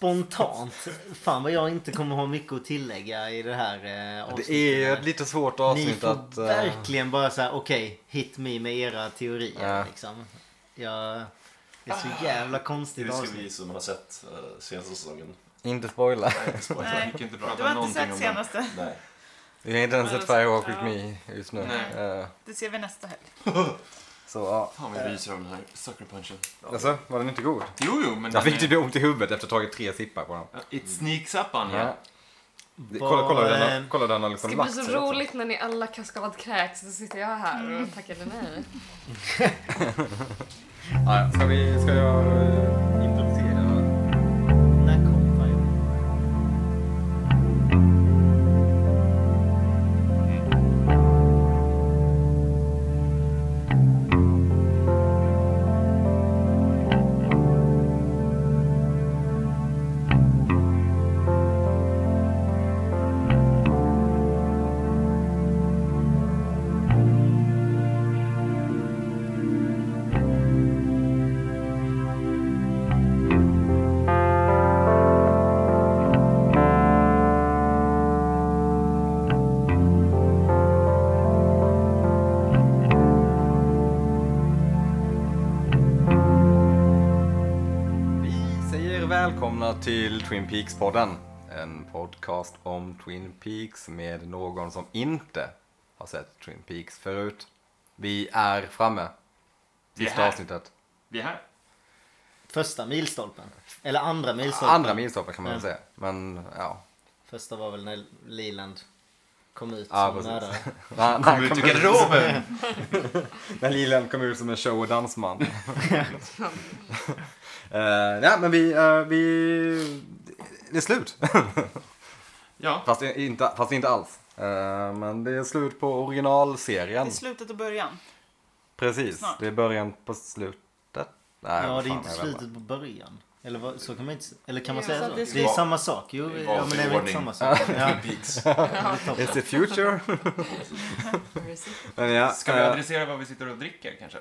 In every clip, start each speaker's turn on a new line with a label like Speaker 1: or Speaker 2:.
Speaker 1: spontant. Fan vad jag inte kommer ha mycket att tillägga i det här eh, avsnittet.
Speaker 2: Det är ju ett lite svårt
Speaker 1: Ni
Speaker 2: avsnitt
Speaker 1: får
Speaker 2: att... eh,
Speaker 1: verkligen bara säga okej, hit me med era teorier
Speaker 2: Ja.
Speaker 1: liksom. Jag, det är så jävla konstigt
Speaker 3: Det ska
Speaker 1: avsnitt.
Speaker 3: vi som har sett eh, senaste säsongen.
Speaker 2: Inte spoila.
Speaker 4: Nej.
Speaker 5: gick inte att
Speaker 4: Du
Speaker 5: prata
Speaker 4: har inte
Speaker 5: någonting
Speaker 4: sett
Speaker 5: om den.
Speaker 4: senaste.
Speaker 3: Nej.
Speaker 2: Vi har inte ens
Speaker 4: Men
Speaker 2: sett
Speaker 4: alltså,
Speaker 2: Firewalk with
Speaker 4: ja.
Speaker 2: me just nu.
Speaker 5: Nej.
Speaker 2: Eh,
Speaker 4: Det ser vi nästa helg.
Speaker 2: Så ja.
Speaker 5: Fan vad jag ryser av den här sucker punchen.
Speaker 2: Alltså, var den inte god?
Speaker 5: Jo, jo, men...
Speaker 2: Jag
Speaker 5: den
Speaker 2: fick
Speaker 5: är-
Speaker 2: typ ont i huvudet efter att ha tagit tre sippar på den.
Speaker 5: Ja, It sneaks up on you.
Speaker 2: Ja. Kolla, kolla hur den har, kolla hur den har
Speaker 6: Det
Speaker 2: liksom
Speaker 6: ska bli
Speaker 2: lagt
Speaker 6: Typ så
Speaker 2: sig också.
Speaker 6: roligt när ni alla kaskadkräks och så sitter jag här och tackade nej.
Speaker 2: Ja, ja. ska, vi, ska jag eh, improvisera? eller?
Speaker 1: När kom Firewall?
Speaker 2: Vi säger välkomna till Twin Peaks-podden. En podcast om Twin Peaks med någon som inte har sett Twin Peaks förut. Vi är framme.
Speaker 5: Vi är
Speaker 2: Sista
Speaker 5: här.
Speaker 2: avsnittet.
Speaker 5: Vi är här.
Speaker 1: Första milstolpen. Eller andra milstolpen.
Speaker 2: Andra milstolpen kan man väl
Speaker 1: Ja.
Speaker 2: säga. Men ja.
Speaker 1: Första var väl när Leland kom ut
Speaker 2: Ja,
Speaker 1: som
Speaker 2: precis.
Speaker 1: mördare.
Speaker 2: När, när,
Speaker 5: Kom
Speaker 2: han
Speaker 5: ut ur
Speaker 2: kom ut,
Speaker 5: garderoben!
Speaker 2: när Leland kom ut som en show och dansman. Eh, ja, men vi, eh, vi... Det är slut.
Speaker 5: Ja,
Speaker 2: Fast det- inte, fast inte alls. Eh, men det är slut på originalserien.
Speaker 4: Det är slutet och början.
Speaker 2: Precis,
Speaker 4: snart.
Speaker 2: det är början på slutet. Nej,
Speaker 1: ja,
Speaker 2: vad
Speaker 1: det är
Speaker 2: fan,
Speaker 1: inte
Speaker 2: jag vet
Speaker 1: slutet på början. Eller vad, så kan man inte, s- eller kan man
Speaker 6: Ja,
Speaker 1: säga
Speaker 6: så
Speaker 1: så?
Speaker 6: att det
Speaker 1: Det,
Speaker 6: ska
Speaker 1: är
Speaker 3: vara-
Speaker 1: samma sak. Jo,
Speaker 3: i
Speaker 1: ja, men det är väl inte
Speaker 3: vanlig
Speaker 1: samma sak. Ja,
Speaker 3: Peaks.
Speaker 2: inte. It's the future. Men ja,
Speaker 5: ska vi
Speaker 2: eh,
Speaker 5: adressera vad vi sitter och dricker kanske?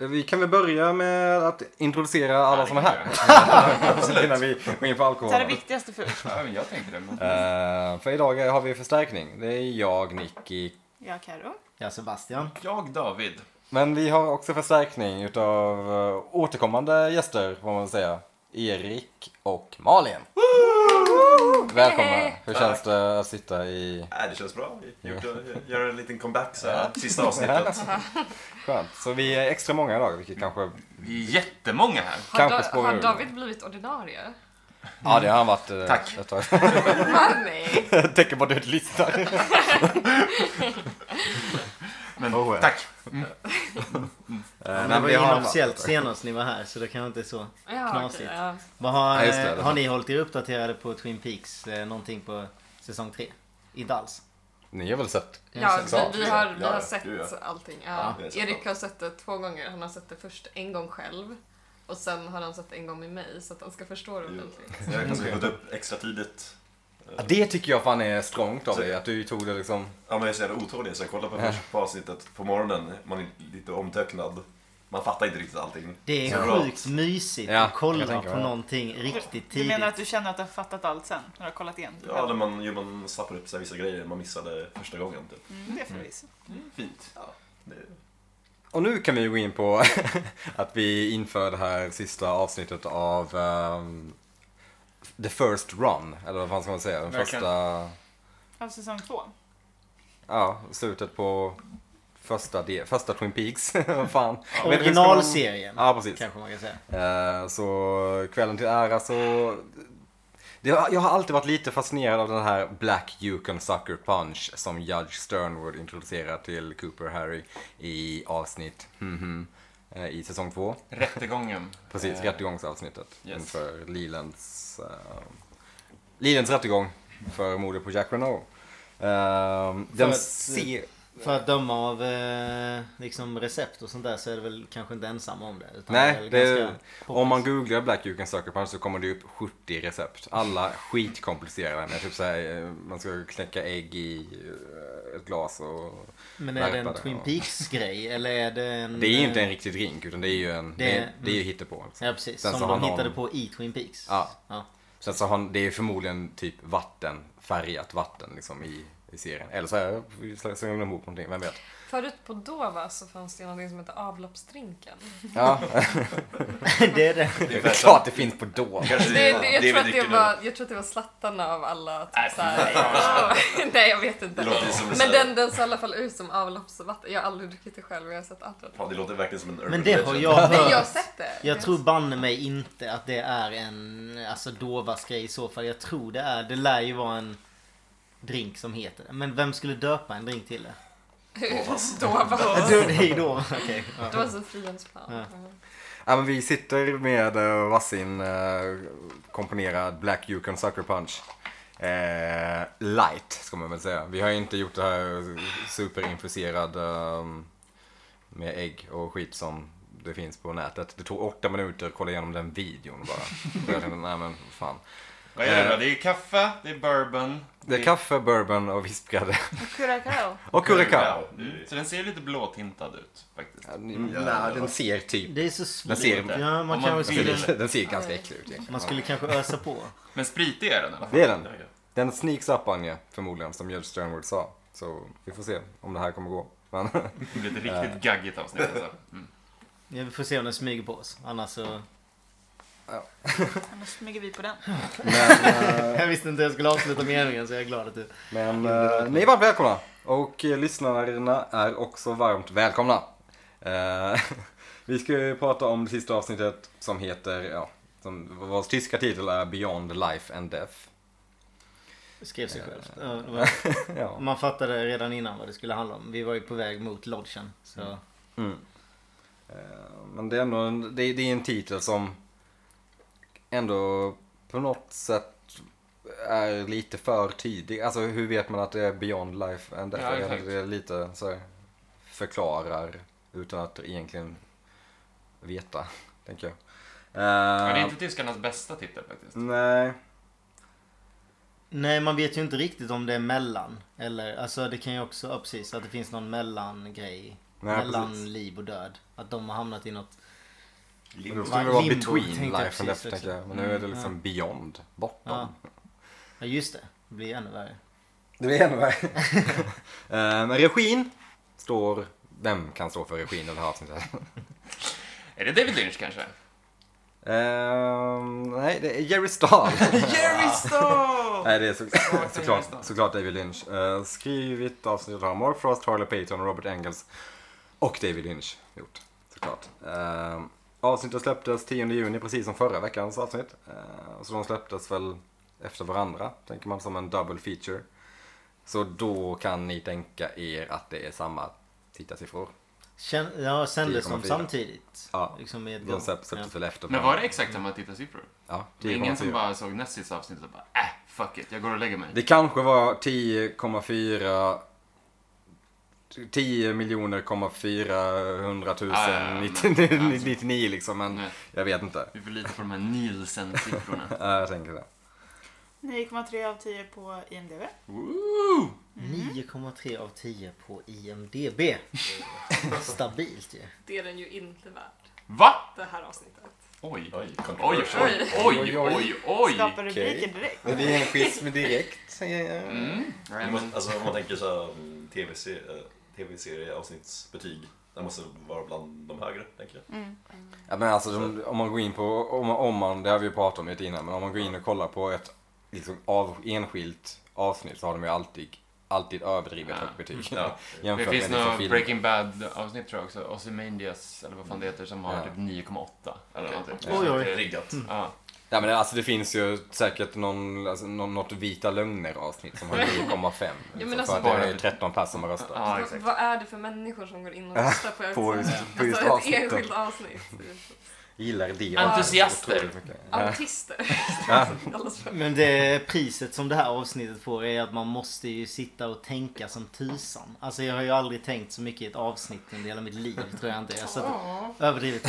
Speaker 2: vi kan väl börja med att introducera alla som är här. Innan vi går in på
Speaker 4: Det
Speaker 2: alkohol.
Speaker 4: här är det viktigaste först.
Speaker 5: Ja, men jag tänkte det. Men...
Speaker 2: Eh, för idag har vi förstärkning. Det är jag, Nicky.
Speaker 4: Ja, Karo.
Speaker 1: ja Sebastian.
Speaker 5: Jag, David.
Speaker 2: Men vi har också förstärkning utav eh, återkommande gäster, får man väl säga. Erik och Malin. Välkomna!
Speaker 6: Hej.
Speaker 2: Hur känns det att sitta i
Speaker 3: Nej, det känns bra. Vi gjort- eh, Gör en liten comeback så här. Sista avsnittet.
Speaker 2: Skönt. Så vi är extra många idag, vilket kanske...
Speaker 5: Vi är jättemånga här.
Speaker 6: Har,
Speaker 2: Kanske
Speaker 6: da-
Speaker 2: spårar
Speaker 6: har
Speaker 2: ur.
Speaker 6: David blivit ordinarie?
Speaker 1: Mm.
Speaker 2: Ja, det har han varit eh,
Speaker 5: Tack.
Speaker 2: ett tag.
Speaker 6: Ah, nej.
Speaker 2: Jag tänker på dödlistan.
Speaker 5: Men
Speaker 2: Oh, ja.
Speaker 5: tack.
Speaker 1: Men det var ju inofficiellt senast ni var här så det kan inte så
Speaker 6: Ja, okej,
Speaker 1: knasigt.
Speaker 6: ja.
Speaker 1: Vad har,
Speaker 2: Ja, just det.
Speaker 1: eh, har ni hållit er uppdaterade på Twin Peaks eh, någonting på säsong 3? Inte alls.
Speaker 2: Ni har väl sett?
Speaker 6: Ja,
Speaker 3: Ja,
Speaker 6: vi, vi har, vi
Speaker 3: ja,
Speaker 6: har
Speaker 3: ja,
Speaker 6: sett
Speaker 3: gud, ja.
Speaker 6: allting. Ja.
Speaker 3: Ja, det är så
Speaker 6: Erik
Speaker 3: bra.
Speaker 6: har sett det två gånger. Han har sett det först en gång själv. Och sen har han sett det en gång med mig så att han ska förstå det
Speaker 3: Jo.
Speaker 6: ordentligt.
Speaker 3: Jag har kanske gått upp extra tidigt.
Speaker 2: Ja, det tycker jag fan är strångt av
Speaker 3: Så-
Speaker 2: dig, att du tog det liksom...
Speaker 3: Ja, men jag är så jävla otålig så jag kollar på första på avsnittet på morgonen. Man är lite omtöcknad. Man fattar inte riktigt allting.
Speaker 1: Det är
Speaker 3: Så bra.
Speaker 1: sjukt mysigt
Speaker 2: Ja,
Speaker 1: att kolla
Speaker 2: jag tänker
Speaker 1: på
Speaker 2: mig.
Speaker 1: någonting
Speaker 4: Du,
Speaker 1: riktigt
Speaker 4: du menar att
Speaker 1: tidigt.
Speaker 4: du känner att du har fattat allt sen? När du har kollat igen?
Speaker 3: Ja, eller man, ju, man slappar upp sig vissa grejer man missade första gången. Typ.
Speaker 4: Mm, det är förvisso.
Speaker 5: Fint.
Speaker 3: Det-
Speaker 2: Och nu kan vi gå in på att vi inför det här sista avsnittet av ehm, The First Run, eller vad fan ska man säga? Den
Speaker 5: Verkligen.
Speaker 2: första...
Speaker 4: Av säsong två.
Speaker 2: Ja, slutet på första, del, första Twin Peaks. Vad fan. Jag vet inte hur ska man-
Speaker 1: Originalserien
Speaker 2: Ja, precis.
Speaker 1: kanske man kan säga.
Speaker 2: Eh, Så kvällen till ära så... Det, har- jag har alltid varit lite fascinerad av den här Black You Can Sucker Punch som Judge Sternwood introducerar till Cooper Harry i avsnitt mhm, eh, i säsong två.
Speaker 5: Rättegången.
Speaker 2: Precis,
Speaker 5: Eh,
Speaker 2: rättegångsavsnittet
Speaker 5: yes.
Speaker 2: inför Lelands, eh, Lelands rättegång för mordet på Jack Renault. Ehm, den
Speaker 1: att-
Speaker 5: eh,
Speaker 2: se...
Speaker 1: För att döma av eh, liksom recept och sånt där så är det väl kanske inte ensam om det. Utan
Speaker 2: Nej,
Speaker 1: väl
Speaker 2: det är-
Speaker 1: ganska poppis.
Speaker 2: Om man googlar Black You Can Sucker Punch så kommer det upp 70 recept. Alla skitkomplicerade. Med typ så här, eh, man ska knäcka ägg i eh, ett glas och...
Speaker 1: Men är det en
Speaker 2: Värpade,
Speaker 1: Twin
Speaker 2: ja.
Speaker 1: Peaks grej eller är det en...
Speaker 2: Det är ju
Speaker 1: eh,
Speaker 2: inte en riktig drink utan Mm. det är ju en... Det,
Speaker 1: det-
Speaker 2: är, det är ju hittepå. Liksom.
Speaker 1: Ja precis,
Speaker 2: Sen
Speaker 1: som
Speaker 2: så
Speaker 1: de
Speaker 2: har någon-
Speaker 1: hittade på i Twin Peaks.
Speaker 2: Ja.
Speaker 1: Ja.
Speaker 2: Sen så har det är förmodligen typ vatten, färgat vatten liksom i, i serien. Eller så är det slängt ihop någonting, vem vet?
Speaker 6: Förut på Dova så fanns det ju någonting som hette avloppsdrinken.
Speaker 2: Ja,
Speaker 1: det är det.
Speaker 2: det är klart det finns på då.
Speaker 6: Det, det, jag,
Speaker 3: vi
Speaker 6: tror att
Speaker 3: dricker
Speaker 6: det
Speaker 3: nu.
Speaker 6: var, jag tror att det var slattarna av alla. Typ,
Speaker 5: Nej,
Speaker 6: nej,
Speaker 5: fy
Speaker 6: nej, jag vet inte.
Speaker 3: Det låter som en
Speaker 6: Men
Speaker 3: sån-
Speaker 6: den, den såg i alla fall ut som avloppsvatten. Jag har aldrig druckit det själv, men jag har sett andra.
Speaker 3: Fan, det låter verkligen som en urban
Speaker 1: Men det har
Speaker 3: legend.
Speaker 1: jag hört.
Speaker 6: Nej, jag har sett det.
Speaker 1: Jag tror banne mig inte att det är en alltså Dovas grej i så fall. Jag tror det är, det lär ju vara en drink som heter det. Men vem skulle döpa en drink till det?
Speaker 6: Då var
Speaker 1: Du, det är ju Dova, okej.
Speaker 6: det var så frihandsplan.
Speaker 1: Ja.
Speaker 2: Ja, men vi sitter med eh, varsin eh, komponerad Black Yukon Sucker Punch. Eh, light, ska man väl säga. Vi har ju inte gjort det här superinfuserad ehm, med ägg och skit som det finns på nätet. Det tog åtta minuter att kolla igenom den videon bara. Och jag tänkte, nej men fan.
Speaker 5: Vad är det då? Det är kaffe, det är bourbon.
Speaker 2: Det är kaffe, bourbon och vispgrädde.
Speaker 4: Curacao.
Speaker 2: Och curacao.
Speaker 5: Mm. Så den ser lite blåtintad ut faktiskt.
Speaker 2: Ja, Mm, nej, den ser typ...
Speaker 1: Det är så svårt.
Speaker 2: Den ser inte.
Speaker 1: Ja,
Speaker 5: Om man
Speaker 1: man, kanske
Speaker 5: vill.
Speaker 1: skulle,
Speaker 2: Den ser ganska äcklig ut egentligen.
Speaker 1: man skulle kanske ösa på.
Speaker 5: Men spritig är den i alla fall.
Speaker 2: Det är den.
Speaker 3: Ja, ja.
Speaker 2: Den sneaks up on you, förmodligen, som Judge Sternwood sa. Så vi får se om det här kommer gå. Men
Speaker 5: Det blir ett riktigt
Speaker 2: Eh.
Speaker 5: gaggigt avsnitt alltså. Mm.
Speaker 1: Ja, vi får se om den smyger på oss. Annars så...
Speaker 4: Annars smyger vi på den.
Speaker 1: Jag visste inte jag skulle avsluta meningen så jag är glad att du...
Speaker 2: Men eh, ni är varmt välkomna och eh, lyssnarna är också varmt välkomna. Eh, vi ska ju prata om det sista avsnittet som heter, ja, som, vars tyska titel är Beyond Life and Death.
Speaker 1: Skrev sig själv. Ja, det var-
Speaker 2: Ja.
Speaker 1: Man fattade redan innan vad det skulle handla om. Vi var ju på väg mot lodgen. Så...
Speaker 2: Mm. Eh, Men det är ändå en, det är, det är en titel som ändå på något sätt är lite för tidig. Alltså hur vet man att det är beyond life and death?
Speaker 5: Ja,
Speaker 2: Jag
Speaker 5: exakt.
Speaker 2: vet inte, det är lite så här, förklarar utan att egentligen veta, tänker jag. Eh,
Speaker 5: Men det är inte tyskarnas bästa titel faktiskt.
Speaker 2: Nej.
Speaker 1: Nej, man vet ju inte riktigt om det är mellan. Eller, alltså det kan ju också, ja, precis, att det finns någon mellangrej.
Speaker 2: Nej,
Speaker 1: mellan
Speaker 2: precis.
Speaker 1: liv och död. Att de har hamnat i något...
Speaker 2: Då
Speaker 3: Limbo.
Speaker 2: skulle det vara
Speaker 1: Limbo, tänkte
Speaker 2: between
Speaker 1: jag
Speaker 2: life and
Speaker 1: precis
Speaker 2: death, tänker
Speaker 1: också.
Speaker 2: jag. Men nu är det
Speaker 1: Mm,
Speaker 2: liksom beyond, bortom.
Speaker 1: Ja. ja, just det. Det blir ännu värre.
Speaker 2: Det blir ännu värre. Eh, Men regin står... Vem kan stå för regin i det här avsnittet?
Speaker 5: Är det David Lynch kanske?
Speaker 2: Ehm, nej, det är Jerry Stahl.
Speaker 5: Jerry Stone!
Speaker 2: nej, det är så,
Speaker 5: Stahl, Jerry
Speaker 2: såklart,
Speaker 5: Stahl.
Speaker 2: såklart David Lynch. Eh, skrivit avsnittet har Mark Frost, Harley Payton, Robert Engels och David Lynch gjort. Såklart. Ehm, avsnittet släpptes 10 juni, precis som förra veckans avsnitt. Eh, så de släpptes väl efter varandra, tänker man, som en double feature. Så då kan ni tänka er att det är samma tittarsiffror.
Speaker 1: Kän, ja, sändes de
Speaker 2: 10,4.
Speaker 1: samtidigt?
Speaker 2: Ja,
Speaker 1: Liksom i ett
Speaker 2: De
Speaker 1: gång.
Speaker 2: släpptes väl efter
Speaker 5: Men var det exakt samma tittarsiffror?
Speaker 2: Ja,
Speaker 5: Det är ingen
Speaker 2: 10,4.
Speaker 5: som bara såg näst sista avsnittet och bara äh, fuck it, jag går och lägger mig.
Speaker 2: Det kanske var 10,4 10 miljoner, 400 000,
Speaker 5: Ja, ja, ja,
Speaker 2: 99, 99 liksom. Men
Speaker 5: Nej,
Speaker 2: jag vet inte.
Speaker 5: vi får lita på de här Nielsen-siffrorna.
Speaker 2: Ja, jag tänker det.
Speaker 4: 9,3 av 10 på IMDB.
Speaker 5: Woo!
Speaker 1: 9,3 av 10 på IMDB. Stabilt ju.
Speaker 6: Det är den ju inte värd,
Speaker 5: Va?
Speaker 6: det här avsnittet.
Speaker 5: Oj. Oj,
Speaker 3: Oj,
Speaker 5: oj,
Speaker 3: controversial.
Speaker 5: oj, oj, oj, oj.
Speaker 4: Skapar rubriker direkt.
Speaker 2: Det är en schism direkt.
Speaker 5: Mm. Nej,
Speaker 3: Men,
Speaker 5: men-
Speaker 3: alltså om man tänker så här, mm, tv-serie, eh, tv-serie avsnittsbetyg. Den måste vara bland de högre, tänker jag.
Speaker 2: Ja, men alltså, de, om man går in på, om, man- om man, det har vi ju pratat om lite innan, men om man går in och kollar på ett liksom, av, enskilt avsnitt så har de ju alltid, alltid överdrivet
Speaker 5: Ja.
Speaker 2: högt betyg.
Speaker 3: Ja.
Speaker 5: Det
Speaker 2: Jämfört
Speaker 5: finns
Speaker 2: med liksom,
Speaker 5: något
Speaker 2: film.
Speaker 5: Breaking Bad avsnitt tror jag också. Ozymandias, eller vad fan det heter, som har
Speaker 2: Ja.
Speaker 5: typ 9,8. Eller någonting.
Speaker 1: Oj, oj.
Speaker 5: Det är
Speaker 2: Mm.
Speaker 5: riktigt-
Speaker 3: Riggat.
Speaker 5: Ja.
Speaker 2: Ja men det- alltså det finns ju säkert någon, alltså, någon, något vita lögner avsnitt som har 9,5.
Speaker 6: men
Speaker 2: liksom,
Speaker 6: alltså
Speaker 2: för att det
Speaker 5: bara-
Speaker 2: är 13 pers som har röstat.
Speaker 5: ja,
Speaker 6: vad,
Speaker 5: exakt.
Speaker 6: vad är det för människor som går in och röstar på,
Speaker 2: på
Speaker 6: episod?
Speaker 2: just- på just
Speaker 6: alltså, ett
Speaker 2: avsnitten.
Speaker 6: enskilt avsnitt?
Speaker 2: Gillar det.
Speaker 5: Entusiaster.
Speaker 2: otroligt mycket. Ja.
Speaker 6: Autister. Kallas för.
Speaker 1: Men det priset som det här avsnittet får är att man måste ju sitta och tänka som tusan. Alltså jag har ju aldrig tänkt så mycket i ett avsnitt under hela mitt liv tror jag inte. Jag satt och överdrivet,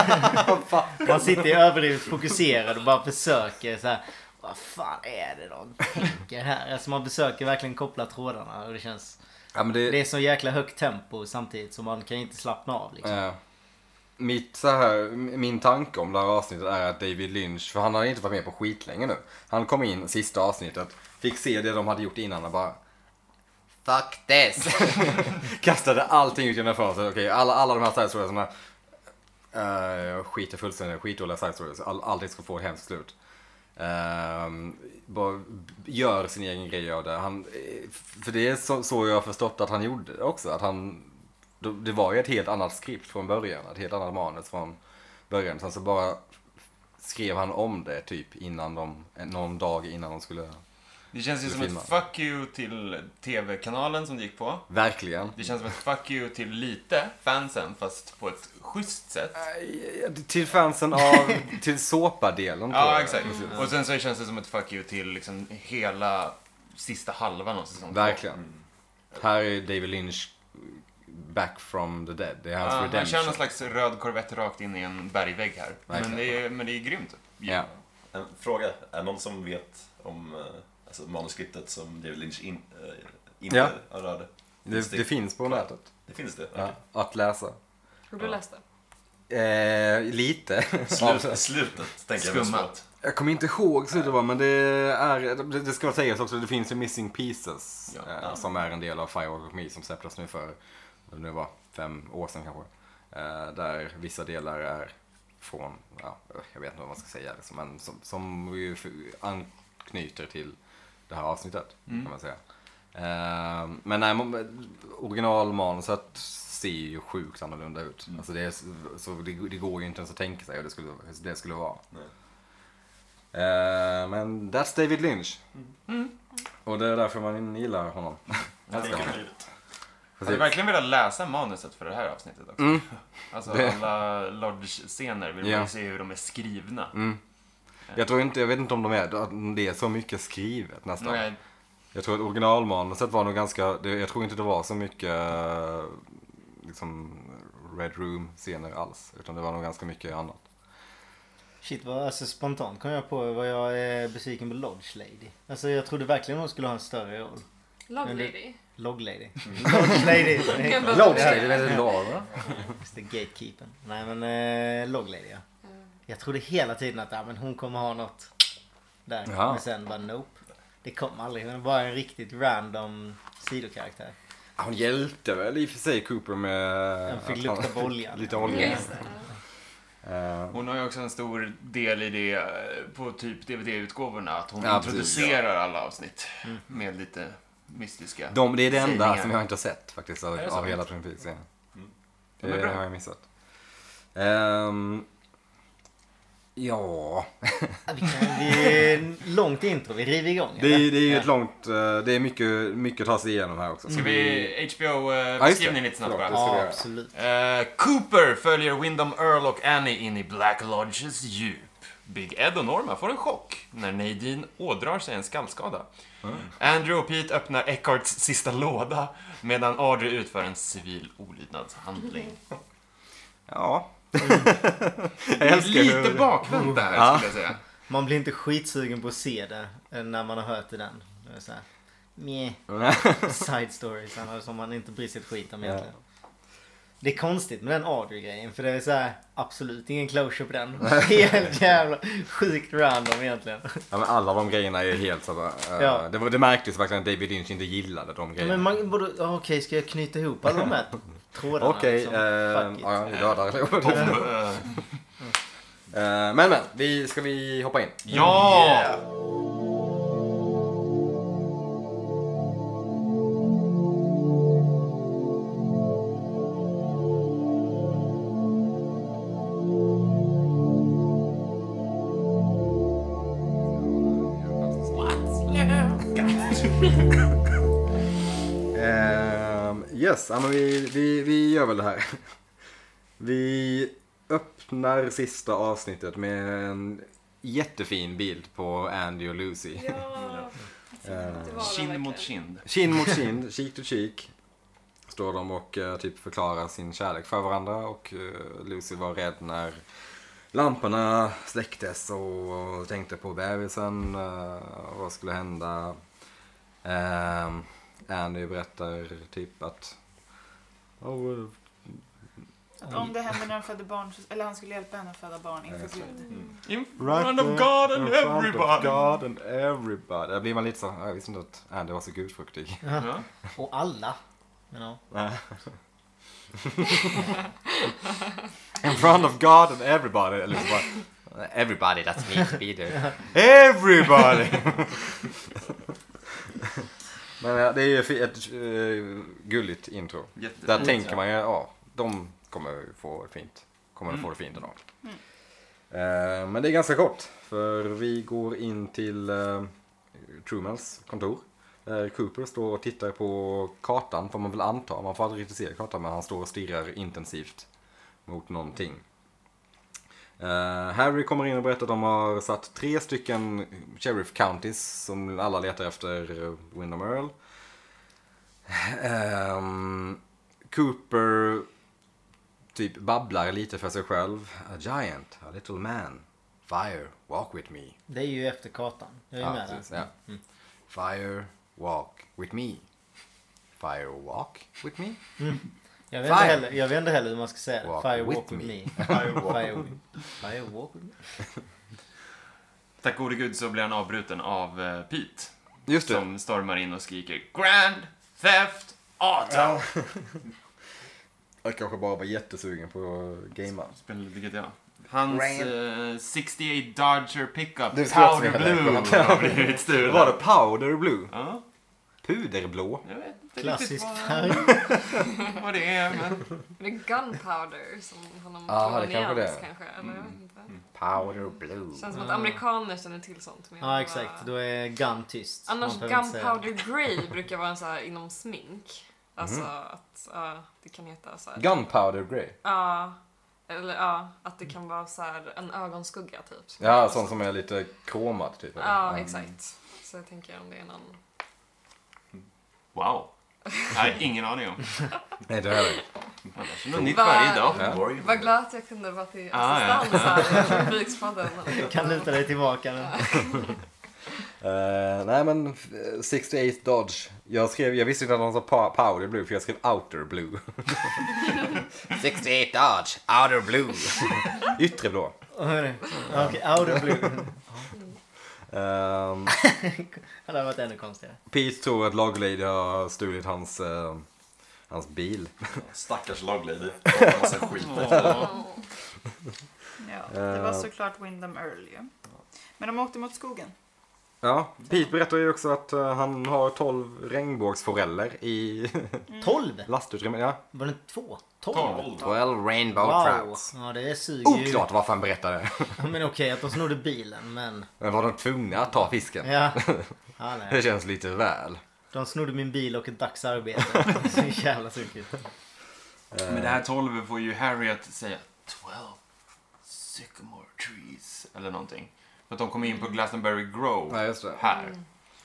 Speaker 1: överdrivet. Man sitter ju överdrivet fokuserad och bara försöker så här. Vad fan är det de tänker här? Alltså man försöker verkligen koppla trådarna och det känns...
Speaker 2: Ja men det...
Speaker 1: Det är så jäkla högt tempo samtidigt som man kan inte slappna av liksom.
Speaker 2: eh, mitt så här, min tanke om det här avsnittet är att David Lynch, för han har inte varit med på skitlänge nu. Han kom in sista avsnittet, fick se det de hade gjort innan och bara Fuck this! Kastade allting ut genom fönstret. Okej, alla, alla de här side storiesarna. eh, jag skiter fullständigt i skitdåliga side stories. All, allting ska få ett hemskt slut. Ehm, bara gör sin egen grej av det. Han, eh, för det är så, så jag har förstått att han gjorde också. Att han, då- det var ju ett helt annat skript från början. Ett helt annat manus från början. Sen så bara skrev han om det typ innan de, någon dag innan de skulle...
Speaker 5: Det känns ju
Speaker 2: Det
Speaker 5: som ett
Speaker 2: filmar.
Speaker 5: fuck you till tv-kanalen som det gick på.
Speaker 2: Verkligen.
Speaker 5: Det känns som ett fuck you till lite fansen, fast på ett schysst sätt.
Speaker 2: Till fansen av, till såpadelen tror
Speaker 5: Ja,
Speaker 2: jag.
Speaker 5: exakt. Och sen så känns det som ett fuck you till liksom hela sista halvan av säsongen.
Speaker 2: Verkligen.
Speaker 5: Mm.
Speaker 2: Här är David Lynch back from the dead. Det är hans
Speaker 5: Ja, han
Speaker 2: Alltså, redemption.
Speaker 5: kör någon slags röd korvett rakt in i en bergvägg här. Men
Speaker 2: Verkligen.
Speaker 5: det, är, men det är grymt.
Speaker 2: Ja.
Speaker 3: En fråga. Är det någon som vet om eh, alltså, manuskriptet som David Lynch in, eh, inte
Speaker 2: Ja.
Speaker 3: rörde?
Speaker 2: Det, det finns på nätet.
Speaker 3: Det finns det?
Speaker 2: Ja, att läsa.
Speaker 6: Har du läst det?
Speaker 2: Eh, lite.
Speaker 3: Slut, slutet tänker jag mest på.
Speaker 5: Skummat.
Speaker 2: Jag kommer inte ihåg så det var, men det är, det, det ska sägas också, det finns ju Missing Pieces
Speaker 5: Ja.
Speaker 2: eh, som är en del av Firewalk of Me som släpptes nu för, vad det nu var, fem år sedan kanske. Eh, där vissa delar är från, ja, jag vet inte vad man ska säga, liksom, men som, som ju f- anknyter till det här avsnittet
Speaker 5: Mm.
Speaker 2: kan man säga. Eh, men nej, man- originalmanuset ser ju sjukt annorlunda ut.
Speaker 5: Mm.
Speaker 2: Alltså det, är, så- så det, det går ju inte ens att tänka sig hur det skulle, hur det skulle vara. Eh, men that's David Lynch.
Speaker 5: Mm.
Speaker 2: Och det är därför man gillar honom. Älskar honom.
Speaker 5: Jag hade
Speaker 2: Precis.
Speaker 5: verkligen velat läsa manuset för det här avsnittet också.
Speaker 2: Mm.
Speaker 5: Alltså
Speaker 2: Det-
Speaker 5: alla Lodge-scener vill man
Speaker 2: Ja. Mm.
Speaker 5: ju se hur de är skrivna.
Speaker 2: Jag tror inte, jag vet inte om de är, om det är så mycket skrivet nästan.
Speaker 5: Nej,
Speaker 2: Jag tror att originalmanuset var nog ganska, det, jag tror inte det var så mycket eh, liksom Red Room-scener alls. Utan det var nog ganska mycket annat.
Speaker 1: Shit vad alltså, spontant kom jag på vad jag är besviken på Lodge Lady. Alltså jag trodde verkligen hon skulle ha en större roll.
Speaker 6: Love
Speaker 1: Men det-
Speaker 6: Lady?
Speaker 1: Log Lady. Lodge Lady. som det heter.
Speaker 6: Lodge
Speaker 1: Ja.
Speaker 6: Lady.
Speaker 2: det är Laura.
Speaker 1: Just det, gatekeepern. Nej men eh, Log Lady ja. Jag trodde hela tiden att ah, men hon kommer ha något där.
Speaker 2: Ja.
Speaker 1: Men sen bara nope. Det kom aldrig. Hon var en riktigt random sidokaraktär.
Speaker 2: Hon hjälpte väl i och för sig Cooper med...
Speaker 1: Den fick
Speaker 2: att han-
Speaker 1: lukta på oljan.
Speaker 2: Lite olja.
Speaker 6: Just det.
Speaker 2: Eh,
Speaker 5: Hon har ju också en stor del i det eh, på typ DVD-utgåvorna. Att hon
Speaker 2: Ja, precis,
Speaker 5: introducerar alla avsnitt med lite mystiska...
Speaker 2: De, det är det enda
Speaker 5: Sägningar.
Speaker 2: som jag inte har sett faktiskt av,
Speaker 5: Är det så?
Speaker 2: av hela Primitivserien.
Speaker 5: De är
Speaker 2: Det
Speaker 5: bra.
Speaker 2: har jag missat. Ehm, ja,
Speaker 1: Ah, Vi kan, det är en långt intro. Vi river igång.
Speaker 2: det är ju det är ju
Speaker 1: Ja.
Speaker 2: ett långt, eh, det är mycket, mycket att ta sig igenom här också.
Speaker 5: Ska vi
Speaker 2: Mm. Ja, just det.
Speaker 5: HBO-beskrivningen eh, lite snabbt
Speaker 2: Förlåt,
Speaker 5: bara?
Speaker 2: det ska vi
Speaker 1: Ja
Speaker 2: göra.
Speaker 1: absolut.
Speaker 5: Eh, Cooper följer Wyndham Earl och Annie in i Black Lodges djup. Big Ed och Norma får en chock när Nadine ådrar sig en skallskada.
Speaker 2: Mm.
Speaker 5: Andrew och Pete öppnar Eckharts sista låda medan Audrey utför en civil olydnadshandling.
Speaker 2: Ja.
Speaker 5: Det
Speaker 2: jag
Speaker 5: är
Speaker 2: älskar
Speaker 5: lite
Speaker 2: hur...
Speaker 5: bakvänt där
Speaker 2: Ja.
Speaker 5: skulle jag säga.
Speaker 1: Man blir inte skitsugen på att se det eh, när man har hört det den. Det är så här, meh, side stories annars som man inte bryr sig ett skit om
Speaker 2: Ja.
Speaker 1: egentligen. Det är konstigt med den Audrey-grejen för det är så här, absolut ingen closure på den. Helt jävla sjukt random egentligen.
Speaker 2: ja, men alla de grejerna är helt så uh,
Speaker 1: Ja.
Speaker 2: det, var- det märktes verkligen att David Lynch inte gillade de grejerna.
Speaker 1: Men man borde, ja, okej ska jag knyta ihop alla de här trådarna?
Speaker 2: Okej,
Speaker 1: liksom?
Speaker 2: eh,
Speaker 1: Fuck it.
Speaker 2: ja, vi dödar allihopa.
Speaker 5: Bomb, eh,
Speaker 2: Eh, Men men, vi, ska vi hoppa in?
Speaker 5: Ja!
Speaker 2: Ehm, yes, ja, men vi, vi, vi gör väl det här. Vi öppnar sista avsnittet med en jättefin bild på Andy och Lucy.
Speaker 6: Ja. Det var
Speaker 5: Kind
Speaker 6: verkligen.
Speaker 5: mot kind.
Speaker 2: Kind mot kind, cheek to cheek. Står de och eh, typ förklarar sin kärlek för varandra och eh, Lucy var rädd när lamporna släcktes och tänkte på bebisen, eh, vad skulle hända. Eh, Andy berättar typ att oh, eh,
Speaker 4: Att om det hände när han födde barn, så- eller han skulle hjälpa henne att föda barn inför Gud.
Speaker 5: In front of God and everybody.
Speaker 2: God and everybody. Där blir man lite så, jag visste inte att Andy var så gudfruktig.
Speaker 5: Ja.
Speaker 1: Och alla. You know.
Speaker 2: In front of God and everybody. Eller så bara, everybody, that's me, Peter. Everybody! Men ja, det är ju fi- ett eh, gulligt intro.
Speaker 5: Jättefint.
Speaker 2: Där tänker man ju, ja, de kommer få det fint. Kommer få det fint idag. Eh, men det är ganska kort, för vi går in till eh, Trumans kontor. Där Cooper står och tittar på kartan, får man väl anta. Man får aldrig riktigt se kartan, men han står och stirrar intensivt mot någonting. Eh, Harry kommer in och berättar att de har satt tre stycken Sheriff Counties som alla letar efter eh, Windham Earl. Ehm, Cooper typ babblar lite för sig själv. A giant, a little man. Fire, walk with me.
Speaker 1: Det är ju efter kartan. Jag är
Speaker 2: Ja,
Speaker 1: med
Speaker 2: precis,
Speaker 1: där. Mm.
Speaker 2: ja. Fire, walk with me. Fire, walk with me.
Speaker 1: Jag vet, inte
Speaker 2: Fire.
Speaker 1: heller, jag vet inte heller hur man ska säga det.
Speaker 2: Walk
Speaker 1: Fire
Speaker 2: with
Speaker 1: walk with
Speaker 2: me.
Speaker 1: me. Fire walk Fire walk with me.
Speaker 5: Tack gode gud så blir han avbruten av eh, Pete.
Speaker 2: Just det.
Speaker 5: Som stormar in och skriker Grand Theft Auto! Ja.
Speaker 2: Jag kanske bara var jättesugen på att gamea.
Speaker 5: Vilket jag. Hans eh, 68 Dodger pickup,
Speaker 2: Det ska jag också
Speaker 5: Powder
Speaker 2: säga.
Speaker 5: Blue, har blivit stulen.
Speaker 2: Var det powder blue?
Speaker 5: Ja,
Speaker 2: Puderblå?
Speaker 5: jag vet inte
Speaker 1: Klassisk
Speaker 5: riktigt
Speaker 1: färg.
Speaker 5: vad, vad det är, men
Speaker 6: Det är gunpowder som honom
Speaker 2: Ja,
Speaker 6: ah,
Speaker 2: det kanske det
Speaker 6: kanske,
Speaker 2: är. Ah.
Speaker 6: kanske eller jag vet
Speaker 5: Mm.
Speaker 6: inte.
Speaker 2: Powder blue.
Speaker 6: Känns som att amerikaner känner till sånt. men
Speaker 1: Ja
Speaker 6: jag
Speaker 1: exakt,
Speaker 6: bara-
Speaker 1: då är gun tyst.
Speaker 6: Annars
Speaker 1: Man behöver inte säga det.
Speaker 6: gunpowder grey brukar vara en så här inom smink.
Speaker 2: Mhm.
Speaker 6: Alltså att ja, det kan heta så här.
Speaker 2: Gunpowder grey.
Speaker 6: Ja, eller ja, att det kan vara så här en ögonskugga typ.
Speaker 2: Ja, sån som är lite kromad typ.
Speaker 6: Ja, exakt. Så jag tänker om det är någon...
Speaker 5: wow. Nej, ingen aning om.
Speaker 2: Nej, det har jag inte.
Speaker 5: Man lär sig något nytt varje dag.
Speaker 2: Ja.
Speaker 3: Borg.
Speaker 6: Vad glad att jag kunde vara till
Speaker 5: Ah, ja.
Speaker 6: assistans här i Bygspodden.
Speaker 1: Kan luta dig tillbaka nu.
Speaker 2: Eh, nej men eh, 68 Dodge. Jag, skrev, jag visste inte att de sa pa- powder blue för jag skrev outer blue. 68 Dodge, outer blue. Yttre blå.
Speaker 1: Hörru, Okej, outer blue.
Speaker 2: Ehm,
Speaker 1: Det hade varit ännu konstigare.
Speaker 2: Pete tror att Log Lady har stulit hans, eh, hans bil.
Speaker 3: Stackars Loglady. Pratar massa skit.
Speaker 5: Åh.
Speaker 4: Ja, det
Speaker 2: Eh.
Speaker 4: var såklart Windham Earl ju. Men de åkte mot skogen.
Speaker 2: Ja, Pete berättar ju också att eh, han har 12 regnbågsforeller i
Speaker 5: Mm.
Speaker 1: 12?
Speaker 2: lastutrymmet. Ja.
Speaker 1: Var det inte två? 12?
Speaker 5: Tolv.
Speaker 2: 12 rainbow
Speaker 1: Wow.
Speaker 2: traps.
Speaker 1: Ja, det suger ju.
Speaker 2: Oklart varför han berättade.
Speaker 1: Ja, Men okej att de snodde bilen, men...
Speaker 2: Men var de tvungna att ta fisken?
Speaker 1: Ja. ja nej.
Speaker 2: Det känns lite väl.
Speaker 1: De snodde min bil och ett dags arbete. Så jävla tokigt.
Speaker 5: Men det här 12 får ju Harry att säga 12 sycamore trees eller någonting. För att de kommer in på Glastonbury Grove
Speaker 2: Ja, just det.
Speaker 5: här.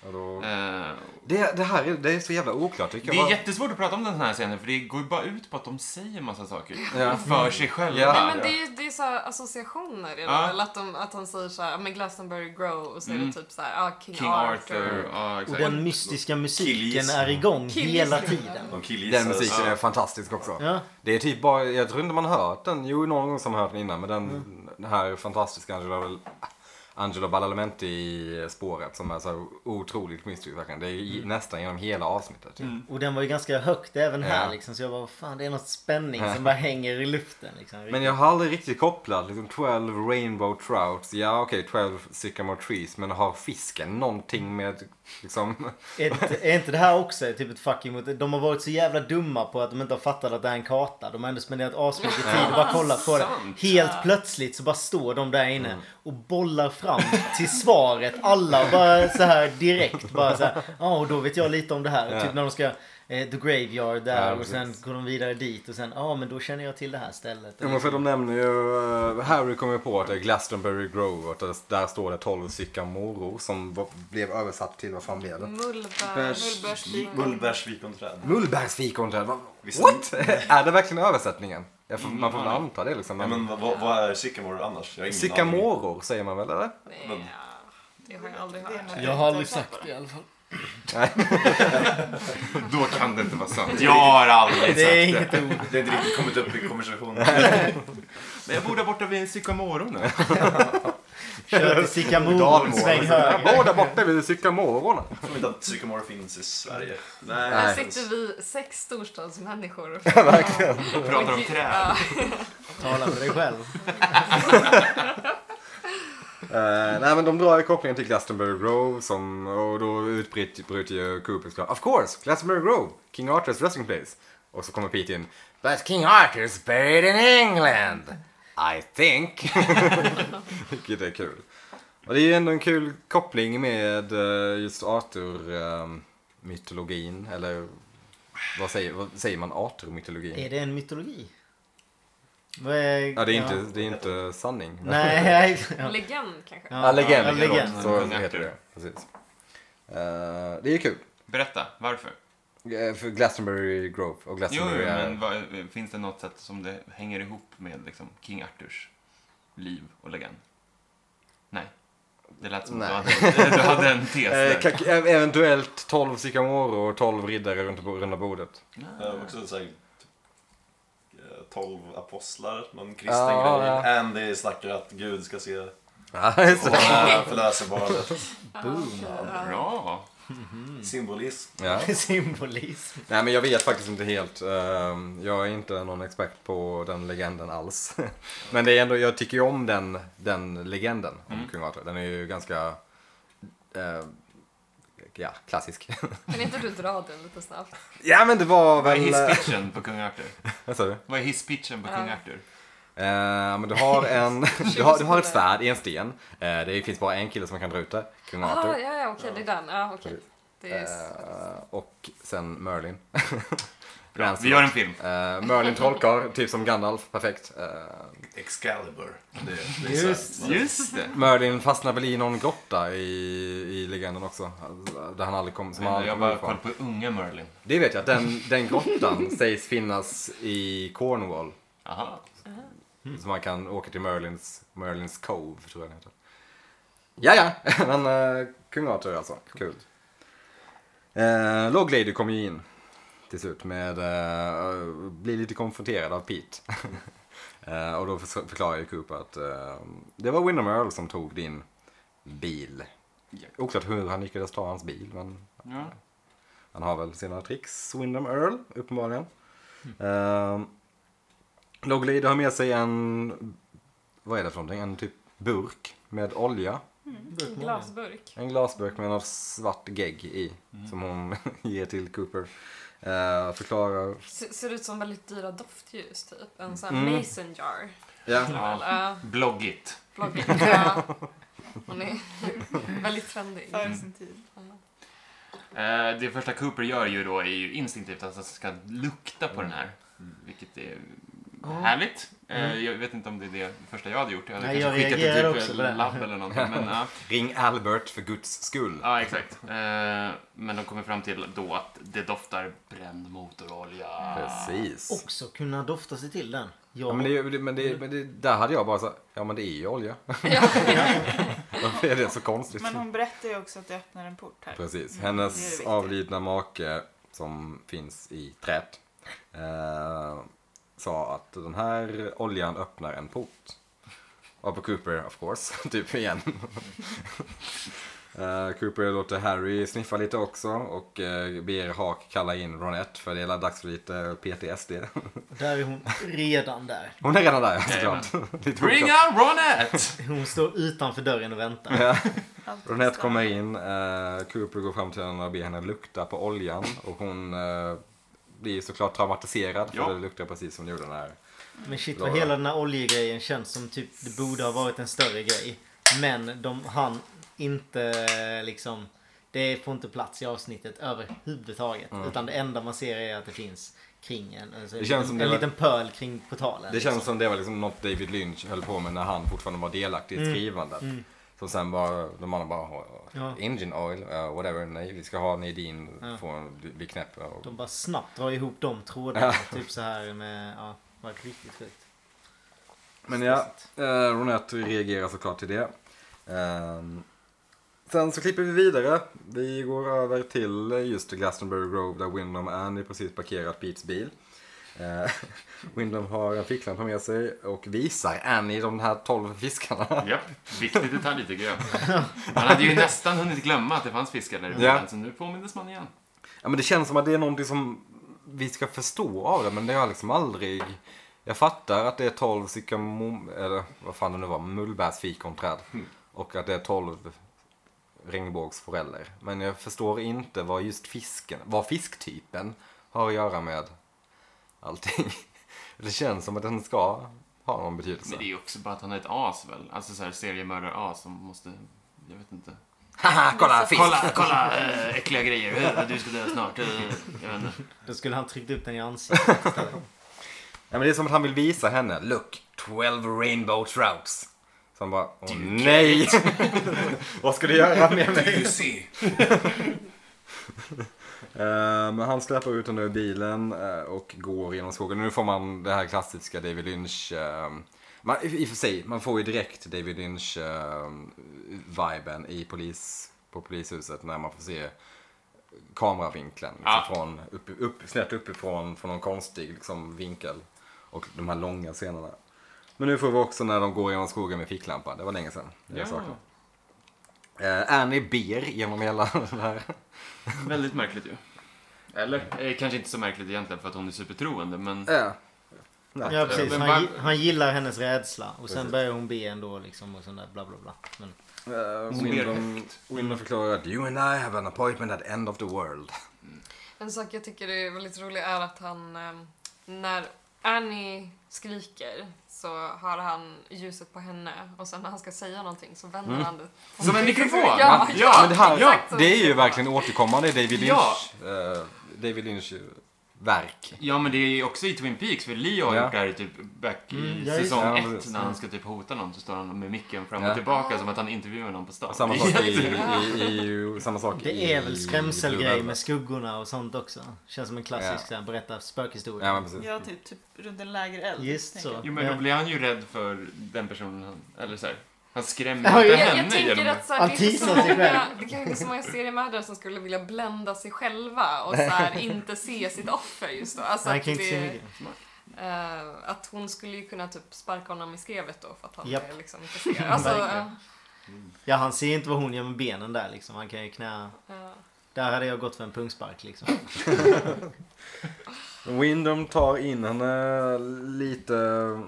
Speaker 2: Och då...
Speaker 6: Mm.
Speaker 5: Eh,
Speaker 2: Det, det här är, det är så jävla oklart. tycker
Speaker 5: det
Speaker 2: jag.
Speaker 5: är jättesvårt att prata om den här scenen för det går ju bara ut på att de säger massa saker.
Speaker 2: Ja.
Speaker 1: Mm.
Speaker 5: För sig själva.
Speaker 2: Ja.
Speaker 6: Nej, men det är ju det är så här associationer redan.
Speaker 5: Ja.
Speaker 6: Eller att, de, att han säger så här, men Glastonbury Grove och så är
Speaker 5: Mm.
Speaker 6: det typ så här, ah, King,
Speaker 5: King
Speaker 6: Arthur.
Speaker 5: Arthur. Ja,
Speaker 1: Och
Speaker 5: exakt.
Speaker 1: den mystiska musiken
Speaker 3: Killgissning.
Speaker 1: är igång
Speaker 6: Killgissning,
Speaker 1: hela
Speaker 5: liksom.
Speaker 6: ja.
Speaker 1: tiden.
Speaker 3: De
Speaker 2: Den
Speaker 3: killgissades.
Speaker 2: musiken är fantastisk också.
Speaker 1: Ja.
Speaker 2: Det är typ bara, jag tror inte man har hört den. Jo, någon gång som har hört den innan. Men den, den här fantastiska Angela, Angela Badalamenti i spåret som är så otroligt mystisk verkligen. Det är ju i-
Speaker 5: Mm.
Speaker 2: nästan genom hela avsnittet. typ.
Speaker 1: Och den var ju ganska högt även här
Speaker 2: Ja.
Speaker 1: liksom. Så jag bara, fan det är något spänning som bara hänger i luften liksom.
Speaker 2: Men jag har aldrig riktigt kopplat liksom 12 rainbow trouts. Ja, okej, 12 sycamore trees. Men har fisken någonting med liksom...
Speaker 1: Är inte- är inte det här också typ ett fucking mot... De har varit så jävla dumma på att de inte har fattat att det är en karta. De har ändå spenderat asmycket tid och bara kollat på det.
Speaker 5: Sant.
Speaker 1: Helt plötsligt så bara står de där inne
Speaker 2: Mm.
Speaker 1: och bollar fram till svaret. Alla bara så här direkt bara så här. Ja, och då vet jag lite om det här. Typ när de ska... Eh, the Graveyard där
Speaker 2: Ja,
Speaker 1: och
Speaker 2: precis.
Speaker 1: sen går de vidare dit och sen ja men då känner jag till det här stället.
Speaker 2: Ja, men för de nämner ju, eh, Harry kommer ju på att det är Glastonbury Grove och att det- där står det 12 sycamoror som var- blev översatt till, vad fan blev det?
Speaker 6: Mullbär,
Speaker 4: Mullbärsfika.
Speaker 3: Mullbärsfikonträd.
Speaker 2: Mullbärsfikonträd, vad-
Speaker 3: Visst- Mm.
Speaker 2: what? är det verkligen översättningen? Jag får, man får väl anta det liksom.
Speaker 3: Ja, men
Speaker 2: Men,
Speaker 3: vad, vad- vad är Sycamore annars? Jag har ingen aning.
Speaker 2: sycamoror säger man väl eller?
Speaker 6: Nej, ja, det har jag aldrig
Speaker 4: Det är
Speaker 6: hört.
Speaker 4: något
Speaker 1: Jag har aldrig
Speaker 4: inte
Speaker 1: sagt
Speaker 4: hört
Speaker 1: det i alla fall.
Speaker 7: Då kan det inte vara sant.
Speaker 5: Jag har aldrig sagt
Speaker 1: Det är
Speaker 5: det.
Speaker 1: inget ord.
Speaker 3: Det har inte riktigt kommit upp i konversationen.
Speaker 7: Men jag bor där borta vid Sykamoro nu.
Speaker 1: Kör till Sickamore,
Speaker 2: Dalmål. liksom.
Speaker 1: sväng höger.
Speaker 2: Båda borta vid Sykamororna.
Speaker 3: Jag tror inte att psykomorf finns i Sverige.
Speaker 2: Nej.
Speaker 6: Här sitter vi sex storstadsmänniskor.
Speaker 5: och pratar om träd.
Speaker 6: Ja.
Speaker 1: Tala för dig själv.
Speaker 2: Eh, nej men de drar ju kopplingen till Glastonbury Grove som, och då utbryter ju Cooper såklart. Of course, Glastonbury Grove, King Arthurs resting place. Och så kommer Pete in. But King Arthur's buried in England. I think. Vilket är kul. Och det är ju ändå en kul koppling med eh, just Arthur-mytologin. eller vad säger, vad säger man? Arthur-mytologin?
Speaker 1: Är det en mytologi? Vad är-
Speaker 2: Ja, det är inte, det är inte sanning.
Speaker 1: Nej. ja.
Speaker 6: Legend kanske.
Speaker 2: Ja, legend.
Speaker 1: Ja, legend.
Speaker 2: Så heter det. Precis. Eh, det är ju kul.
Speaker 5: Berätta, varför?
Speaker 2: Eh, För Glastonbury Grove och
Speaker 5: Jo,
Speaker 2: Glastonbury
Speaker 5: jo,
Speaker 2: är...
Speaker 5: men vad, finns det något sätt som det hänger ihop med liksom, King Arthurs liv och legend? Nej. Det lät som att du hade, du hade en tes
Speaker 2: Eh,
Speaker 5: där.
Speaker 2: kak- ev- eventuellt 12 sykamoror och 12 riddare runt bo- runda bordet.
Speaker 5: Ah,
Speaker 3: Jag har också såhär, typ, eh, tolv apostlar, någon kristen
Speaker 2: Ja,
Speaker 3: grej.
Speaker 2: ja.
Speaker 3: Andy snackar att Gud ska se och
Speaker 2: Ja, just det.
Speaker 3: förlöser barnet.
Speaker 5: Bra!
Speaker 3: Mm. Symbolism.
Speaker 2: ja.
Speaker 1: Symbolism.
Speaker 2: Nej, men jag vet faktiskt inte helt. Ehm, Jag är inte någon expert på den legenden alls. Men det är ändå, jag tycker ju om den, den legenden om
Speaker 5: Mm.
Speaker 2: kung Arthur. Den är ju ganska... eh, ja, klassisk.
Speaker 6: Kan inte du dra den lite snabbt?
Speaker 2: ja, men det var
Speaker 5: Vad är
Speaker 2: väl...
Speaker 5: hisspitchen på kung Arthur?
Speaker 2: Vad sa du?
Speaker 5: Vad är hisspitchen på kung Arthur?
Speaker 2: Eh, men du har, en, du, har, du har ett svärd i en sten. Eh, det finns bara en kille som kan dra ut det, kung Arthur.
Speaker 6: Jaha, ja, ja, okej, det är den. Ja, okej. Det är
Speaker 2: Eh, och sen Merlin.
Speaker 5: Bra.
Speaker 2: Lancelot.
Speaker 5: Vi gör en film.
Speaker 2: Eh, Merlin trollkarl, typ som Gandalf, perfekt. Eh,
Speaker 3: Excalibur. Det, det är liksom-
Speaker 1: Just.
Speaker 3: så här-
Speaker 5: Just det!
Speaker 2: Merlin fastnar väl i någon grotta i, i legenden också. Alltså, Där han aldrig kom, som han aldrig
Speaker 5: Jag
Speaker 2: kom
Speaker 5: bara
Speaker 2: ut från.
Speaker 5: kollar på unga Merlin.
Speaker 2: Det vet jag, den, den grottan sägs finnas i Cornwall.
Speaker 5: Aha.
Speaker 2: Så man kan åka till Merlins, Merlins Cove, tror jag den heter. Ja, ja, men eh, kung Arthur alltså. Kul. Eh, Log Lady kommer ju in till slut med, eh, blir lite konfronterad av Pete. eh, och då förs- förklarar ju Cooper att eh, det var Windham Earl som tog din bil.
Speaker 5: Ja.
Speaker 2: Oklart hur han lyckades ta hans bil, men
Speaker 5: Ja.
Speaker 2: han har väl sina tricks, Windham Earl, uppenbarligen. Mm. Loglid har med sig en, vad är det för någonting? En typ burk med olja.
Speaker 6: en glasburk.
Speaker 2: En glasburk med något svart gegg i. Som hon ger till Cooper. Eh, förklarar.
Speaker 6: Se- Ser ut som väldigt dyra doftljus, typ. En sån här
Speaker 2: Mm.
Speaker 6: mason jar.
Speaker 2: Ja.
Speaker 5: Ja.
Speaker 6: Ja,
Speaker 5: Bloggigt.
Speaker 6: bloggigt. Ja. Hon är väldigt trendig.
Speaker 2: Mm.
Speaker 4: Före sin tid.
Speaker 5: Eh, Det första Cooper gör ju då är ju instinktivt att han ska lukta på den här.
Speaker 2: Mm.
Speaker 5: Vilket är härligt. Eh, Jag vet inte om det är det första jag hade gjort. Jag hade
Speaker 1: Nej,
Speaker 5: kanske
Speaker 1: jag
Speaker 5: skickat
Speaker 1: reagerar
Speaker 5: det
Speaker 1: också
Speaker 5: typ
Speaker 1: på det.
Speaker 5: en labb eller någonting. Men, ja.
Speaker 2: Ring Albert för guds skull.
Speaker 5: ja, exakt. Eh, Men de kommer fram till då att det doftar bränd motorolja.
Speaker 2: Precis.
Speaker 1: Också kunna dofta sig till den.
Speaker 2: Ja,
Speaker 1: Ja,
Speaker 2: men det, är ju- men, det, men det, där hade jag bara så ja men det är ju olja. Varför är det så konstigt?
Speaker 4: Men hon berättar ju också att det öppnar en port här.
Speaker 2: Precis.
Speaker 4: det Mm, är det
Speaker 2: Hennes
Speaker 4: viktiga.
Speaker 2: avlidna make som finns i trät eh, sa att den här oljan öppnar en port. Och på Cooper, of course, typ igen. eh, Cooper låter Harry sniffa lite också och eh, ber Hawk kalla in Ronette för det är dags för lite PTSD.
Speaker 1: Där är hon redan där.
Speaker 2: Hon är redan där såklart. Lite
Speaker 5: Bring
Speaker 2: oklart.
Speaker 5: on Ronette!
Speaker 1: Hon står utanför dörren och väntar.
Speaker 4: Allt
Speaker 2: Ronette
Speaker 4: så-
Speaker 2: kommer in, eh, Cooper går fram till henne och ber henne lukta på oljan och hon eh, blir såklart traumatiserad
Speaker 5: Ja.
Speaker 2: för det luktar precis som det gjorde när...
Speaker 1: Men shit vad hela den här oljegrejen känns som typ det borde ha varit en större grej. Men de han inte liksom. Det får inte plats i avsnittet överhuvudtaget. Utan det enda man ser är att det finns kring en, alltså en,
Speaker 2: Mm. Det känns
Speaker 1: liten-
Speaker 2: som det
Speaker 1: en
Speaker 2: var-
Speaker 1: liten pöl kring portalen.
Speaker 2: Det känns
Speaker 1: liksom.
Speaker 2: som det var liksom något David Lynch höll på med när han fortfarande var delaktig i skrivandet. Som sen bara, de andra bara, "Åh,
Speaker 1: Ja.
Speaker 2: Engine oil, eh, whatever, nej vi ska ha Nadine, få en, bli- bli knäpp. Och,
Speaker 1: De bara snabbt drar ihop de trådarna. typ så här med, ja, det var riktigt sjukt.
Speaker 2: Men ja, eh, Ronette reagerar såklart till det. Ehm, Sen så klipper vi vidare. Vi går över till just Glastonbury Grove där Windham Annie precis parkerat Petes bil. Eh, Windham har en ficklampa med sig och visar Annie de här tolv fiskarna.
Speaker 5: Japp, viktig detalj tycker jag. Man hade ju nästan hunnit glömma att det fanns fiskar där ute,
Speaker 2: Ja.
Speaker 5: så nu påminnes man igen.
Speaker 2: Ja, men det känns som att det är någonting som vi ska förstå av det, men det har jag liksom aldrig... Jag fattar att det är 12 sykamom... Eller vad fan det nu var, mullbärsfikonträd.
Speaker 5: Mm.
Speaker 2: Och att det är 12 regnbågsforeller. Men jag förstår inte vad just fisken, vad fisktypen har att göra med allting. Det känns som att den ska ha någon betydelse.
Speaker 5: Men det är ju också bara att han är ett as väl? Alltså såhär seriemördar-as som måste... Jag vet inte.
Speaker 2: Haha, kolla fisk!
Speaker 5: Kolla, kolla! Äh, äckliga grejer. Eh, Du ska dö snart. Eh, Jag vet inte.
Speaker 1: Då skulle han tryckt upp den i ansiktet istället.
Speaker 2: Ja, men det är som att han vill visa henne. Look, 12 rainbow trouts. Så han bara, åh
Speaker 5: Du
Speaker 2: nej! Vad ska du göra med mig?
Speaker 3: Du ser.
Speaker 2: Eh, Men han släpper ut henne ur bilen eh, och går genom skogen. Nu får man det här klassiska David Lynch. eh, Man, i- I och för sig, man får ju direkt David Lynch-viben i polis, på polishuset när man får se kameravinkeln. Liksom,
Speaker 5: Ja.
Speaker 2: från, upp, upp, snett uppifrån, från någon konstig liksom, vinkel. Och de här långa scenerna. Men nu får vi också när de går genom skogen med ficklampa. Det var länge sedan. Det
Speaker 5: Ja.
Speaker 2: jag saknar. Eh, Annie ber genom hela den här
Speaker 5: Väldigt märkligt ju. Eller? Eh, kanske inte så märkligt egentligen för att hon är supertroende, men...
Speaker 2: Ja.
Speaker 1: Ja precis,
Speaker 5: Men
Speaker 1: han,
Speaker 5: var-
Speaker 1: han gillar hennes rädsla. Och sen
Speaker 2: Precis.
Speaker 1: börjar hon be ändå liksom och sån där bla bla bla. Men,
Speaker 2: Uh,
Speaker 5: Windom-
Speaker 2: Windom förklarar att you and I have an appointment at end of the world.
Speaker 6: En sak jag tycker är väldigt rolig är att han, eh, när Annie skriker så har han ljuset på henne och sen när han ska säga någonting så vänder
Speaker 5: Mm.
Speaker 6: han det.
Speaker 5: Som en mikrofon!
Speaker 6: Ja,
Speaker 5: ja.
Speaker 2: Men det, här,
Speaker 6: exakt så.
Speaker 2: det är ju verkligen återkommande i David Lynch,
Speaker 5: Ja.
Speaker 2: eh, David Lynch eh, verk.
Speaker 5: Ja, men det är ju också i Twin Peaks, för Leo har
Speaker 2: Ja.
Speaker 5: gjort det här i typ back i
Speaker 1: Mm, ja, just
Speaker 5: säsong
Speaker 2: det. Ja,
Speaker 5: ett
Speaker 2: precis.
Speaker 5: när han ska typ hota någon så står han med micken fram
Speaker 2: Ja.
Speaker 5: och tillbaka som att han intervjuar någon på stan.
Speaker 2: Och Samma sak i, i,
Speaker 6: Ja.
Speaker 2: i, samma sak
Speaker 1: det
Speaker 2: i,
Speaker 1: är väl skrämselgrej
Speaker 2: Blue
Speaker 1: med skuggorna och sånt också. Känns som en klassisk
Speaker 2: Ja.
Speaker 1: ja. berätta spökhistoria.
Speaker 2: Ja, men precis.
Speaker 4: Ja, typ, typ runt en lägereld.
Speaker 1: Just
Speaker 4: tänker
Speaker 1: så.
Speaker 4: jag.
Speaker 5: Jo, men då
Speaker 1: Ja.
Speaker 5: blir han ju rädd för den personen han... Eller så här, han skrämmer
Speaker 1: Ja,
Speaker 5: inte
Speaker 1: jag-
Speaker 6: Jag,
Speaker 5: henne
Speaker 6: jag tänker
Speaker 5: genom...
Speaker 6: att så här,
Speaker 1: Han
Speaker 6: det, är inte så
Speaker 1: teasar sig
Speaker 6: många,
Speaker 1: själv.
Speaker 6: det kanske inte är så många seriemördare som skulle vilja blända sig själva och så här, inte se sitt offer just då. Alltså,
Speaker 1: Han
Speaker 6: att,
Speaker 1: kan inte se
Speaker 6: det-
Speaker 1: mycket.
Speaker 6: eh, att hon skulle ju kunna typ sparka honom i skrevet då för att han
Speaker 1: Japp.
Speaker 6: är liksom inte ser. Alltså,
Speaker 1: Verkligen. Ja han ser inte vad hon gör med benen där liksom. Han kan ju knä...
Speaker 6: eh, eh,
Speaker 1: Där hade jag gått för en pungspark liksom.
Speaker 2: Windom tar in henne lite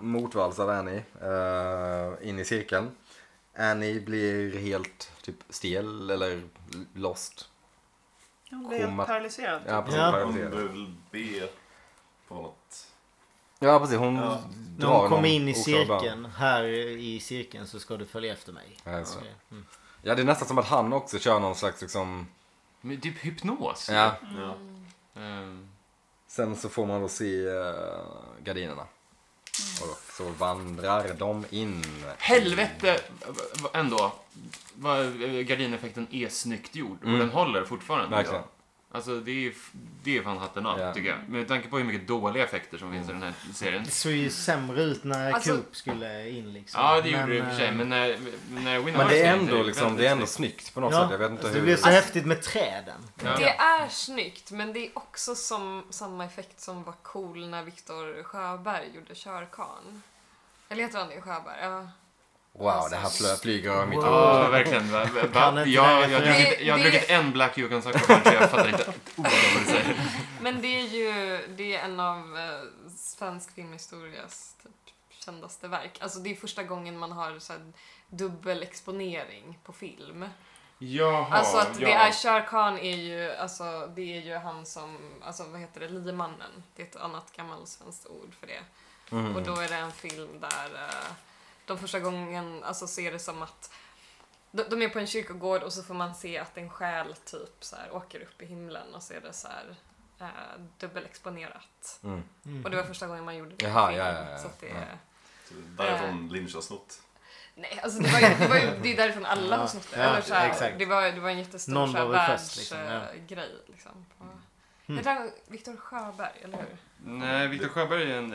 Speaker 2: motvalls av Annie eh, in i cirkeln. Annie blir helt typ stel eller lost.
Speaker 4: Hon blev
Speaker 2: Komma-
Speaker 4: paralyserad.
Speaker 2: Ja,
Speaker 4: typ.
Speaker 2: precis,
Speaker 1: Ja.
Speaker 3: Hon
Speaker 2: paralyserad.
Speaker 3: behöver väl be på något.
Speaker 2: Ja precis, hon
Speaker 3: Ja.
Speaker 1: När
Speaker 2: drar
Speaker 1: hon
Speaker 2: någon
Speaker 1: kommer in i
Speaker 2: oklar bön.
Speaker 1: cirkeln, här i cirkeln så ska du följa efter mig.
Speaker 2: Ja, just det.
Speaker 1: Okej. Mm.
Speaker 2: Ja det är nästan som att han också kör någon slags liksom...
Speaker 5: Men typ hypnos.
Speaker 2: Ja.
Speaker 3: Ja.
Speaker 5: Ehm,
Speaker 2: Sen så får man då se eh, gardinerna. Och då, så vandrar de in.
Speaker 5: helvete v- ändå. vad- Gardineffekten är snyggt gjord och
Speaker 2: Mm.
Speaker 5: den håller fortfarande.
Speaker 2: Verkligen.
Speaker 5: Alltså det är, f- det är fan hatten av
Speaker 2: Ja.
Speaker 5: tycker jag. Med tanke på hur mycket dåliga effekter som finns i den här serien.
Speaker 1: Det såg ju sämre ut när
Speaker 6: Alltså-
Speaker 1: Coop skulle in liksom.
Speaker 5: Ja, det gjorde det i och
Speaker 1: eh,
Speaker 5: för sig. Men när, när Winner
Speaker 2: Men det är ändå liksom, det är ändå snyggt på något
Speaker 1: ja,
Speaker 2: sätt. Jag vet inte
Speaker 1: alltså, Det
Speaker 2: hur...
Speaker 1: blev så häftigt med träden.
Speaker 5: Ja.
Speaker 6: Det är snyggt, men det är också som, samma effekt som var cool när Viktor Sjöberg gjorde Körkarn. Eller heter han det? Sjöberg? Ja.
Speaker 2: Wow, det här flö, flyger över mitt huvud.
Speaker 5: Ja, verkligen. Va, va,
Speaker 1: Kan
Speaker 5: va,
Speaker 1: inte
Speaker 5: jag, jag,
Speaker 1: det-
Speaker 5: har druckit- jag har
Speaker 6: det-
Speaker 5: druckit en Black Yukon Sakura så jag fattar inte ett ord av vad du säger.
Speaker 6: Men det är ju det är en av eh, svensk filmhistorias typ, kändaste verk. Alltså det är första gången man har så här, dubbel exponering på film.
Speaker 5: Jaha,
Speaker 6: alltså att
Speaker 5: ja.
Speaker 6: det är Shere Khan är ju, alltså det är ju han som, alltså vad heter det, Liemannen. Det är ett annat gammalt svenskt ord för det. Och
Speaker 2: Mm.
Speaker 6: då är det en film där eh, de första gången alltså, ser det som att de, de är på en kyrkogård och så får man se att en själ typ så här, åker upp i himlen och så är det så här, eh, dubbelexponerat.
Speaker 2: Mm.
Speaker 6: Och det var första gången man gjorde det. i
Speaker 2: Jaha,
Speaker 6: film,
Speaker 2: ja, ja, ja,
Speaker 6: Så att det,
Speaker 2: ja.
Speaker 3: Så det är Därifrån Lynch har snott.
Speaker 6: Nej, alltså det, var ju, det, var ju, det är därifrån alla har snott det.
Speaker 1: Ja,
Speaker 6: Eller så här,
Speaker 1: exakt.
Speaker 6: det, var, det var en jättestor
Speaker 1: Någon
Speaker 6: så här,
Speaker 1: var väl först, liksom,
Speaker 6: världsgrej. Liksom, på-
Speaker 2: Mm.
Speaker 6: Det där var Viktor Sjöberg, eller hur?
Speaker 5: Nej, Viktor Sjöberg är en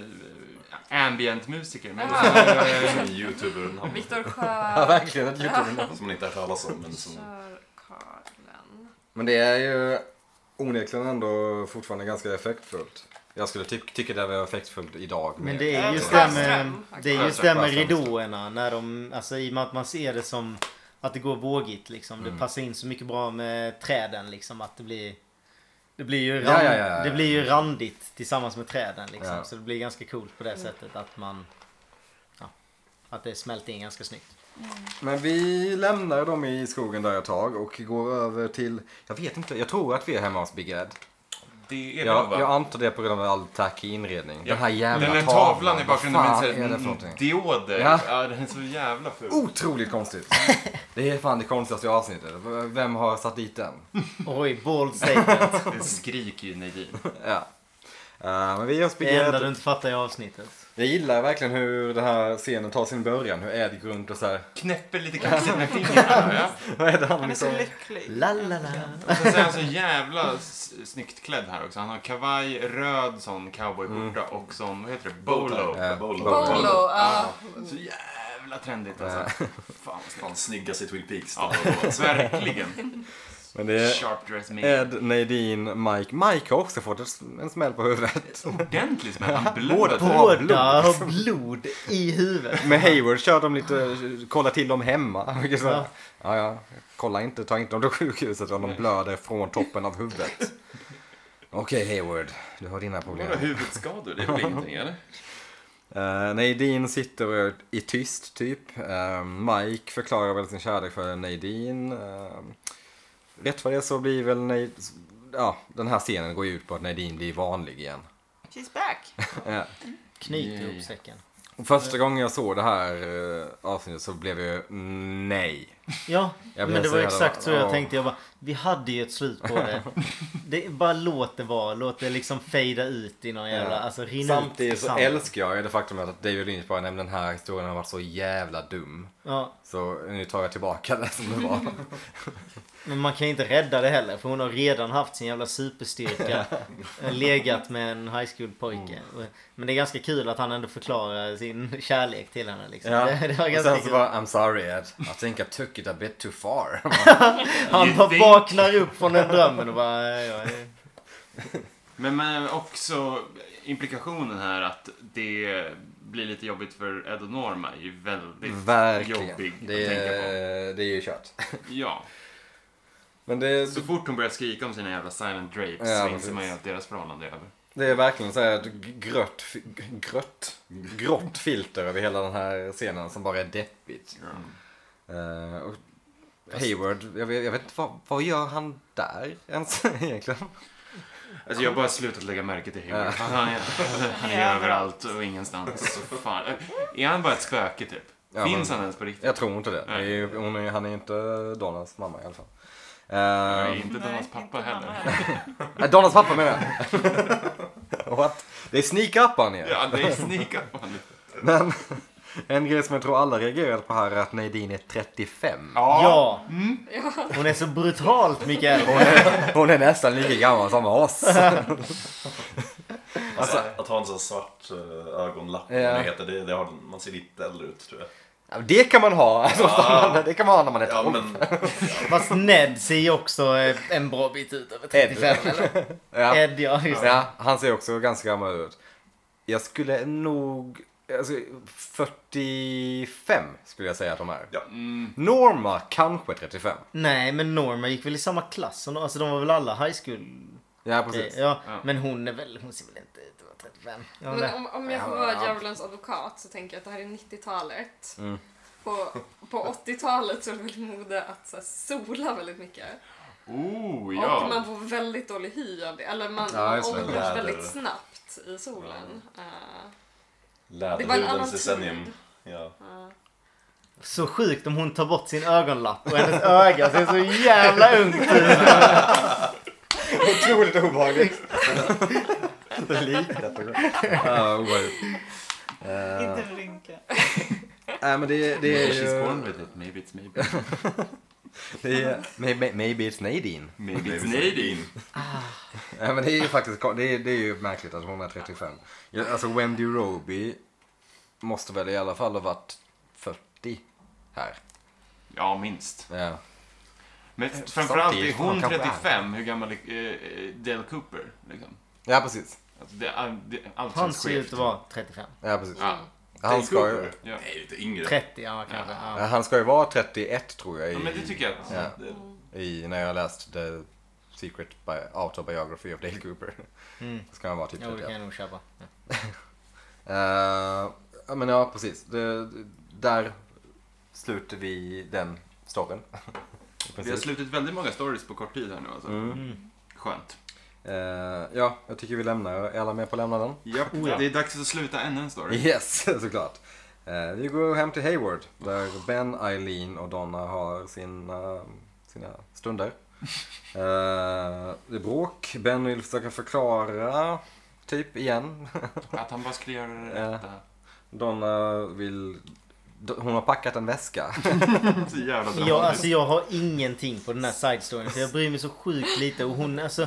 Speaker 5: eh, ambient-musiker. Men
Speaker 6: Jaha.
Speaker 3: Som en youtuber
Speaker 6: Viktor
Speaker 2: Ja,
Speaker 6: Sjö...
Speaker 2: verkligen ett youtube
Speaker 3: som man inte har hört talas om. Men som...
Speaker 6: Körkarlen.
Speaker 2: Men det är ju onekligen ändå fortfarande ganska effektfullt. Jag skulle ty- tycka det var effektfullt idag.
Speaker 1: Men det är
Speaker 6: Ja,
Speaker 1: just
Speaker 6: det är
Speaker 1: det med,
Speaker 6: Sjöström.
Speaker 1: det är just det med
Speaker 2: Sjöström.
Speaker 1: ridåerna. När de, alltså, I och med att man ser det som att det går vågigt. Liksom.
Speaker 2: Mm.
Speaker 1: Det passar in så mycket bra med träden. Liksom, att det blir, det, blir ju
Speaker 2: Ja,
Speaker 1: rand,
Speaker 2: ja, ja, ja.
Speaker 1: det blir ju randigt tillsammans med träden. Liksom.
Speaker 2: Ja.
Speaker 1: Så det blir ganska coolt på det sättet att man ja, att det smälter in ganska snyggt.
Speaker 2: Men vi lämnar dem i skogen där ett tag och går över till, jag vet inte, jag tror att vi är hemma hos Big Ed.
Speaker 5: det är vi nog,
Speaker 2: Jag,
Speaker 5: va?
Speaker 2: jag antar det på grund av all tackig inredning.
Speaker 5: Ja,
Speaker 2: Den här jävla
Speaker 5: Den där tavlan i
Speaker 2: vad
Speaker 5: bakgrunden med en
Speaker 2: fan är
Speaker 5: sån här mm,
Speaker 2: det för någonting?
Speaker 5: dioder.
Speaker 2: Ja. Oh.
Speaker 5: Ja. den är så jävla ful.
Speaker 2: Otroligt konstigt. Det är fan det konstigaste avsnittet. Vem har satt dit den?
Speaker 1: Oj, bold statement.
Speaker 5: Det skriker ju Nadine.
Speaker 2: Ja. Eh, men vi ger oss Big
Speaker 1: Det enda
Speaker 2: Ed.
Speaker 1: du inte fattar i avsnittet.
Speaker 2: Jag gillar verkligen hur den här scenen tar sin början. Hur Ed går runt och så här.
Speaker 5: Knäpper lite kaxigt med fingrarna. Ja.
Speaker 2: Vad är det han
Speaker 4: Han är så
Speaker 2: liksom?
Speaker 4: lycklig.
Speaker 1: La, la, la.
Speaker 5: Och sen så är han så jävla s- snyggt klädd här också. Han har kavaj, röd sån cowboyskjorta
Speaker 2: Mm.
Speaker 5: och sån, vad heter det, bolo.
Speaker 2: Ja,
Speaker 3: Bolo.
Speaker 6: Bolo,
Speaker 2: Bolo.
Speaker 6: ja.
Speaker 5: Så jävla trendigt alltså. Fan vad snyggt.
Speaker 3: Fan, snyggaste Twin Peaks.
Speaker 5: Ja, verkligen.
Speaker 2: Men det är
Speaker 5: Sharp dress me.
Speaker 2: Ed, Nadine, Mike. Mike har också fått ett- en smäll på
Speaker 5: Oh.
Speaker 2: huvudet.
Speaker 5: Ordentlig smäll. Han
Speaker 2: Båda
Speaker 5: blöder.
Speaker 2: på- blod. liksom.
Speaker 1: Båda har blod i huvudet.
Speaker 2: Med Hayward kör de lite, kolla till dem hemma. Vilket så här, Ja, ja. Kolla inte, ta inte dem till sjukhuset om de blöder från toppen av huvudet. Okej Hayward, du har dina problem.
Speaker 7: Vadå huvudskador? Det är väl ingenting eller?
Speaker 2: Eh, Nadine sitter och är i tyst typ. Eh, Mike förklarar väl sin kärlek för Nadine. Eh, rätt vad det är så blir väl Nadine... Ja, den här scenen går ju ut på att Nadine blir vanlig igen.
Speaker 4: She's back.
Speaker 2: Eh,
Speaker 1: Knyt ihop säcken.
Speaker 2: och första gången jag såg det här eh, avsnittet så blev jag ju mm, nej.
Speaker 1: Ja,
Speaker 2: Jag blev
Speaker 1: men det
Speaker 2: så
Speaker 1: var
Speaker 2: jävla-
Speaker 1: exakt så jag
Speaker 2: ja.
Speaker 1: tänkte. Jag bara, vi hade ju ett slut på det. det bara låt det vara. Låt det liksom fejda ut i någon jävla...
Speaker 2: Ja.
Speaker 1: Alltså rinna ut i
Speaker 2: Samtidigt så
Speaker 1: sanden.
Speaker 2: älskar jag det faktum att David Lynch bara nämnde den här historien har varit så jävla dum.
Speaker 1: Ja,
Speaker 2: Så nu tar jag tillbaka det som det var.
Speaker 1: men man kan ju inte rädda det heller. För hon har redan haft sin jävla superstyrka. Eh, legat med en high school pojke.
Speaker 2: Mm.
Speaker 1: Och- Men det är ganska kul att han ändå förklarar sin kärlek till henne liksom.
Speaker 2: Ja.
Speaker 1: Det, det var
Speaker 2: Och
Speaker 1: ganska
Speaker 2: sen så
Speaker 1: kul.
Speaker 2: bara, I'm sorry Ed, I think I took it a bit too far.
Speaker 1: Han
Speaker 5: You
Speaker 1: bara
Speaker 5: think?
Speaker 1: vaknar upp från den drömmen och bara... "Ja, ja, ja."
Speaker 5: Men, men också implikationen här att det blir lite jobbigt för Ed och Norma är ju väldigt
Speaker 2: Verkligen.
Speaker 5: jobbig
Speaker 2: det,
Speaker 5: att tänka
Speaker 2: är, det är ju kört.
Speaker 5: på. Ja.
Speaker 2: Men det,
Speaker 5: Så fort hon börjar skrika om sina jävla silent drapes
Speaker 2: Ja,
Speaker 5: så inser
Speaker 2: precis.
Speaker 5: man ju att deras förhållande är över.
Speaker 2: det är verkligen så här ett g- grött, fi- g- grött, grått filter över hela den här scenen som bara är deppigt.
Speaker 5: Ja.
Speaker 2: Eh, och Hayward, jag vet, jag vet inte, vad, vad gör han där ens egentligen?
Speaker 5: Alltså jag har bara slutat lägga märke till Hayward. Han är, han är överallt och ingenstans. Så fan. Är han bara ett spöke typ?
Speaker 2: Ja,
Speaker 5: Finns
Speaker 2: men-
Speaker 5: han ens på riktigt?
Speaker 2: Jag tror inte det. det är, ju- hon är, han är inte Donalds mamma i alla fall.
Speaker 5: Jag är
Speaker 2: Eh,
Speaker 5: inte
Speaker 4: Nej,
Speaker 5: Donalds pappa
Speaker 4: inte mamma
Speaker 5: heller.
Speaker 2: nej, Ehm, eh, Donalds pappa menar jag. What? Det är sneak up han är.
Speaker 5: Ja, det är sneakat på honom.
Speaker 2: Men en grej som jag tror alla reagerade på här är att Nadine är 35.
Speaker 1: Ja! Hon är så brutalt mycket äldre.
Speaker 2: Hon är, hon är nästan lika gammal som oss.
Speaker 3: Alltså, att ha en sån svart eh, ögonlapp,
Speaker 2: Ja.
Speaker 3: vad det heter, det, det har, man ser lite äldre ut tror jag.
Speaker 2: Ja, Det kan man ha. Alltså, Det kan man ha när man är 12.
Speaker 3: Ja, men
Speaker 1: Fast Ned ser ju också eh, en bra bit ut över 35 eller?
Speaker 2: Ja.
Speaker 1: Ed ja, just det.
Speaker 2: Ja, han ser också ganska gammal ut. Jag skulle nog... Alltså, 45 skulle jag säga att de är.
Speaker 3: Ja.
Speaker 2: Norma kanske 35.
Speaker 1: Nej men Norma gick väl i samma klass som de, alltså de var väl alla high school
Speaker 2: Ja,
Speaker 1: eh,
Speaker 2: precis.
Speaker 1: ja,
Speaker 5: Ja.
Speaker 1: Men hon är väl, hon ser väl inte ut att vara 35? Ja,
Speaker 6: Men
Speaker 1: det.
Speaker 6: om, om jag får
Speaker 2: Ja,
Speaker 6: vara
Speaker 2: ja.
Speaker 6: djävulens advokat så tänker jag att det här är 90-talet. På, på 80-talet så är det väl mode att så här, sola väldigt mycket.
Speaker 5: Oh,
Speaker 6: Och
Speaker 5: ja.
Speaker 6: man får väldigt dålig hy av det. Eller man
Speaker 2: Ja, just det.
Speaker 6: åldras
Speaker 3: Läder.
Speaker 6: väldigt snabbt i solen. Eh, annan
Speaker 3: läderhudens
Speaker 6: tid.
Speaker 3: decennium. Ja.
Speaker 1: Så sjukt om hon tar bort sin ögonlapp och hennes öga ser så jävla ungt ut.
Speaker 2: Otroligt obehagligt. Likt Ja, obehagligt.
Speaker 4: Inte en rynka.
Speaker 2: Eh, Nej, men det, det är
Speaker 5: Maybe
Speaker 2: ju...
Speaker 5: she's born with it, maybe it's maybe.
Speaker 2: Det är, may- may- maybe it's Nadine.
Speaker 5: Maybe it's Nadine.
Speaker 2: Ja, men det är ju faktiskt det är, det är ju märkligt att hon är 35. Ja, Alltså Wendy Roby måste väl i alla fall ha varit 40 här.
Speaker 5: Ja, minst.
Speaker 2: Ja.
Speaker 5: Men framförallt är
Speaker 2: Eh, samtidigt, hon
Speaker 5: hon
Speaker 2: kanske är.
Speaker 5: 35, hur gammal är eh, Dale Cooper? Liksom.
Speaker 2: Ja, precis.
Speaker 5: Alltså, det, är- det, är allt
Speaker 1: Han
Speaker 5: känns
Speaker 1: ser ut
Speaker 5: skevt.
Speaker 1: att vara 35.
Speaker 2: Ja, precis.
Speaker 5: liksom. Ja.
Speaker 2: Han ska ju,
Speaker 5: Ja.
Speaker 7: Nej, lite yngre.
Speaker 1: 30, ja kanske.
Speaker 2: ja,
Speaker 1: Ja.
Speaker 2: han ska ju vara 31 tror jag
Speaker 5: ja, men det
Speaker 2: i,
Speaker 5: tycker jag att...
Speaker 2: Ja. i när jag läst The Secret Bi- Autobiography of Dale Cooper.
Speaker 1: Mm.
Speaker 2: Ska han vara typ
Speaker 1: Jo, det
Speaker 2: 31.
Speaker 1: kan jag nog köpa. Ja.
Speaker 2: Eh, ja, men ja, precis. Det, det- där sluter vi den storyn. I
Speaker 5: Vi har
Speaker 2: princip.
Speaker 5: slutit väldigt många stories på kort tid här nu alltså.
Speaker 2: Mm.
Speaker 5: Skönt.
Speaker 2: Eh, ja, jag tycker vi lämnar. Är alla med på att lämna den?
Speaker 5: Japp, det är dags att sluta ännu en story.
Speaker 2: Yes, såklart. Eh, vi går hem till Hayward där Ben, Eileen och Donna har sina, sina stunder. Eh, det är bråk. Ben vill försöka förklara, typ igen.
Speaker 5: Att han bara skulle göra det rätta.
Speaker 2: Donna vill... D- Hon har packat en väska.
Speaker 5: Så jävla
Speaker 1: Jag,
Speaker 5: dramatiskt.
Speaker 1: alltså, jag har ingenting på den här side storyn för jag bryr mig så sjukt lite och hon alltså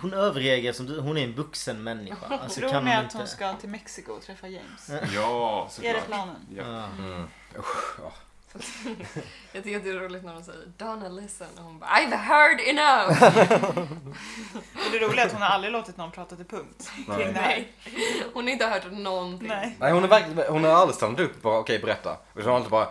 Speaker 1: hon överreagerar som du, hon är en vuxen människa. Alltså,
Speaker 4: Tror
Speaker 1: kan
Speaker 4: ni
Speaker 1: hon
Speaker 4: att
Speaker 1: inte...
Speaker 4: hon ska till Mexiko och träffa James?
Speaker 5: Ja,
Speaker 4: Är det
Speaker 5: såklart.
Speaker 4: planen?
Speaker 5: Ja.
Speaker 6: Jag tycker att det är roligt när de säger Donna listen och hon bara I've heard enough.
Speaker 4: Och det roliga är att hon har aldrig låtit någon prata till punkt kring det här.
Speaker 6: Nej. Hon har inte hört någonting.
Speaker 4: Nej.
Speaker 2: Nej, hon, är verkligen, hon har aldrig stannat upp och bara okej, berätta. Utan hon har alltid bara...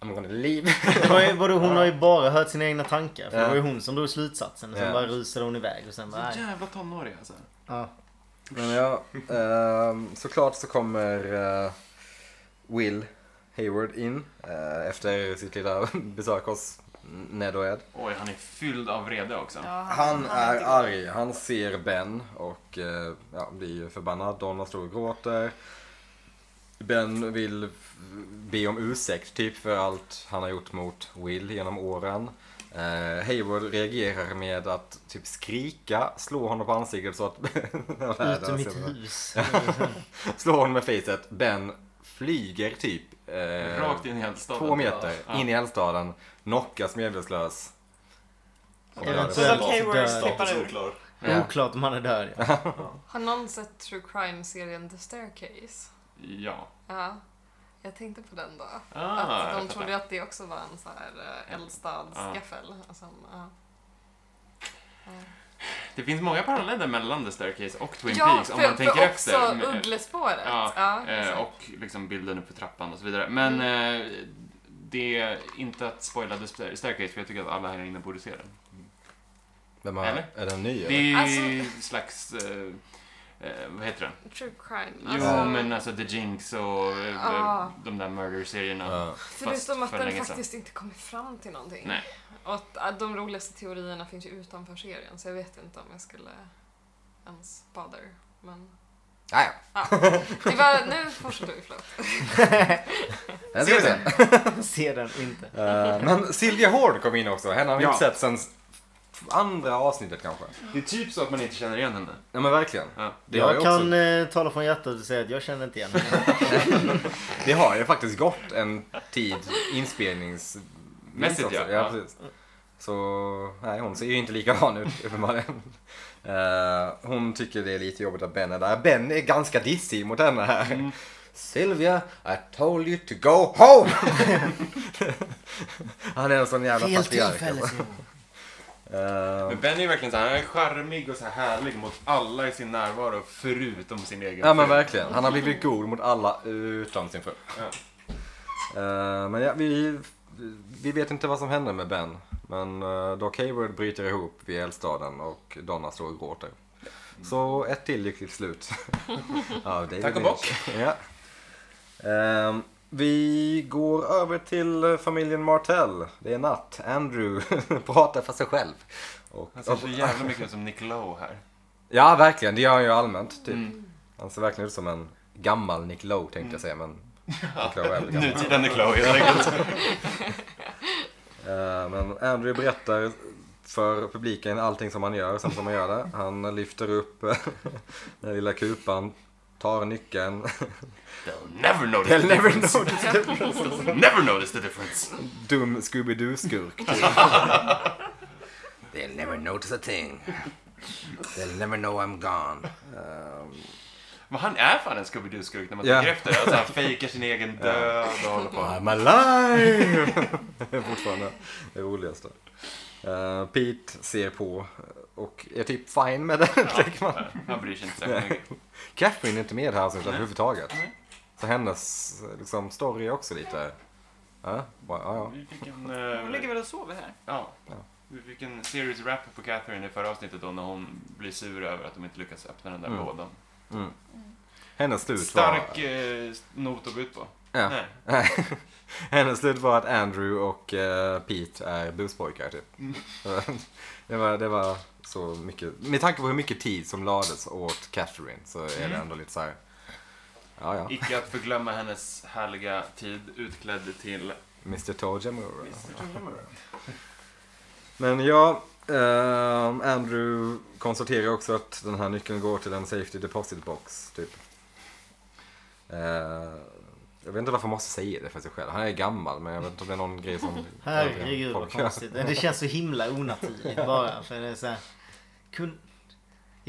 Speaker 2: I'm gonna leave.
Speaker 1: Vad- vadå, hon har ju bara hört sina egna tankar. För det var ju hon som drog slutsatsen. Och sen
Speaker 2: Ja.
Speaker 1: bara rusade hon iväg. Och sen bara,
Speaker 5: Så
Speaker 1: nej.
Speaker 5: jävla tonårig alltså.
Speaker 1: Ja.
Speaker 2: Men ja, ehm, såklart så kommer eh, Will Hayward in eh, efter sitt lilla besök hos Ned och Ed.
Speaker 5: Oj, han är fylld av vrede också.
Speaker 4: Ja,
Speaker 2: Han är
Speaker 4: inte-
Speaker 2: arg, han ser Ben och eh, ja, blir ju förbannad. Donna står och gråter. Ben vill be om ursäkt typ för allt han har gjort mot Will genom åren. Eh, Hayward reagerar med att typ skrika, slå honom på ansiktet så att...
Speaker 1: Ut ur mitt hus.
Speaker 2: slår honom med facet. Ben flyger typ eh,
Speaker 5: Rakt in i eldstaden.
Speaker 2: två meter
Speaker 5: Ja.
Speaker 2: in i eldstaden, knockas medvetslös. Och
Speaker 4: Så
Speaker 1: Eventuellt
Speaker 4: att Hayward
Speaker 1: död.
Speaker 4: slippar
Speaker 3: Status
Speaker 4: ut.
Speaker 3: oklar.
Speaker 2: Ja.
Speaker 1: Oklart om han är död. Ja.
Speaker 6: Har någon sett true crime-serien The Staircase?
Speaker 5: Ja.
Speaker 6: Ja. Jag tänkte på den då.
Speaker 5: Ah, jag
Speaker 6: att de
Speaker 5: fattar.
Speaker 6: trodde att det också var en så här eh, eldstadsgaffel. Alltså, ja.
Speaker 5: Det finns många paralleller mellan The Staircase och Twin
Speaker 6: ja,
Speaker 5: Peaks
Speaker 6: för,
Speaker 5: om man tänker
Speaker 6: för
Speaker 5: efter.
Speaker 6: också
Speaker 5: Men-
Speaker 6: Ugglespåret.
Speaker 5: Ja,
Speaker 6: Ja,
Speaker 5: eh,
Speaker 6: exakt. Mm.
Speaker 5: och liksom bilden upp för trappan och så vidare. Men eh, det är inte att spoila The Stair- Staircase för jag tycker att alla här inne borde se den.
Speaker 2: Vem har,
Speaker 5: Eller?
Speaker 2: är den ny
Speaker 5: Det
Speaker 2: eller?
Speaker 5: är ju
Speaker 6: Alltså-
Speaker 5: slags... Eh, eh, vad heter den?
Speaker 6: liksom, True crime.
Speaker 5: Jo,
Speaker 6: Alltså,
Speaker 5: men alltså The Jinx och eh,
Speaker 6: Ah.
Speaker 5: de där murder-serierna.
Speaker 2: Ja.
Speaker 6: förutom att
Speaker 5: för
Speaker 6: den
Speaker 5: länge sedan.
Speaker 6: faktiskt inte kommer fram till någonting.
Speaker 5: Nej.
Speaker 6: Och att eh, de roligaste teorierna finns ju utanför serien så jag vet inte om jag skulle ens bother. Men
Speaker 2: Ah, ja.
Speaker 6: ja, det var, nu fortsätter vi förlåt.
Speaker 2: Den ska vi se.
Speaker 1: Ser den inte.
Speaker 2: Eh, men Silvia Hård kom in också. Henne har vi
Speaker 5: Ja.
Speaker 2: inte sett sen s- andra avsnittet kanske.
Speaker 5: Det är typ så att man inte känner igen henne.
Speaker 2: Ja men verkligen.
Speaker 5: Ja.
Speaker 2: Det, har ju
Speaker 1: jag
Speaker 2: också,
Speaker 1: kan eh, tala från hjärtat och säga att jag känner inte igen henne.
Speaker 2: det har ju faktiskt gått en tid inspelningsmässigt.
Speaker 5: Mässigt,
Speaker 2: också.
Speaker 5: ja.
Speaker 2: ja
Speaker 5: Ja.
Speaker 2: precis. Så nej, hon ser ju inte likadan ut uppenbarligen. Eh, hon tycker det är lite jobbigt att Ben är där. Ben är ganska dissig mot henne här. Sylvia, I told you to go home! Han är en sån jävla
Speaker 1: Fel
Speaker 2: patriark.
Speaker 1: tillfälle. Simon.
Speaker 2: Eh,
Speaker 5: Men Ben är ju verkligen så här, han är charmig och så här härlig mot alla i sin närvaro förutom sin egen
Speaker 2: Ja men
Speaker 5: fru.
Speaker 2: verkligen. Han har blivit god mot alla utom sin fru.
Speaker 5: Ja.
Speaker 2: Eh, men ja, vi, vi vet inte vad som händer med Ben. Men uh, Doc Hayward bryter ihop vid eldstaden och Donna står och gråter. Så ett till lyckligt slut. av David
Speaker 5: Tack och
Speaker 2: Lynch. Ja. Ehm, vi går över till familjen Martell. Det är natt. Andrew pratar för sig själv. Och,
Speaker 5: Han ser så jävla mycket ut som Nick Lowe här.
Speaker 2: Ja, verkligen. Det gör han ju allmänt. Typ. Han ser verkligen ut som en gammal Nick Lowe tänkte jag säga, men Nick Lowe är väl gammal.
Speaker 5: Nutida Nick Lowe helt enkelt.
Speaker 2: Eh, Men Andrew berättar för publiken allting som han gör, sen som han gör det. Han lyfter upp eh, den lilla kupan, tar nyckeln.
Speaker 5: They'll never notice
Speaker 2: They'll
Speaker 5: the
Speaker 2: never
Speaker 5: difference. They'll never notice the difference.
Speaker 2: Dum Scooby-Doo-skurk. typ. They'll never notice a thing. They'll never know I'm gone. Um,
Speaker 5: Men han är fan en Scooby-Doo-skurk när man
Speaker 2: Ja.
Speaker 5: tänker efter. Alltså, han fejkar sin egen död och håller på.
Speaker 2: I'm alive! Fortfarande det roligaste. Eh, Pete ser på och är typ fine med det, tänker man.
Speaker 5: Han bryr sig inte särskilt mycket.
Speaker 2: Catherine är inte med i det här avsnittet överhuvudtaget. Så hennes liksom, story är också lite... Ja, bara, ja, ja.
Speaker 5: Vi fick en,
Speaker 4: Hon
Speaker 5: eh,
Speaker 4: ligger väl och sover här.
Speaker 5: ja. Vi fick en series rap på Catherine i förra avsnittet då när hon blir sur över att de inte lyckas öppna den där
Speaker 2: Mm.
Speaker 5: lådan.
Speaker 2: Hennes slut
Speaker 5: Stark
Speaker 2: var...
Speaker 5: eh, not att gå ut på.
Speaker 2: Ja.
Speaker 5: Nej.
Speaker 2: Hennes slut var att Andrew och eh, Pete är buspojkar typ.
Speaker 5: Mm.
Speaker 2: det, var, det var så mycket. Med tanke på hur mycket tid som lades åt Catherine så är det
Speaker 5: Mm.
Speaker 2: ändå lite så här. Ja, ja.
Speaker 5: Icke att förglömma hennes härliga tid utklädd till...
Speaker 2: Mr Tojamura. Men ja, ehm, Andrew konstaterar också att den här nyckeln går till en safety deposit box typ. Eh, jag vet inte varför man måste säga det för sig själv. Han är gammal men jag vet inte om det är någon grej som...
Speaker 1: Herregud vad
Speaker 2: folk-
Speaker 1: konstigt. Det känns så himla onaturligt bara. För det är så här, kun...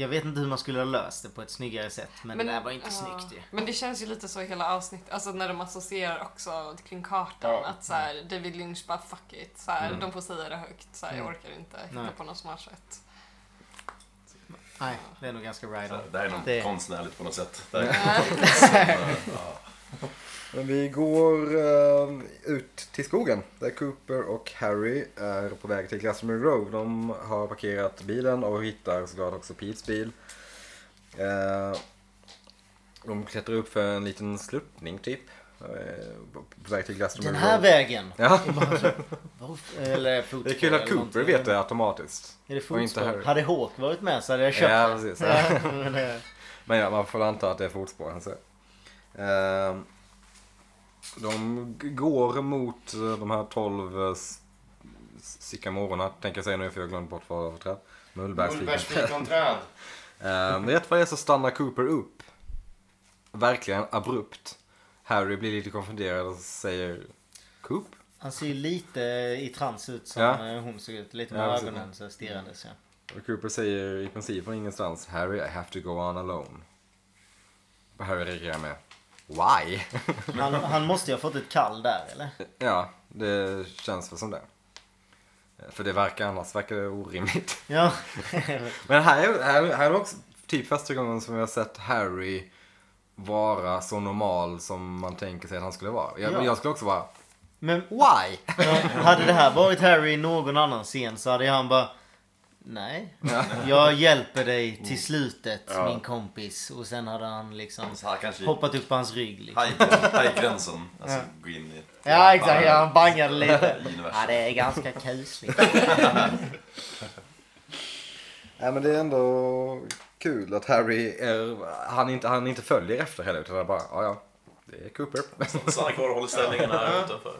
Speaker 1: Jag vet inte hur man skulle ha löst det på ett snyggare sätt. Men, det där var inte
Speaker 6: ja.
Speaker 1: snyggt ju.
Speaker 6: Men det känns ju lite så i hela avsnittet, alltså när de associerar också kring kartan.
Speaker 5: Ja.
Speaker 6: Att så här, David Lynch bara fuck it, så här, de får säga det högt, så här, jag orkar inte hitta
Speaker 1: Mm. Nej.
Speaker 6: på något smart sätt.
Speaker 1: Nej, det är nog ganska right on.
Speaker 3: Så Det här är något
Speaker 1: Det-
Speaker 3: konstnärligt på något sätt. Det här-
Speaker 2: Men vi går eh, ut till skogen där Cooper och Harry är på väg till Classroom Grove. De har parkerat bilen och hittar såklart också Petes bil. Eh, de klättrar upp för en liten sluttning typ. eh, på väg till Classroom
Speaker 1: Den
Speaker 2: Grove.
Speaker 1: här vägen.
Speaker 2: Ja.
Speaker 1: Varför- Eller fotspår.
Speaker 2: Det är kul att
Speaker 1: eller
Speaker 2: Cooper
Speaker 1: någonting.
Speaker 2: vet det automatiskt.
Speaker 1: Är det
Speaker 2: och inte
Speaker 1: fotspår?
Speaker 2: Harry.
Speaker 1: Hade Hawk varit med så hade jag köpt
Speaker 2: Ja,
Speaker 1: det.
Speaker 2: precis.
Speaker 1: Ja, men eh, det-
Speaker 2: Men ja, man får anta att det är fotspår han ser. Ehm, De g- går mot eh, de här tolv eh, s- sykamorerna, tänker jag säga nu för jag glömde bort vad det var för träd. Mullbärsfiken.
Speaker 5: Mullbärsfikonträd.
Speaker 2: Ehm, Rätt vad det är så stannar Cooper upp. Verkligen abrupt. Harry blir lite konfunderad och säger Coop?
Speaker 1: Han ser ju lite i trans ut som
Speaker 2: Ja.
Speaker 1: eh, hon såg ut. Lite
Speaker 2: Ja,
Speaker 1: med
Speaker 2: precis.
Speaker 1: ögonen så stirrandes. Ja.
Speaker 2: Och Cooper säger i princip från ingenstans Harry, I have to go on alone. Och Harry reagerar med Why?
Speaker 1: Han, han måste ju ha fått ett kall där eller?
Speaker 2: Ja, det känns väl som det. Eh, För det verkar annars verkar det orimligt.
Speaker 1: Ja.
Speaker 2: Men här är, här, här är också typ första gången som jag har sett Harry vara så normal som man tänker sig att han skulle vara. Jag,
Speaker 1: Ja.
Speaker 2: jag skulle också vara
Speaker 1: Men
Speaker 2: Why?
Speaker 1: ja, hade det här varit Harry i någon annan scen så hade han bara Nej. Jag hjälper dig till slutet min kompis. Och sen hade han liksom
Speaker 3: Så här kanske
Speaker 1: hoppat upp på hans rygg. Liksom.
Speaker 3: hajgränsen. hajgränsen. Alltså gå in i...
Speaker 1: Ja exakt, ja, han bangade lite.
Speaker 3: I universum.
Speaker 1: Ja det är ganska kusligt.
Speaker 2: Nej men det är ändå kul att Harry är, han inte, han inte följer efter heller utan han bara, ja ja, det är Cooper.
Speaker 3: Stanna kvar och håller ställningarna här utanför.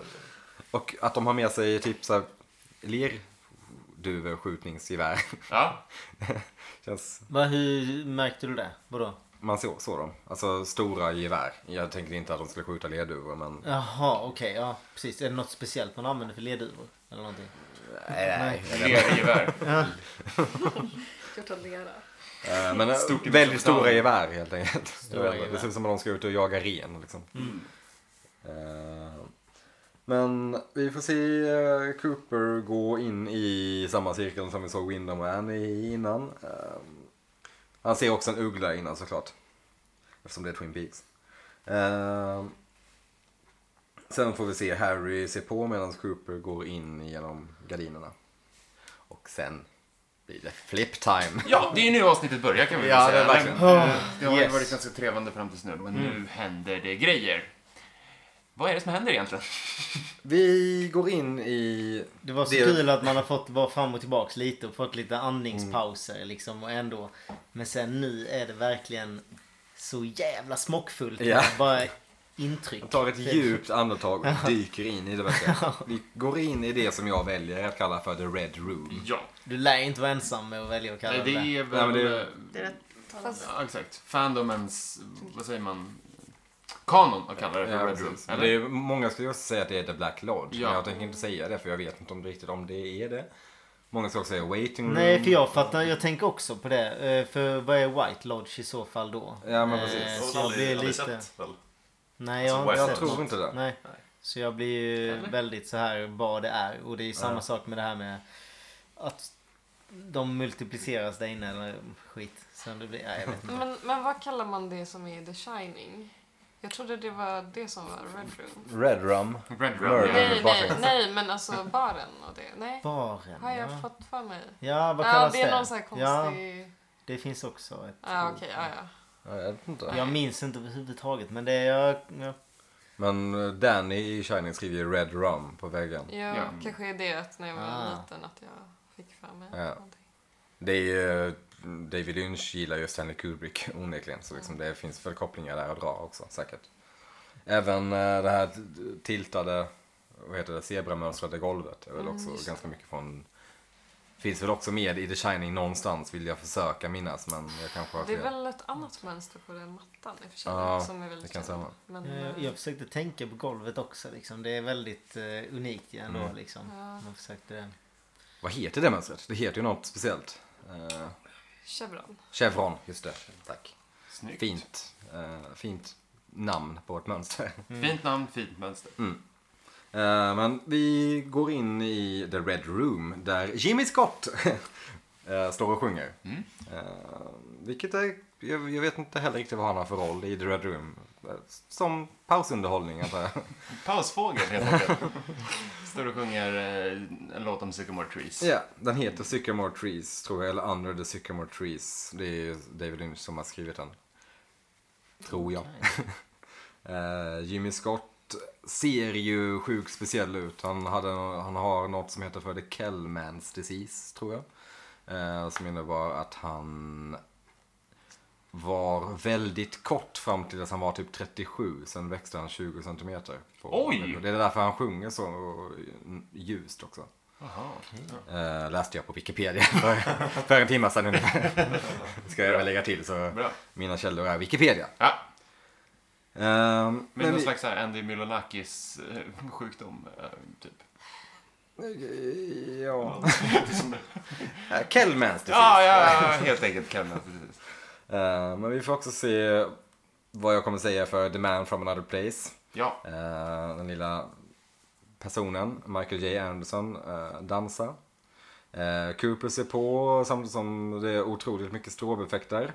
Speaker 2: Och att de har med sig typ såhär lerduvor, skjutningsgevär.
Speaker 5: Ja,
Speaker 2: Känns
Speaker 1: Vad, hur märkte du det? Vadå?
Speaker 2: Man såg så dem. Alltså stora gevär. Jag tänkte inte att de skulle skjuta ledduvor men...
Speaker 1: Jaha okej, ja precis. Är det något speciellt man använder för ledduvor? Eller någonting?
Speaker 2: eh, Nej,
Speaker 5: lergevär.
Speaker 6: Gjort av lera.
Speaker 2: Eh, Men eh,
Speaker 5: Stort i
Speaker 2: väldigt
Speaker 5: Mesopotamien.
Speaker 2: stora gevär helt enkelt.
Speaker 1: Stora
Speaker 2: Jag vet inte,
Speaker 1: gevär. Mm.
Speaker 2: det ser ut som att de ska ut och jaga ren liksom. Eh, Men vi får se eh, Cooper gå in i samma cirkel som vi såg Windham och Annie i innan. Eh, Han ser också en uggla innan såklart. Eftersom det är Twin Peaks. Eh, Sen får vi se Harry se på medan Cooper går in genom gardinerna. Och sen blir det flip time.
Speaker 5: Ja, det är ju nu avsnittet börjar kan vi väl
Speaker 2: Ja, Mm. det
Speaker 5: säga.
Speaker 2: är verkligen.
Speaker 5: Men, eh, det har ju
Speaker 1: Yes.
Speaker 5: varit ganska trevande fram tills nu, men nu händer det grejer. Vad är det som händer egentligen?
Speaker 2: Vi går in i...
Speaker 1: Det var så
Speaker 2: Det-
Speaker 1: kul att man har fått vara fram och tillbaks lite och fått lite andningspauser
Speaker 2: Mm.
Speaker 1: liksom och ändå. Men sen nu är det verkligen så jävla smockfullt.
Speaker 2: Ja.
Speaker 1: Bara intryck. Typ.
Speaker 2: Jag tar ett djupt andetag och dyker in i det verkligen. Vi går in i det som jag väljer att kalla för the red room.
Speaker 5: Ja,
Speaker 1: Du lär ju inte vara ensam med att välja att kalla
Speaker 5: nej,
Speaker 1: det
Speaker 5: det är
Speaker 2: Nej,
Speaker 5: väl...
Speaker 2: men det-
Speaker 4: Det är rätt
Speaker 6: Fast
Speaker 5: Ja, exakt. Fandomens, vad säger man? Kanon att kalla det för
Speaker 2: Ja,
Speaker 5: Red Room.
Speaker 2: precis.
Speaker 5: Eller?
Speaker 2: det är, många skulle också säga att det är The Black Lodge,
Speaker 5: Ja.
Speaker 2: men jag tänker inte säga det för jag vet inte om riktigt om det är det. Många ska också säga waiting room.
Speaker 1: Nej, för jag fattar. Jag tänker också på det. Eh, För vad är White Lodge i så fall då?
Speaker 2: Ja, men
Speaker 1: Eh,
Speaker 2: precis.
Speaker 1: Så jag blir lite...
Speaker 3: sett väl?
Speaker 1: Nej, jag har
Speaker 3: Alltså,
Speaker 1: inte
Speaker 3: White
Speaker 1: sett
Speaker 2: Jag tror
Speaker 1: något.
Speaker 2: inte det.
Speaker 1: Nej. Så jag blir ju väldigt så här vad det är. Och det är ju samma sak med det här med att de multipliceras där inne eller skit. Sen det blir, nej, jag vet inte.
Speaker 6: Men, men vad kallar man det som är The Shining? Jag trodde det var det som var Red Room.
Speaker 2: Red rum.
Speaker 5: Red Room.
Speaker 2: Murder.
Speaker 6: Nej, nej,
Speaker 2: bakgrund.
Speaker 6: nej, men alltså baren och det. Nej,
Speaker 1: Baren,
Speaker 6: har jag
Speaker 1: ja.
Speaker 6: fått för mig.
Speaker 1: Ja, vad
Speaker 6: Ja,
Speaker 1: kallas
Speaker 6: det är någon sån här
Speaker 1: Ja,
Speaker 6: konstig...
Speaker 1: det finns också ett
Speaker 6: Ja,
Speaker 1: ord.
Speaker 6: okej, ja, ja.
Speaker 2: Ja, Jag vet inte.
Speaker 1: Jag minns inte överhuvudtaget, men det är... Jag, jag,
Speaker 2: Men eh, Danny i Shining skriver ju Red Rum på väggen.
Speaker 6: Ja,
Speaker 5: Ja.
Speaker 6: kanske är det att när jag var
Speaker 1: Ah.
Speaker 6: liten att jag fick för mig
Speaker 2: Ja.
Speaker 6: någonting.
Speaker 2: Det är ju, David Lynch gillar ju Stanley Kubrick onekligen. Så liksom det finns väl kopplingar där att dra också säkert. Även eh, det här t- tiltade, vad heter det, zebramönstrade golvet är väl också ganska mycket från Finns väl också med i The Shining någonstans vill jag försöka minnas men jag kanske har
Speaker 6: Det är
Speaker 2: fel.
Speaker 6: väl ett annat mönster på den mattan i och för sig.
Speaker 2: Ja,
Speaker 6: som är
Speaker 2: det
Speaker 6: väldigt
Speaker 2: kan
Speaker 6: känd.
Speaker 2: stämma.
Speaker 6: Men, eh,
Speaker 1: jag, jag försökte tänka på golvet också liksom. Det är väldigt eh, unikt ju
Speaker 2: Mm.
Speaker 1: ändå liksom. Man försökte det.
Speaker 2: Eh. Vad heter det mönstret? Det heter ju något speciellt. Eh,
Speaker 6: Chevron.
Speaker 2: Chevron, just det. Tack.
Speaker 5: Snyggt.
Speaker 2: Fint, eh, fint namn på ett mönster.
Speaker 5: Fint namn, fint mönster.
Speaker 2: Eh, Men vi går in i The Red Room där Jimmy Scott eh, står och sjunger. Eh, Vilket är, jag jag vet inte heller riktigt vad han har för roll i The Red Room. Eh, Som pausunderhållning antar jag.
Speaker 5: Pausfågel helt enkelt. Står och sjunger eh, en låt om Sycamore Trees.
Speaker 2: Ja, den heter Sycamore Trees tror jag, eller Under the Sycamore Trees. Det är ju David Lynch som har skrivit den. Tror jag. Eh, Jimmy Scott ser ju sjukt speciell ut. Han, hade, han har något som heter för The Kellmans disease, tror jag. Eh, som innebar att han var väldigt kort fram till att han var typ 37. Sen växte han 20 centimeter. på-
Speaker 5: Oj!
Speaker 2: Det är därför han sjunger så ljust också.
Speaker 5: Jaha.
Speaker 2: Eh, läste jag på Wikipedia för, för en timme sedan ungefär. Ska jag väl lägga till så
Speaker 5: Bra.
Speaker 2: mina källor är Wikipedia.
Speaker 5: Ja,
Speaker 2: Eh,
Speaker 5: med
Speaker 2: men
Speaker 5: någon
Speaker 2: vi-
Speaker 5: slags så här Andy Milonakis eh, sjukdom, eh, typ.
Speaker 2: eh, Ja. Eh, Kellmans disease.
Speaker 5: Ja, ja, ja, helt enkelt Kenneth. Precis.
Speaker 2: Eh, men vi får också se vad jag kommer säga för The Man from Another Place.
Speaker 5: Ja,
Speaker 2: Eh, den lilla personen, Michael J. Anderson, eh, dansar. Eh, Cooper ser på samtidigt som det är otroligt mycket stråbeffekter.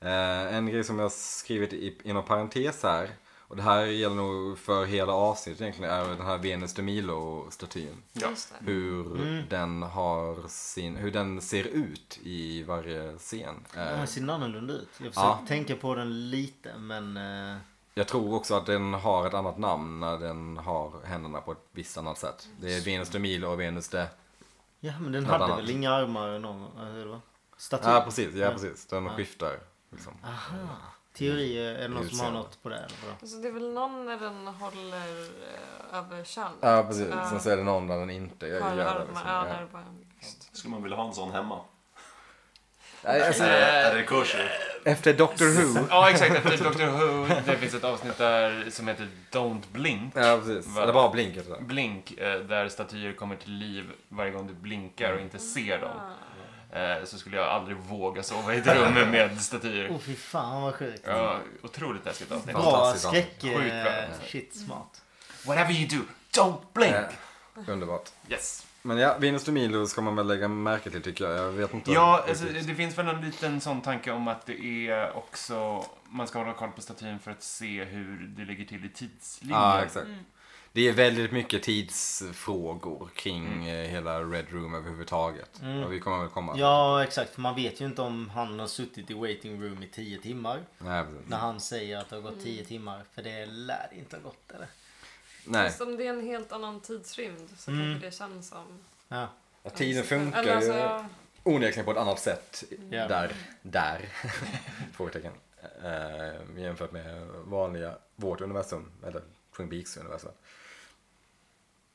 Speaker 2: Eh, en grej som jag skrivit i, inom parentes här, och det här gäller nog för hela avsnittet egentligen, är den här Venus de Milo-statyn.
Speaker 5: Ja.
Speaker 6: Just det.
Speaker 2: Hur den har sin, hur den ser ut i varje scen. Eh,
Speaker 1: Den ser annorlunda ut. Jag försökte
Speaker 2: Ja.
Speaker 1: tänka på den lite men... eh,
Speaker 2: Jag tror också att den har ett annat namn när den har händerna på ett visst annat sätt. Det är Venus de Milo och Venus de...
Speaker 1: ja men den
Speaker 2: Något
Speaker 1: hade
Speaker 2: annat.
Speaker 1: väl inga armar någon gång? Eller hur det var? Statyn?
Speaker 2: Ja, precis. Ja, precis. Den skiftar. Liksom.
Speaker 1: Aha. Teori, eh, är det någon som har
Speaker 2: Utseende.
Speaker 1: något på det? Eller vadå?
Speaker 6: Alltså, det är väl någon när den håller eh, över könet.
Speaker 2: Ja, precis. Sen så är det någon där den inte
Speaker 6: Har
Speaker 2: gör
Speaker 6: armar,
Speaker 2: det. Liksom.
Speaker 6: ja,
Speaker 2: Ja.
Speaker 6: där bara en byst.
Speaker 3: Skulle man vilja ha en sån hemma?
Speaker 2: Nej, Alltså,
Speaker 3: Är det kurser?
Speaker 2: efter Doctor Who.
Speaker 5: ja exakt. Efter Dr Who, det finns ett avsnitt där som heter Don't Blink.
Speaker 2: Ja, precis.
Speaker 5: Va?
Speaker 2: Eller bara blinket där.
Speaker 5: Blink, eh, där statyer kommer till liv varje gång du blinkar och inte ser dem. Eh, Så skulle jag aldrig våga sova i ett rum med
Speaker 1: Åh
Speaker 5: statyer.
Speaker 1: fy fan vad sjukt.
Speaker 5: Ja, otroligt läskigt avsnitt.
Speaker 1: Bra
Speaker 2: Fantastiskt alltså.
Speaker 1: skräck.
Speaker 5: avsnitt. Sjukt bra.
Speaker 1: eh, Shit smart.
Speaker 5: Whatever you do, don't blink!
Speaker 2: Eh, Underbart.
Speaker 5: Yes.
Speaker 2: Men ja, Venus de Milo ska man väl lägga märke till tycker jag. Jag vet inte.
Speaker 5: Ja, alltså,
Speaker 2: riktigt.
Speaker 5: det finns väl en liten sån tanke om att det är också... Man ska hålla koll på statyn för att se hur det ligger till i tidslinjen.
Speaker 2: Ja, exakt. Det är väldigt mycket tidsfrågor kring eh, hela Red Room överhuvudtaget. Och vi kommer väl komma till-
Speaker 1: Ja exakt, för man vet ju inte om han har suttit i waiting room i 10 timmar.
Speaker 2: Nej, precis.
Speaker 1: När han säger att det har gått 10 timmar. För det lär inte ha gått eller?
Speaker 2: Nej.
Speaker 6: Fast om det är en helt annan tidsrymd så kanske det känns som...
Speaker 1: Ja.
Speaker 2: Ja, tiden funkar
Speaker 6: Eller alltså,
Speaker 2: ju
Speaker 6: ja.
Speaker 2: onekligen på ett annat sätt.
Speaker 1: Ja.
Speaker 2: Där, där. Frågetecken. Eh, jämfört med vanliga, vårt universum. Eller Twin Peaks universum.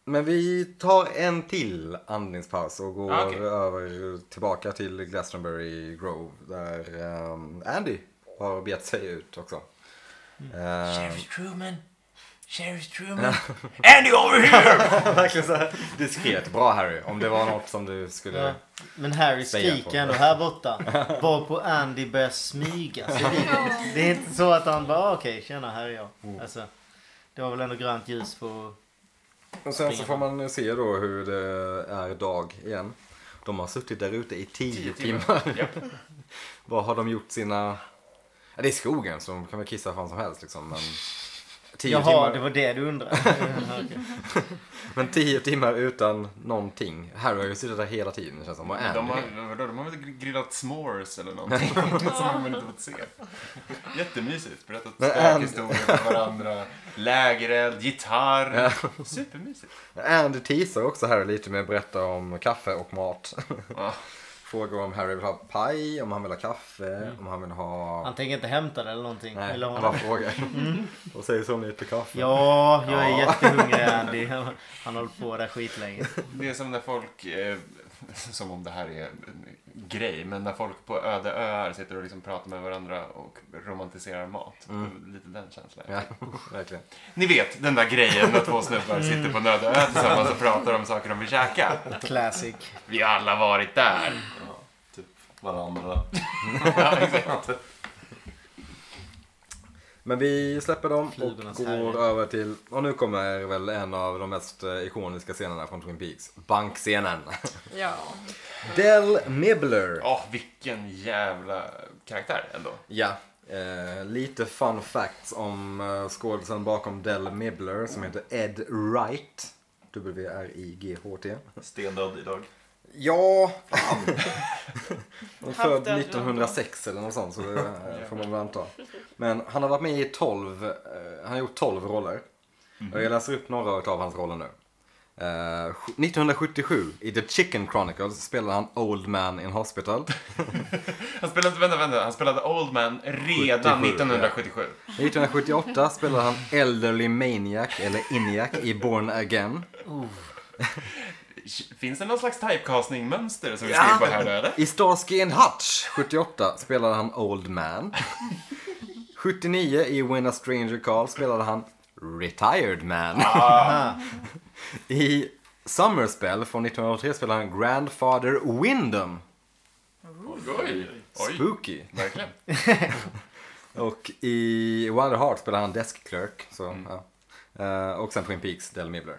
Speaker 2: Men vi tar en till andningspaus och går
Speaker 5: Ah, okej.
Speaker 2: över tillbaka till Glastonbury Grove. Där ehm, Andy har begett sig ut också. Eh,
Speaker 5: Sheriff Truman! Sheriff Truman. Andy over here!
Speaker 2: Verkligen så här diskret. Bra Harry, om det var något som du skulle...
Speaker 1: Ja. Men Harry
Speaker 2: Säga på
Speaker 1: skriker
Speaker 2: det.
Speaker 1: ändå här borta. Var på Andy börjar smyga sig dit. Det är inte så att han bara "Ah, okej tjena här är jag.
Speaker 2: Mm.
Speaker 1: Alltså, det var väl ändå grönt ljus på...
Speaker 2: Och sen så får man se då hur det är dag igen. De har suttit där ute i tio, timmar. Vad har de gjort sina... Ja, det är skogen så de kan väl kissa fan som helst liksom. Men tio,
Speaker 1: Jaha
Speaker 2: timmar,
Speaker 1: det var det du undrade. Ja, okej.
Speaker 2: men tio timmar utan någonting. Harry har ju suttit där hela tiden känns det som. Och Andy.
Speaker 5: De har, vadå, de har väl grillat s'mores eller någonting som man inte fått se. Jättemysigt. Berättat
Speaker 2: Men
Speaker 5: spökhistorier för varandra. Lägereld, gitarr. Supermysigt.
Speaker 2: Andy teasar också Harry lite med att berätta om kaffe och mat. Frågar om Harry vill ha paj, om han vill ha kaffe, om han vill ha...
Speaker 1: Han tänker inte hämta det eller någonting.
Speaker 2: Nej,
Speaker 1: Mm. eller
Speaker 2: han
Speaker 1: honom.
Speaker 2: bara frågar. Och säger så om lite kaffe.
Speaker 1: Ja, jag är
Speaker 2: Ja.
Speaker 1: jättehungrig Andy. Han har hållit på där skitlänge.
Speaker 5: Det är som när folk, eh, som om det här är en grej, men när folk på öde öar sitter och liksom pratar med varandra och romantiserar mat. Lite den känslan.
Speaker 2: Ja, verkligen.
Speaker 5: Ni vet den där grejen när två snubbar sitter på en öde ö tillsammans och pratar om saker de vill käka.
Speaker 1: Classic.
Speaker 5: Vi har alla varit där.
Speaker 3: typ Varandra.
Speaker 2: Men vi släpper dem
Speaker 1: Flugornas
Speaker 2: och går
Speaker 1: herre.
Speaker 2: över till, och nu kommer väl en av de mest eh, ikoniska scenerna från Twin Peaks. Bankscenen.
Speaker 6: Ja.
Speaker 2: Del Nibbler.
Speaker 5: Åh, vilken jävla karaktär ändå.
Speaker 2: Ja. Eh, lite fun facts om eh, skådisen bakom Del Nibbler som heter Ed Wright. W-R-I-G-H-T.
Speaker 3: Stendöd idag.
Speaker 2: Ja, fan! Han är
Speaker 4: Halvt
Speaker 2: född
Speaker 4: äldre
Speaker 2: 1906 eller något sånt, så det eh, får man väl anta. Men han har varit med i 12, eh, han har gjort 12 roller. Och jag läser upp några av hans roller nu. Eh, sj- 1977 i The Chicken Chronicles spelade han Old Man in Hospital.
Speaker 5: Han spelade, vänta, vänta, han spelade Old Man redan
Speaker 2: 77,
Speaker 5: 1977.
Speaker 2: 1978 spelade han Elderly Maniac, eller Iniac, i Born Again.
Speaker 5: Finns det någon slags typecasting-mönster som vi skriver på här nu eller?
Speaker 2: I Starsky and Hutch 78 spelade han Old Man. 79 i When a Stranger Calls spelade han Retired Man.
Speaker 5: Ah.
Speaker 2: I Summerspell från 1983 spelade han Grandfather Wyndham.
Speaker 5: Oj, oj,
Speaker 2: Spooky.
Speaker 5: verkligen.
Speaker 2: Och i Wilder Heart spelade han Desk Clerk. Så,
Speaker 5: Mm.
Speaker 2: ja. Eh, och sen Twin Peaks, Del Mibler.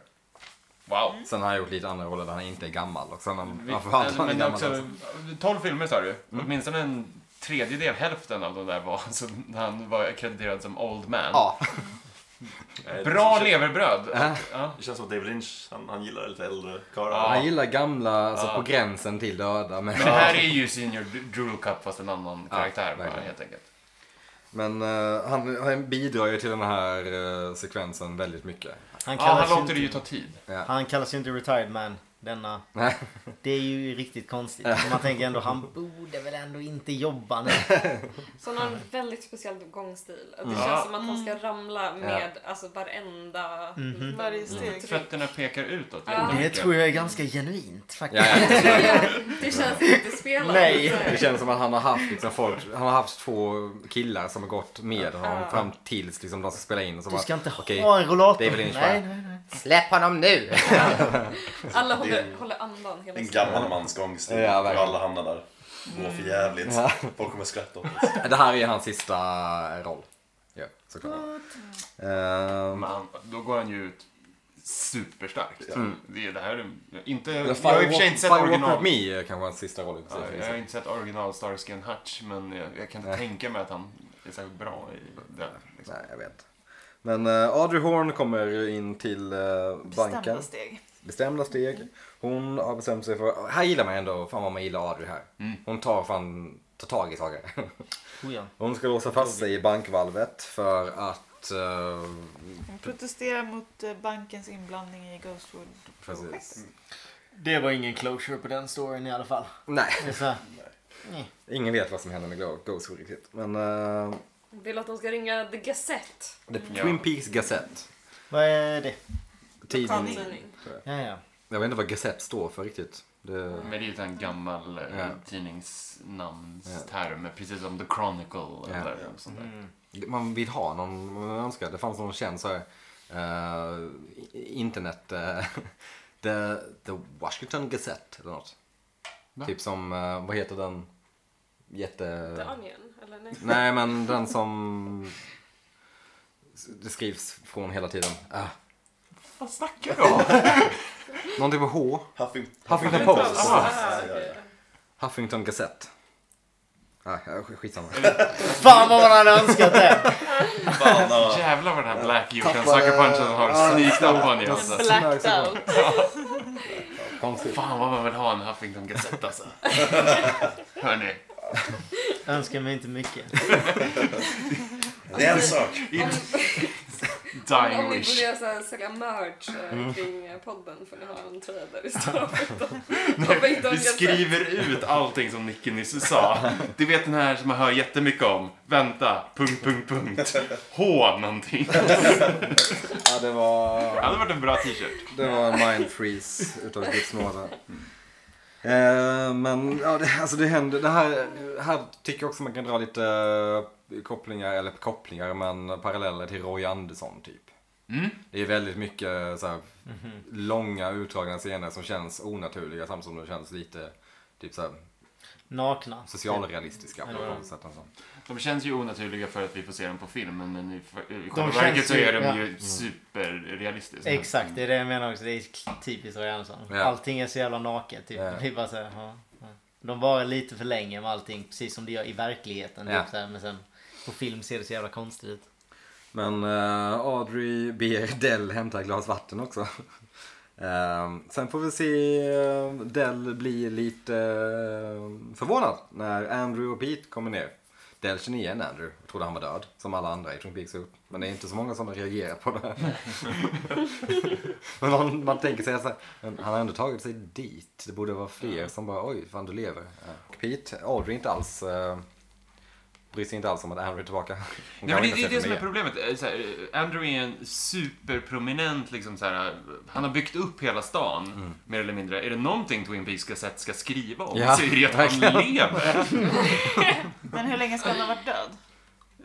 Speaker 5: Wow.
Speaker 2: Sen har han gjort lite andra roller där han inte är gammal. Och sen han,
Speaker 5: Vi,
Speaker 2: ja, för fan, han är
Speaker 5: men
Speaker 2: gammal
Speaker 5: också,
Speaker 2: alltså. Mm.
Speaker 5: 12 filmer sa du. Åtminstone en tredjedel, hälften av de där var så han var krediterad som Old Man.
Speaker 2: Ja,
Speaker 5: Bra leverbröd! Ja.
Speaker 3: Det känns som att David Lynch, han, han gillar lite äldre karlar.
Speaker 5: Ja.
Speaker 2: han gillar gamla, alltså på gränsen till döda. Men...
Speaker 5: Men det här är ju Senior Drool Cup fast en annan
Speaker 2: Ja,
Speaker 5: karaktär bara,
Speaker 2: verkligen.
Speaker 5: helt enkelt.
Speaker 2: Men eh, han, han bidrar ju till den här eh, sekvensen väldigt mycket.
Speaker 1: Han
Speaker 5: Ja,
Speaker 1: kallas,
Speaker 5: han låter
Speaker 1: ju
Speaker 5: det ju
Speaker 1: inte,
Speaker 5: ta tid.
Speaker 1: han kallas ju inte retired man. Denna.
Speaker 2: Nej.
Speaker 1: Det är ju riktigt konstigt. För Man tänker ändå han borde väl ändå inte jobba nu.
Speaker 6: Så han har en väldigt speciell gångstil. Att Det
Speaker 5: Ja.
Speaker 6: känns som att han ska ramla med alltså varenda... Mm.
Speaker 4: Varje steg.
Speaker 5: Fötterna pekar utåt
Speaker 6: Ja.
Speaker 1: Det
Speaker 5: jättemycket.
Speaker 1: tror jag är ganska genuint faktiskt.
Speaker 2: Ja, ja.
Speaker 6: Det känns inte spelat.
Speaker 1: Nej.
Speaker 2: Det känns som att han har haft liksom, folk, han har haft två killar som har gått med honom fram tills liksom, de ska spela in. Och så
Speaker 1: Du ska inte
Speaker 2: okej,
Speaker 1: ha en rollator.
Speaker 2: David Lynch
Speaker 1: nej,
Speaker 2: bara-
Speaker 1: nej, nej.
Speaker 2: Släpp honom nu!
Speaker 6: Alla håller, håller andan hela
Speaker 3: En
Speaker 6: tiden.
Speaker 3: gammal mans gångstil.
Speaker 2: Ja,
Speaker 3: och
Speaker 2: verkligen.
Speaker 3: alla hamnar där. Går för jävligt. Folk kommer skratta åt oss.
Speaker 2: Det här är hans sista roll. Ja, såklart. Ehm,
Speaker 5: Men han, då går han ju ut superstarkt. Det, det här är, inte,
Speaker 2: men
Speaker 5: jag har i och
Speaker 2: Mm.
Speaker 5: för sig
Speaker 2: Firewalk,
Speaker 5: inte sett
Speaker 2: Firewalk with
Speaker 5: original...
Speaker 2: me är kanske hans sista roll. i
Speaker 5: Ja,
Speaker 2: princip.
Speaker 5: jag har inte sett original Starsky and Hutch, men jag, jag kan inte tänka mig att han är särskilt bra i det. Liksom.
Speaker 2: Nej, jag vet inte. Men eh, Audrey Horn kommer in till eh, banken.
Speaker 4: Bestämda steg.
Speaker 2: bestämda steg. Hon har bestämt sig för, här gillar man ändå, fan vad man gillar Audrey här. Hon tar fan, tar tag i saker.
Speaker 1: Oh, ja.
Speaker 2: Hon ska låsa fast sig i bankvalvet för att, eh,
Speaker 4: Hon protesterar mot eh, bankens inblandning i Ghostwood.
Speaker 2: precis.
Speaker 1: Det var ingen closure på den storyn i alla fall.
Speaker 2: Nej,
Speaker 1: Det är så här,
Speaker 2: ingen vet vad som händer med Glow- Ghost Wood riktigt. Men eh,
Speaker 6: Vill att de ska ringa The Gazette.
Speaker 2: The Twin Peaks Gazette.
Speaker 1: vad är det?
Speaker 2: Tidning.
Speaker 6: Tidning.
Speaker 1: Ja, ja.
Speaker 2: Jag vet inte vad Gazette står för riktigt. Det,
Speaker 5: Men det är ju en gammal eh,
Speaker 2: Ja.
Speaker 5: tidningsnamnsterm, precis som The Chronicle eller sånt där.
Speaker 6: Mm.
Speaker 2: man vill ha någon, man önskar, det fanns någon känd så här eh, internet, eh, the, the Washington Gazette eller något. Typ som, eh, vad heter den jätte...
Speaker 6: The Onion, eller nej?
Speaker 2: Nej, men den som det skrivs från hela tiden. Ah.
Speaker 5: Vad snackar du om?
Speaker 2: Någonting med H.
Speaker 3: Huffing-
Speaker 2: Huffington Post.
Speaker 5: Post.
Speaker 6: Ah,
Speaker 3: ja, ja.
Speaker 6: okej.
Speaker 2: Huffington Gazette. Ah, ja, sk- skitsamma.
Speaker 1: Fan vad man hade önskat det.
Speaker 3: Fan, ja.
Speaker 5: Jävlar vad den här Black Yukon Sucker Punchen har sneakat upp på nu alltså.
Speaker 6: Blacked out.
Speaker 2: Konstigt.
Speaker 5: Fan vad man vill ha en Huffington Gazette alltså. Hörni,
Speaker 1: Önskar mig inte mycket.
Speaker 3: Det är en sak.
Speaker 6: Om, om
Speaker 5: dying
Speaker 6: ni
Speaker 5: wish. Mm.
Speaker 6: börjar så här, sälja merch eh, kring eh, podden får ni ha en tröja där det står Huffington
Speaker 5: Vi
Speaker 6: Gazette.
Speaker 5: skriver ut allting som Nicky nyss sa. Du vet den här som man hör jättemycket om. Vänta, punkt, punkt, punkt. H någonting.
Speaker 2: Ja, det var...
Speaker 5: Det hade varit en bra t-shirt.
Speaker 2: Det var en mind freeze utav Guds nåde. Eh, men ja, det, alltså det händer. Det här, här tycker jag också man kan dra lite eh, kopplingar, eller kopplingar, men paralleller till Roy Andersson typ. Det är väldigt mycket eh, så här, långa utdragna scener som känns onaturliga samtidigt som de känns lite typ så här,
Speaker 1: Nakna.
Speaker 2: socialrealistiska på något sätt. Alltså.
Speaker 5: De känns ju onaturliga för att vi får se dem på film, men i i själva
Speaker 1: känns
Speaker 5: verket så
Speaker 1: ju-
Speaker 5: är de
Speaker 1: ja.
Speaker 5: ju superrealistiska. Mm.
Speaker 1: Exakt, det är det jag menar också. Det är typiskt Roy Andersson.
Speaker 2: Ja.
Speaker 1: Allting är så jävla naket. Typ.
Speaker 2: Ja.
Speaker 1: Det är bara så här, ja, ja. De varar lite för länge med allting, precis som det gör i verkligheten.
Speaker 2: Ja.
Speaker 1: Typ så här, men sen på film ser det så jävla konstigt ut.
Speaker 2: Men eh, Audrey ber Dell hämta ett glas vatten också. Eh, sen får vi se eh, Dell bli lite eh, förvånad när Andrew och Pete kommer ner. Dell känner igen Andrew och trodde han var död, som alla andra i Twin Peaks har gjort. Men det är inte så många som har reagerat på det här. Men man, man tänker sig att så här, men han har ändå tagit sig dit. Det borde vara fler som bara oj, fan du lever. Ja. Och Pete, Audrey inte alls, uh, bryr sig inte alls om att Andrew är tillbaka. Hon kan
Speaker 5: Nej, men det,
Speaker 2: inte
Speaker 5: det är
Speaker 2: se
Speaker 5: det som är
Speaker 2: mer.
Speaker 5: problemet. Eh, Så här, eh, Andrew är en superprominent, liksom så här, eh, han har byggt upp hela stan, mer eller mindre. Är det någonting Twin Peaks Gazette ska skriva om
Speaker 2: Ja,
Speaker 5: så är det ju att han lever.
Speaker 4: Men hur länge ska han ha varit död?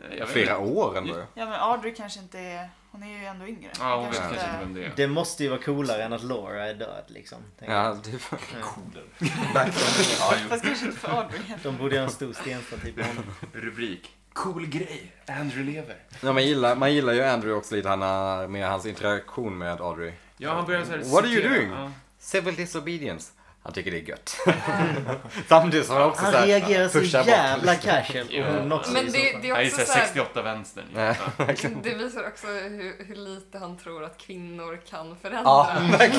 Speaker 5: Eh, Jag vet inte.
Speaker 2: Flera år ändå. ju.
Speaker 4: Ja, men Audrey kanske inte är... Hon är ju ändå yngre.
Speaker 5: Ja, hon vet
Speaker 4: Kanske
Speaker 5: kanske inte
Speaker 4: inte-
Speaker 5: vem det är.
Speaker 1: Det måste ju vara coolare än att Laura är död liksom. tänker jag.
Speaker 2: Ja, typ.
Speaker 4: Fast kanske inte för Audrey.
Speaker 1: De borde göra en stor typ. stenstaty på honom.
Speaker 5: Rubrik. Cool grej. Andrew lever.
Speaker 2: Ja, man, gillar, man gillar ju Andrew också lite han, har- med hans interaktion med Audrey.
Speaker 5: Ja, han börjar så här
Speaker 2: What are you
Speaker 5: citera.
Speaker 2: doing?
Speaker 5: Ja.
Speaker 2: Civil disobedience. Han tycker det är gött. Samtidigt som han också
Speaker 1: Han
Speaker 2: så här
Speaker 1: reagerar så
Speaker 2: pushar bort.
Speaker 1: jävla casual.
Speaker 5: Ja.
Speaker 1: Hon också
Speaker 6: Men
Speaker 1: i så
Speaker 6: det,
Speaker 1: fall.
Speaker 6: det
Speaker 5: Han
Speaker 6: är
Speaker 5: är så
Speaker 6: också
Speaker 5: här
Speaker 6: så här,
Speaker 5: 68 vänstern.
Speaker 2: Ja.
Speaker 6: det visar också hur, hur lite han tror att kvinnor kan förändra.
Speaker 2: Ja,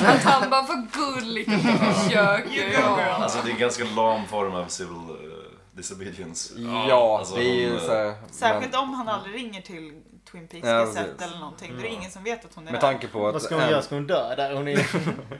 Speaker 6: att han bara, vad gulligt att du försöker. Ja.
Speaker 3: Alltså det är en ganska lam form av civil eh, disobedience.
Speaker 2: Ja,
Speaker 3: alltså,
Speaker 2: det är ju
Speaker 3: hon,
Speaker 2: så här,
Speaker 5: eh,
Speaker 4: Särskilt om han aldrig ringer till Twin Peaks
Speaker 2: Ja,
Speaker 4: Gazette
Speaker 2: precis.
Speaker 4: eller någonting. Då är det ingen som vet att hon är
Speaker 2: men, med
Speaker 4: där.
Speaker 2: tanke på
Speaker 1: Vad
Speaker 2: att
Speaker 1: ska hon
Speaker 2: An-
Speaker 1: göra? Ska hon dö där? Hon är...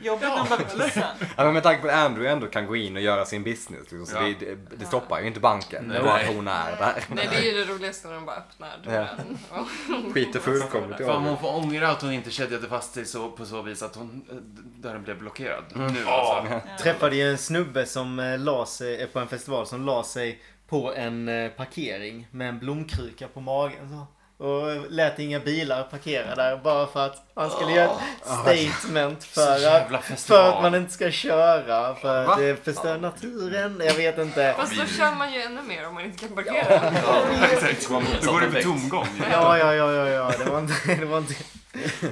Speaker 4: Jobbigt när hon behöver kissa.
Speaker 2: ja, men med tanke på att Andrew ändå kan gå in och göra sin business. Liksom, så
Speaker 5: Ja.
Speaker 2: det, det, det stoppar ju inte banken. Det
Speaker 5: Nej.
Speaker 2: är bara att hon är där.
Speaker 6: Nej, det är ju det roligaste när de bara öppnar dörren. Och-
Speaker 2: Skiter fullkomligt i
Speaker 5: Fan,
Speaker 2: Audrey.
Speaker 5: hon får ångra att hon inte kedjade fast sig så, på så vis att hon, eh, d- dörren blev blockerad.
Speaker 2: Mm.
Speaker 5: Nu alltså.
Speaker 1: Träffade ju en snubbe som eh, la sig eh, på en festival som la sig på en eh, parkering med en blomkruka på magen. Så. Och eh, lät inga bilar parkera där bara för att han skulle göra ett statement för
Speaker 5: jävla
Speaker 1: att,
Speaker 5: festival.
Speaker 1: för att man inte ska köra. För att det förstör naturen. Jag vet inte.
Speaker 6: Fast då kör man ju ännu mer om man inte kan parkera.
Speaker 3: eh,
Speaker 5: Exakt. Då går det för tomgång.
Speaker 1: Ja, ja, ja, ja, ja. Det var inte... Det var inte,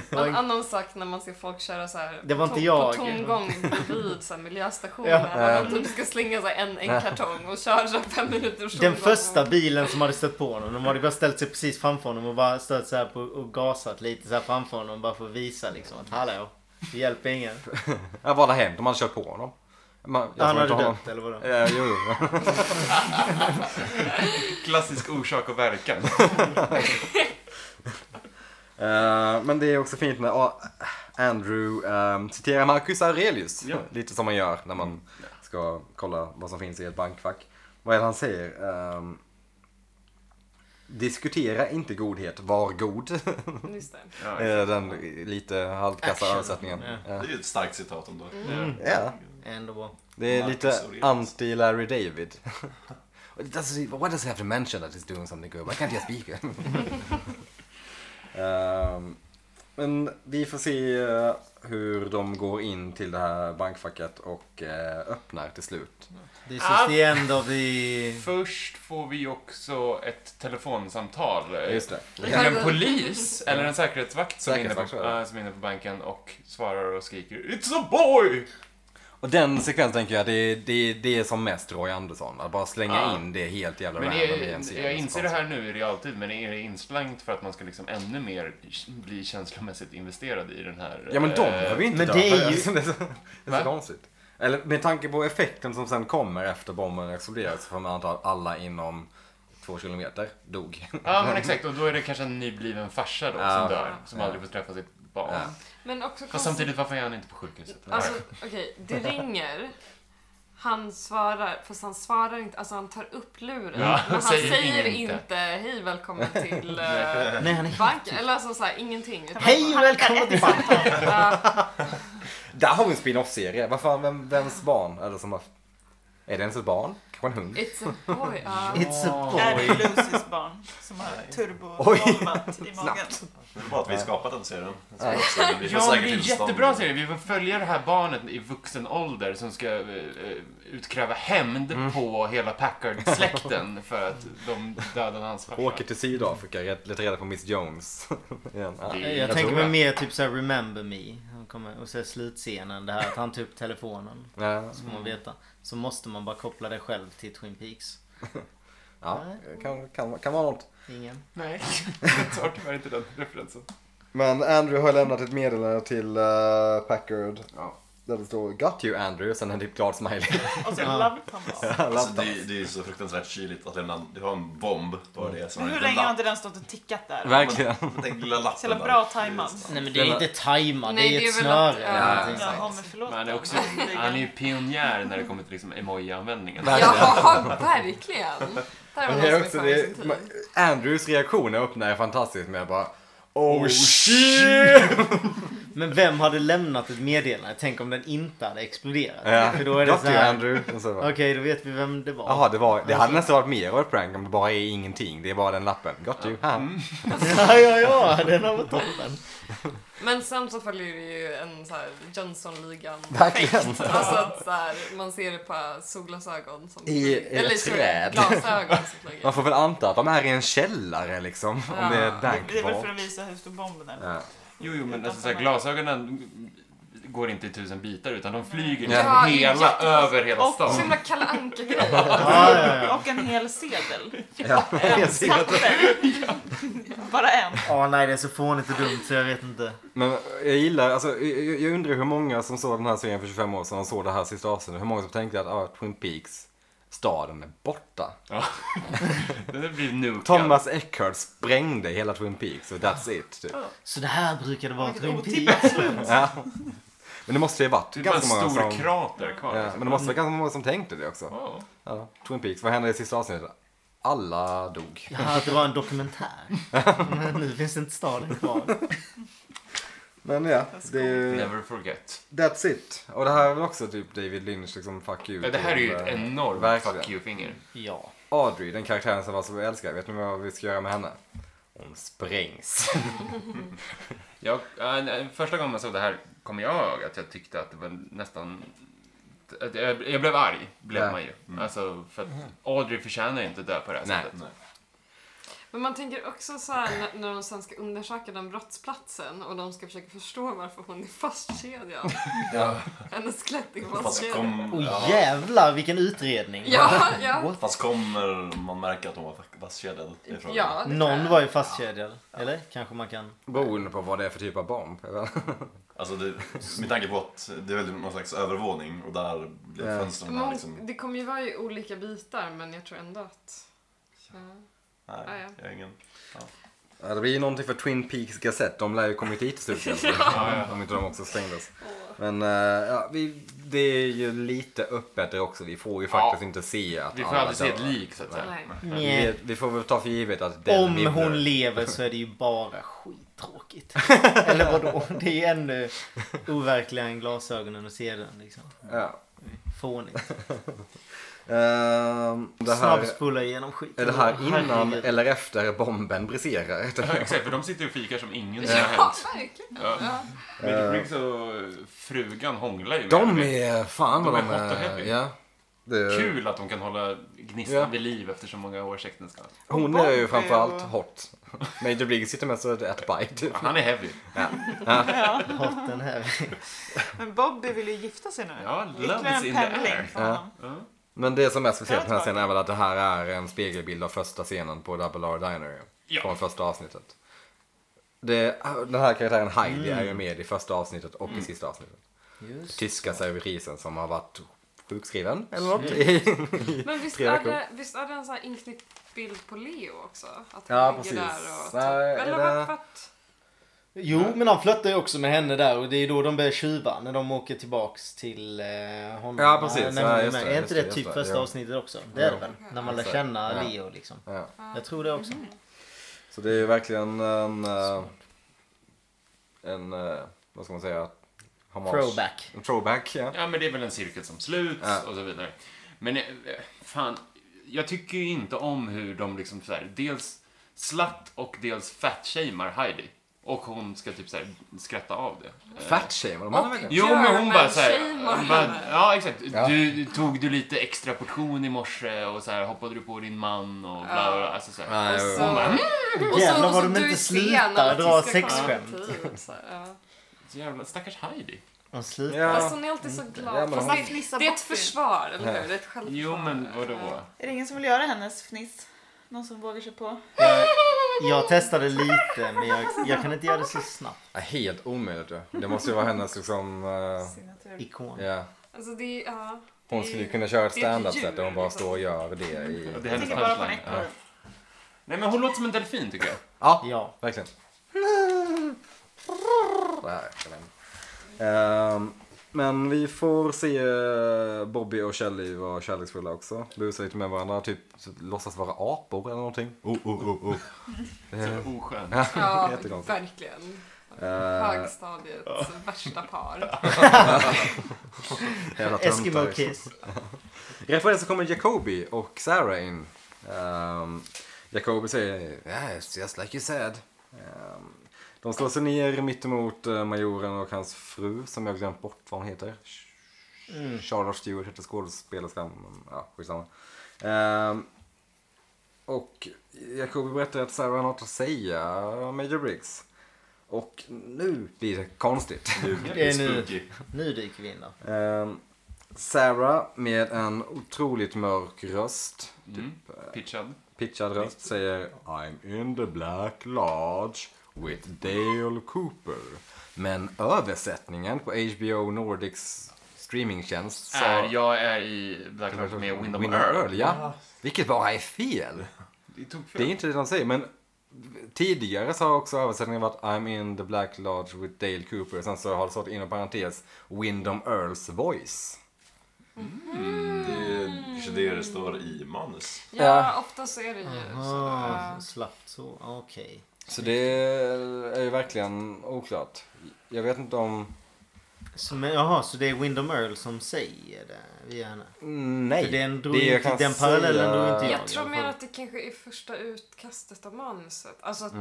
Speaker 1: det var
Speaker 6: En
Speaker 1: inte
Speaker 6: annan sak när man ser folk köra så här
Speaker 1: Det var
Speaker 6: på
Speaker 1: inte
Speaker 6: tom-
Speaker 1: jag.
Speaker 6: på tomgång vid så här miljöstationen.
Speaker 1: Ja.
Speaker 6: När man typ ska slänga så här en, en kartong och köra så här fem minuters
Speaker 1: den
Speaker 6: tomgång.
Speaker 1: första bilen som hade stött på honom, de hade bara ställt sig precis framför honom och bara stött så här på, och gasat lite så här framför honom bara för att visa liksom att hallå, det hjälper ingen.
Speaker 2: Ja, vad hade hänt om man kört på honom? Man, jag
Speaker 1: Han
Speaker 2: tror inte
Speaker 1: hade
Speaker 2: honom.
Speaker 1: dött eller vadå?
Speaker 2: Ja, jo, jo.
Speaker 5: Klassisk orsak och verkan.
Speaker 2: Eh, men det är också fint när ah, Andrew ehm, citerar Marcus Aurelius.
Speaker 5: Ja.
Speaker 2: Lite som man gör när man ska kolla vad som finns i ett bankfack. Vad är det han säger? Ehm, Diskutera inte godhet, var god.
Speaker 6: Just det.
Speaker 5: Ja,
Speaker 2: Är Den lite halvkassa
Speaker 1: Action.
Speaker 2: översättningen.
Speaker 1: Ja.
Speaker 2: Ja.
Speaker 3: Det är ju ett starkt citat ändå.
Speaker 2: Ja,
Speaker 1: Ändå bra.
Speaker 2: det är
Speaker 3: Marcus
Speaker 2: lite
Speaker 3: Aurelius.
Speaker 2: anti-Larry David. It doesn't- Why does he have to mention that he's doing something good? Why can't he just be good? Ehm, men vi får se eh, hur de går in till det här bankfacket och eh, öppnar till slut.
Speaker 1: This
Speaker 5: Ah.
Speaker 1: is the end of the...
Speaker 5: Först får vi också ett telefonsamtal. eh,
Speaker 2: Just det.
Speaker 5: Från en polis eller en säkerhetsvakt som är inne på,
Speaker 2: Säkerhetsvakt, tror jag.
Speaker 5: eh, som är inne på banken och svarar och skriker It's a boy!
Speaker 2: Och den sekvensen tänker jag, det, det, det är som mest Roy Andersson. Att bara slänga
Speaker 5: Ja.
Speaker 2: in det helt jävla
Speaker 5: Men
Speaker 2: random i en
Speaker 5: är,
Speaker 2: scen.
Speaker 5: jag inser det här nu i realtid, men är det inslängt för att man ska liksom ännu mer bli känslomässigt investerad i den här...
Speaker 2: Ja men de
Speaker 5: eh,
Speaker 2: behöver ju inte
Speaker 1: men
Speaker 2: dö.
Speaker 1: det är ju-
Speaker 2: Alltså, det är så, det är
Speaker 5: Va?
Speaker 2: så konstigt. Eller med tanke på effekten som sen kommer efter bomben exploderar så får man anta att alla inom två kilometer dog.
Speaker 5: Ja men exakt, och då är det kanske en nybliven farsa då
Speaker 2: Ja.
Speaker 5: som dör, som
Speaker 2: Ja.
Speaker 5: aldrig får träffa sitt barn.
Speaker 2: Ja.
Speaker 6: Men också
Speaker 5: Fast
Speaker 6: konstigt.
Speaker 5: samtidigt, varför är han inte på sjukhuset?
Speaker 6: Alltså, okej, det ringer. Han svarar, fast han svarar inte, alltså han tar upp luren.
Speaker 5: Ja,
Speaker 6: men han
Speaker 5: säger
Speaker 6: säger,
Speaker 5: inget.
Speaker 6: inte. hej välkommen till eh,
Speaker 1: Nej, han är...
Speaker 6: banken. Eller alltså såhär, ingenting. Utan
Speaker 1: Hej och
Speaker 6: han-
Speaker 1: välkommen tillbaka!
Speaker 6: Ja,
Speaker 2: Där har vi en spin-off-serie. Vad fan, vem, vems barn är det som har... Är det ens ett barn? Kanske en hund?
Speaker 6: it's a boy. uh, ja.
Speaker 1: It's a
Speaker 4: Där
Speaker 1: boy.
Speaker 4: är Lucys barn som har
Speaker 2: Oj.
Speaker 4: turbo-bombat i magen.
Speaker 3: Det är bara att vi skapat den serien.
Speaker 2: Ja.
Speaker 3: Så vi får säkert
Speaker 5: Ja, men det är en
Speaker 3: tillstånd.
Speaker 5: jättebra serie. Vi får följa det här barnet i vuxen ålder som ska eh, eh, utkräva hämnd
Speaker 2: Mm.
Speaker 5: på hela Packard-släkten för att de dödade hans farsa.
Speaker 2: Åker till Sydafrika, red- letar reda på Miss Jones. Igen. Ja.
Speaker 5: Det är-
Speaker 1: Jag
Speaker 5: tror
Speaker 1: tänker mig
Speaker 5: det.
Speaker 1: mer typ såhär Remember Me. Han kommer, och så slutscenen, det här att han tar upp telefonen.
Speaker 2: Ja.
Speaker 1: Så får man veta. Så måste man bara koppla det själv till Twin Peaks.
Speaker 2: Ja, kan, kan, kan vara något.
Speaker 1: Ingen.
Speaker 5: Nej, jag tar tyvärr inte den referensen.
Speaker 2: Men Andrew har lämnat ett meddelande till eh, Packard.
Speaker 5: Ja.
Speaker 2: Där det står Got you Andrew, sen en typ glad smiley.
Speaker 4: Och så love comes.
Speaker 3: Alltså, det, är- det är så fruktansvärt kyligt att lämna, du har en bomb på det. Som
Speaker 4: Mm. Men
Speaker 3: en liten
Speaker 4: hur länge har
Speaker 3: lapp.
Speaker 4: inte den stått och tickat där?
Speaker 2: Verkligen.
Speaker 3: Den lilla lappen
Speaker 4: Så jävla
Speaker 3: där.
Speaker 4: bra tajmad.
Speaker 1: Nej men det är inte tajmat, det
Speaker 6: Nej,
Speaker 1: är
Speaker 6: det
Speaker 1: ett
Speaker 6: är väl att-
Speaker 1: snöre.
Speaker 6: ja.
Speaker 1: eller någonting sånt.
Speaker 4: Jaha, men förlåt.
Speaker 5: Men han är, också, han är ju pionjär när det kommer till liksom emoji-användningen.
Speaker 6: Ja, verkligen. Där var
Speaker 2: Men
Speaker 6: någon
Speaker 2: det
Speaker 6: som
Speaker 2: är också det,
Speaker 6: positiv.
Speaker 2: ma- Andrews reaktion är upp när jag är fantastisk men jag bara Oh shit!
Speaker 1: Men vem hade lämnat ett meddelande? Tänk om den inte hade exploderat.
Speaker 2: Ja,
Speaker 1: För då är det
Speaker 2: Got
Speaker 1: så
Speaker 2: you
Speaker 1: här.
Speaker 2: Andrew. Och så bara,
Speaker 1: Okej, då vet vi vem det var.
Speaker 2: Jaha, det, var, det hade nästan varit mer av ett prank om det bara är ingenting. Det är bara den lappen. Got you. haha.
Speaker 1: Mm. ja, ja, ja, den har varit toppen.
Speaker 6: Men sen så följer det ju en så här Jönssonligan.
Speaker 2: Verkligen.
Speaker 6: Alltså att så här, man ser det på solglasögon som
Speaker 2: I ett
Speaker 6: Eller sorry,
Speaker 2: träd.
Speaker 6: glasögon som flyger.
Speaker 2: Man får väl anta att de är i en källare liksom. Om det är ett
Speaker 4: Det är väl för
Speaker 2: bankval.
Speaker 4: att visa hur stor bomben är.
Speaker 2: Ja.
Speaker 5: Jo, jo, men alltså, så här, glasögonen går inte i tusen bitar utan de flyger liksom
Speaker 6: Ja,
Speaker 5: hela,
Speaker 6: jätte-
Speaker 5: över hela
Speaker 4: Och
Speaker 6: Så
Speaker 5: stan.
Speaker 6: himla Kalle Anka-grej.
Speaker 1: Ja, ja, ja.
Speaker 4: Och en hel sedel.
Speaker 2: Ja.
Speaker 4: En
Speaker 2: jag ser att-
Speaker 4: papper. Bara en.
Speaker 1: Ja, nej, det är så fånigt och dumt så jag vet inte.
Speaker 2: Men jag gillar, alltså, jag, jag undrar hur många som såg den här serien för 25 år sedan och såg det här sista avsnittet. Hur många som tänkte att ah, Twin Peaks, staden är borta.
Speaker 5: Det blir nukad.
Speaker 2: Thomas Eckhart sprängde hela Twin Peaks och that's it. Typ.
Speaker 1: Så det här brukade vara
Speaker 4: Vilket
Speaker 1: Twin
Speaker 4: otippat
Speaker 1: Peaks.
Speaker 4: slut.
Speaker 2: Ja. Men det måste ju varit
Speaker 5: Det är bara en
Speaker 2: ganska många
Speaker 5: stor
Speaker 2: som...
Speaker 5: krater kvar.
Speaker 2: Ja,
Speaker 5: liksom.
Speaker 2: men det måste vara ganska många som tänkte det också.
Speaker 5: Ja.
Speaker 2: Ja. Twin Peaks, vad hände i sista avsnittet? Alla dog.
Speaker 1: Jag hörde att det var en dokumentär. Men nu finns inte staden kvar.
Speaker 2: Men ja, det är ju...
Speaker 5: Never forget.
Speaker 2: That's it. Och det här är väl också typ David Lynch liksom fuck you.
Speaker 5: Ja, det här är ju ett
Speaker 2: till, eh,
Speaker 5: enormt
Speaker 2: verkligen.
Speaker 5: fuck you-finger.
Speaker 1: Ja.
Speaker 2: Audrey, den karaktären som var så älskad, vet ni vad vi ska göra med henne? Hon sprängs.
Speaker 5: Jag, äh, nej, första gången jag såg det här kom jag ihåg att jag tyckte att det var nästan... Att jag, jag blev arg, blev
Speaker 2: Ja.
Speaker 5: man ju. Alltså, för att Audrey förtjänar ju inte att dö på det här
Speaker 2: Nej.
Speaker 5: sättet.
Speaker 6: Men man tänker också så här när- när de sen ska undersöka den brottsplatsen och de ska försöka förstå varför hon är fastkedjad. Hennes skelett är
Speaker 3: Fast,
Speaker 6: fastkedjad.
Speaker 3: kom,
Speaker 1: Och
Speaker 3: ja,
Speaker 1: jävlar vilken utredning.
Speaker 6: Ja, ja.
Speaker 1: What?
Speaker 3: fast kommer man märka att de var vasskedjade?
Speaker 6: ja det tror
Speaker 1: Någon
Speaker 6: jag.
Speaker 1: var ju fastkedjad. Eller? Kanske man kan...
Speaker 2: Beroende på vad det är för typ av bomb.
Speaker 3: Alltså det, med tanke på att det är väl någon slags övervåning och där blir
Speaker 2: Ja.
Speaker 3: fönstren
Speaker 6: Men
Speaker 3: här
Speaker 6: hon-
Speaker 3: liksom...
Speaker 6: Det kommer ju vara i olika bitar men jag tror ändå att... Ja. Ja,
Speaker 3: Nej,
Speaker 6: ja.
Speaker 3: jag har ingen...
Speaker 2: Ja, det blir ju någonting för Twin Peaks Gazette. De lär ju kommit hit i slutändan. Om inte de också stängdes. Men eh, ja, vi, det är ju lite öppet det också. Vi får ju faktiskt inte se att
Speaker 5: Vi får
Speaker 2: alla
Speaker 5: aldrig se ett
Speaker 2: dör.
Speaker 5: lik, så att säga.
Speaker 6: Nej.
Speaker 2: Vi, vet, vi får väl ta för givet att den
Speaker 1: Om
Speaker 2: Midler-
Speaker 1: hon lever så är det ju bara skittråkigt. Eller vadå? Det är ju ännu overkligare än glasögonen och sedeln liksom.
Speaker 2: Ja.
Speaker 1: Fånigt.
Speaker 2: Ehm, det här,
Speaker 1: Snabbspola genom skiten.
Speaker 2: är det här innan
Speaker 1: Herregud.
Speaker 2: eller efter bomben briserar?
Speaker 5: Ja, Exakt, för de sitter och fikar som ingenting har
Speaker 6: Ja,
Speaker 5: hänt.
Speaker 6: verkligen.
Speaker 5: Ja.
Speaker 6: Ja.
Speaker 5: Mr. Briggs och frugan hånglar ju. med
Speaker 2: Eh. De
Speaker 5: det.
Speaker 2: är, fan vad
Speaker 5: De är
Speaker 2: de
Speaker 5: hot och
Speaker 2: är.
Speaker 5: heavy.
Speaker 2: Ja. Det är-
Speaker 5: Kul att de kan hålla gnistan
Speaker 2: Ja.
Speaker 5: vid liv efter så många års äktenskap.
Speaker 2: Hon
Speaker 4: Och
Speaker 2: är ju
Speaker 4: Bob
Speaker 2: framförallt
Speaker 4: är-
Speaker 2: hot. Major Briggs sitter mest och äter bajs. typ.
Speaker 5: Ja, Han är heavy.
Speaker 1: Hot den här.
Speaker 4: Men Bobby vill ju gifta sig nu.
Speaker 5: Ja, love
Speaker 4: Ytterligare
Speaker 5: is
Speaker 4: en
Speaker 5: in the
Speaker 4: pendling
Speaker 5: air.
Speaker 4: för
Speaker 2: Ja.
Speaker 4: honom.
Speaker 2: Men det som är speciellt med den här
Speaker 4: Jag tar
Speaker 2: scenen är väl att det här är en spegelbild av första scenen på Double R Diner.
Speaker 5: Ja.
Speaker 2: Från första avsnittet. Det, den här karaktären Heidi är ju med i första avsnittet och i sista avsnittet.
Speaker 1: Just.
Speaker 2: Tyska servitrisen som har varit sjukskriven eller något. i-
Speaker 6: Men visst
Speaker 2: Tre
Speaker 6: är,
Speaker 2: veckor.
Speaker 6: det, visst är det en sån här inknäckt bild på Leo också? Att han
Speaker 2: Ja,
Speaker 6: ligger
Speaker 2: precis.
Speaker 6: där och... Typ,
Speaker 2: Där är
Speaker 6: eller
Speaker 2: det-
Speaker 6: vad för att...
Speaker 1: Jo, men han flörtar ju också med henne där och det är ju då de börjar tjuva när de åker tillbaks till eh, honom.
Speaker 2: Ja, precis.
Speaker 1: Nej, men-
Speaker 2: Ja, just det,
Speaker 1: är
Speaker 2: just
Speaker 1: inte
Speaker 2: det,
Speaker 1: det,
Speaker 2: just
Speaker 1: typ
Speaker 2: det.
Speaker 1: första
Speaker 2: Ja.
Speaker 1: avsnittet också? Det är det
Speaker 2: Ja.
Speaker 1: väl? När man lär
Speaker 2: Exakt.
Speaker 1: känna
Speaker 2: Ja. Mm.
Speaker 1: Leo liksom.
Speaker 2: ja.
Speaker 1: Jag tror det också.
Speaker 2: Så det är ju verkligen en, eh, en eh, vad ska man säga, hommage.
Speaker 1: Throwback.
Speaker 2: En throwback, ja.
Speaker 5: Ja, men det är väl en cirkel som sluts
Speaker 2: Ja.
Speaker 5: och så vidare. Men eh, fan, jag tycker ju inte om hur de liksom så här, dels slatt och dels fat-shamear Heidi. Och hon ska typ så här skratta av det. Eh,
Speaker 2: Fatshamer de andra verkligen.
Speaker 5: Jo, men hon
Speaker 6: German
Speaker 5: bara så
Speaker 6: shame var
Speaker 5: här,
Speaker 6: det.
Speaker 5: bara, Ja, exakt.
Speaker 2: Ja.
Speaker 5: Du, tog du lite extra portion i morse och så här hoppade du på din man och bla bla bla. Alltså, så här. "Mm,
Speaker 2: Ja,
Speaker 6: Och
Speaker 2: jo, jo.
Speaker 6: så, och så,
Speaker 1: Jävlar
Speaker 6: och
Speaker 1: vad
Speaker 6: så
Speaker 1: de
Speaker 6: du
Speaker 1: inte
Speaker 6: är sen
Speaker 1: slutar
Speaker 6: att du
Speaker 1: dra
Speaker 6: ska
Speaker 1: sexskämt.
Speaker 6: komma i tid, så här, ja.
Speaker 5: Så jävla stackars Heidi.
Speaker 1: De slutar.
Speaker 2: Ja.
Speaker 6: Fast hon är alltid så glad.
Speaker 2: Mm. Ja, men
Speaker 6: Fast
Speaker 2: hon-
Speaker 6: det,
Speaker 4: Fnissar
Speaker 6: det är ett
Speaker 4: bort det.
Speaker 6: försvar, eller hur? Det är ett självförsvar.
Speaker 5: Jo, men vadå?
Speaker 6: Ja.
Speaker 4: Är det ingen som vill göra hennes fniss? Någon som vågar sig på?
Speaker 1: Jag, jag testade lite men jag, jag kan inte göra det så snabbt.
Speaker 2: Ja, helt omöjligt ju. Det måste ju vara hennes liksom, eh,
Speaker 4: Signatur.
Speaker 1: Ikon.
Speaker 2: ja.
Speaker 6: Alltså det är, ja.
Speaker 2: Hon
Speaker 6: Det är-
Speaker 2: skulle kunna köra ett
Speaker 6: det är ett
Speaker 2: stand-up set där hon bara
Speaker 6: djur, liksom.
Speaker 2: står och gör det i...
Speaker 5: Det är
Speaker 4: Jag
Speaker 5: hennes
Speaker 4: tänker bara på en
Speaker 5: punchline.
Speaker 4: ekorre.
Speaker 5: Nej, men hon låter som en delfin tycker jag.
Speaker 2: Ja,
Speaker 1: Ja.
Speaker 2: verkligen. Det här, jag vet inte. Ehm, men vi får se eh, Bobby och Shelly vara kärleksfulla också. Busa lite med varandra, typ låtsas vara apor eller någonting. Oh, oh, oh, oh. Det-
Speaker 5: Så oskön.
Speaker 6: ja
Speaker 2: Jättekonstigt.
Speaker 6: verkligen.
Speaker 2: Eh,
Speaker 6: Högstadiets värsta par.
Speaker 2: jävla
Speaker 1: Eskimo
Speaker 2: töntar. liksom.
Speaker 1: kiss.
Speaker 2: I alla fall så kommer Jacobi och Sarah in. Um, Jacobi säger yeah, it's just like you said. Ehm, de slår sig ner mittemot eh, majoren och hans fru som jag glömt bort vad hon heter. Charlotte Stewart heter skådespelerskan. men, Ja, skitsamma. Ehm, och Jacobi berättar att Sarah har något att säga om Major Briggs. Och nu blir det konstigt.
Speaker 1: Det är nu, nu dyker vi in då.
Speaker 2: Ehm, Sarah med en otroligt mörk röst,
Speaker 5: Mm. Pitchad.
Speaker 2: pitchad röst, säger I'm in the Black Lodge with Dale Cooper. Men översättningen på HBO Nordics streamingtjänst sa...
Speaker 5: Är, jag är i Black Lodge med Windom Earl.
Speaker 2: ja. Vilket bara är fel.
Speaker 5: Det tog
Speaker 2: Det är
Speaker 5: fel.
Speaker 2: inte det de säger, men tidigare så har också översättningen varit I'm in the Black Lodge with Dale Cooper. Sen så har det stått inom parentes Windom Earls voice.
Speaker 3: Det är kanske det det står i manus.
Speaker 6: Ja, ofta så är det ju så.
Speaker 1: Ah, slappt så. Okej.
Speaker 2: Så det är ju verkligen oklart. Jag vet inte om...
Speaker 1: Så, men, jaha, så det är Windom Earl som säger det via henne?
Speaker 2: Nej.
Speaker 1: För den drog
Speaker 2: Det
Speaker 1: inte-
Speaker 2: jag kan
Speaker 1: den parallellen drog inte
Speaker 6: Jag
Speaker 1: i
Speaker 6: tror
Speaker 1: alla
Speaker 6: mer
Speaker 1: fall.
Speaker 6: att det kanske är första utkastet av manuset. Alltså att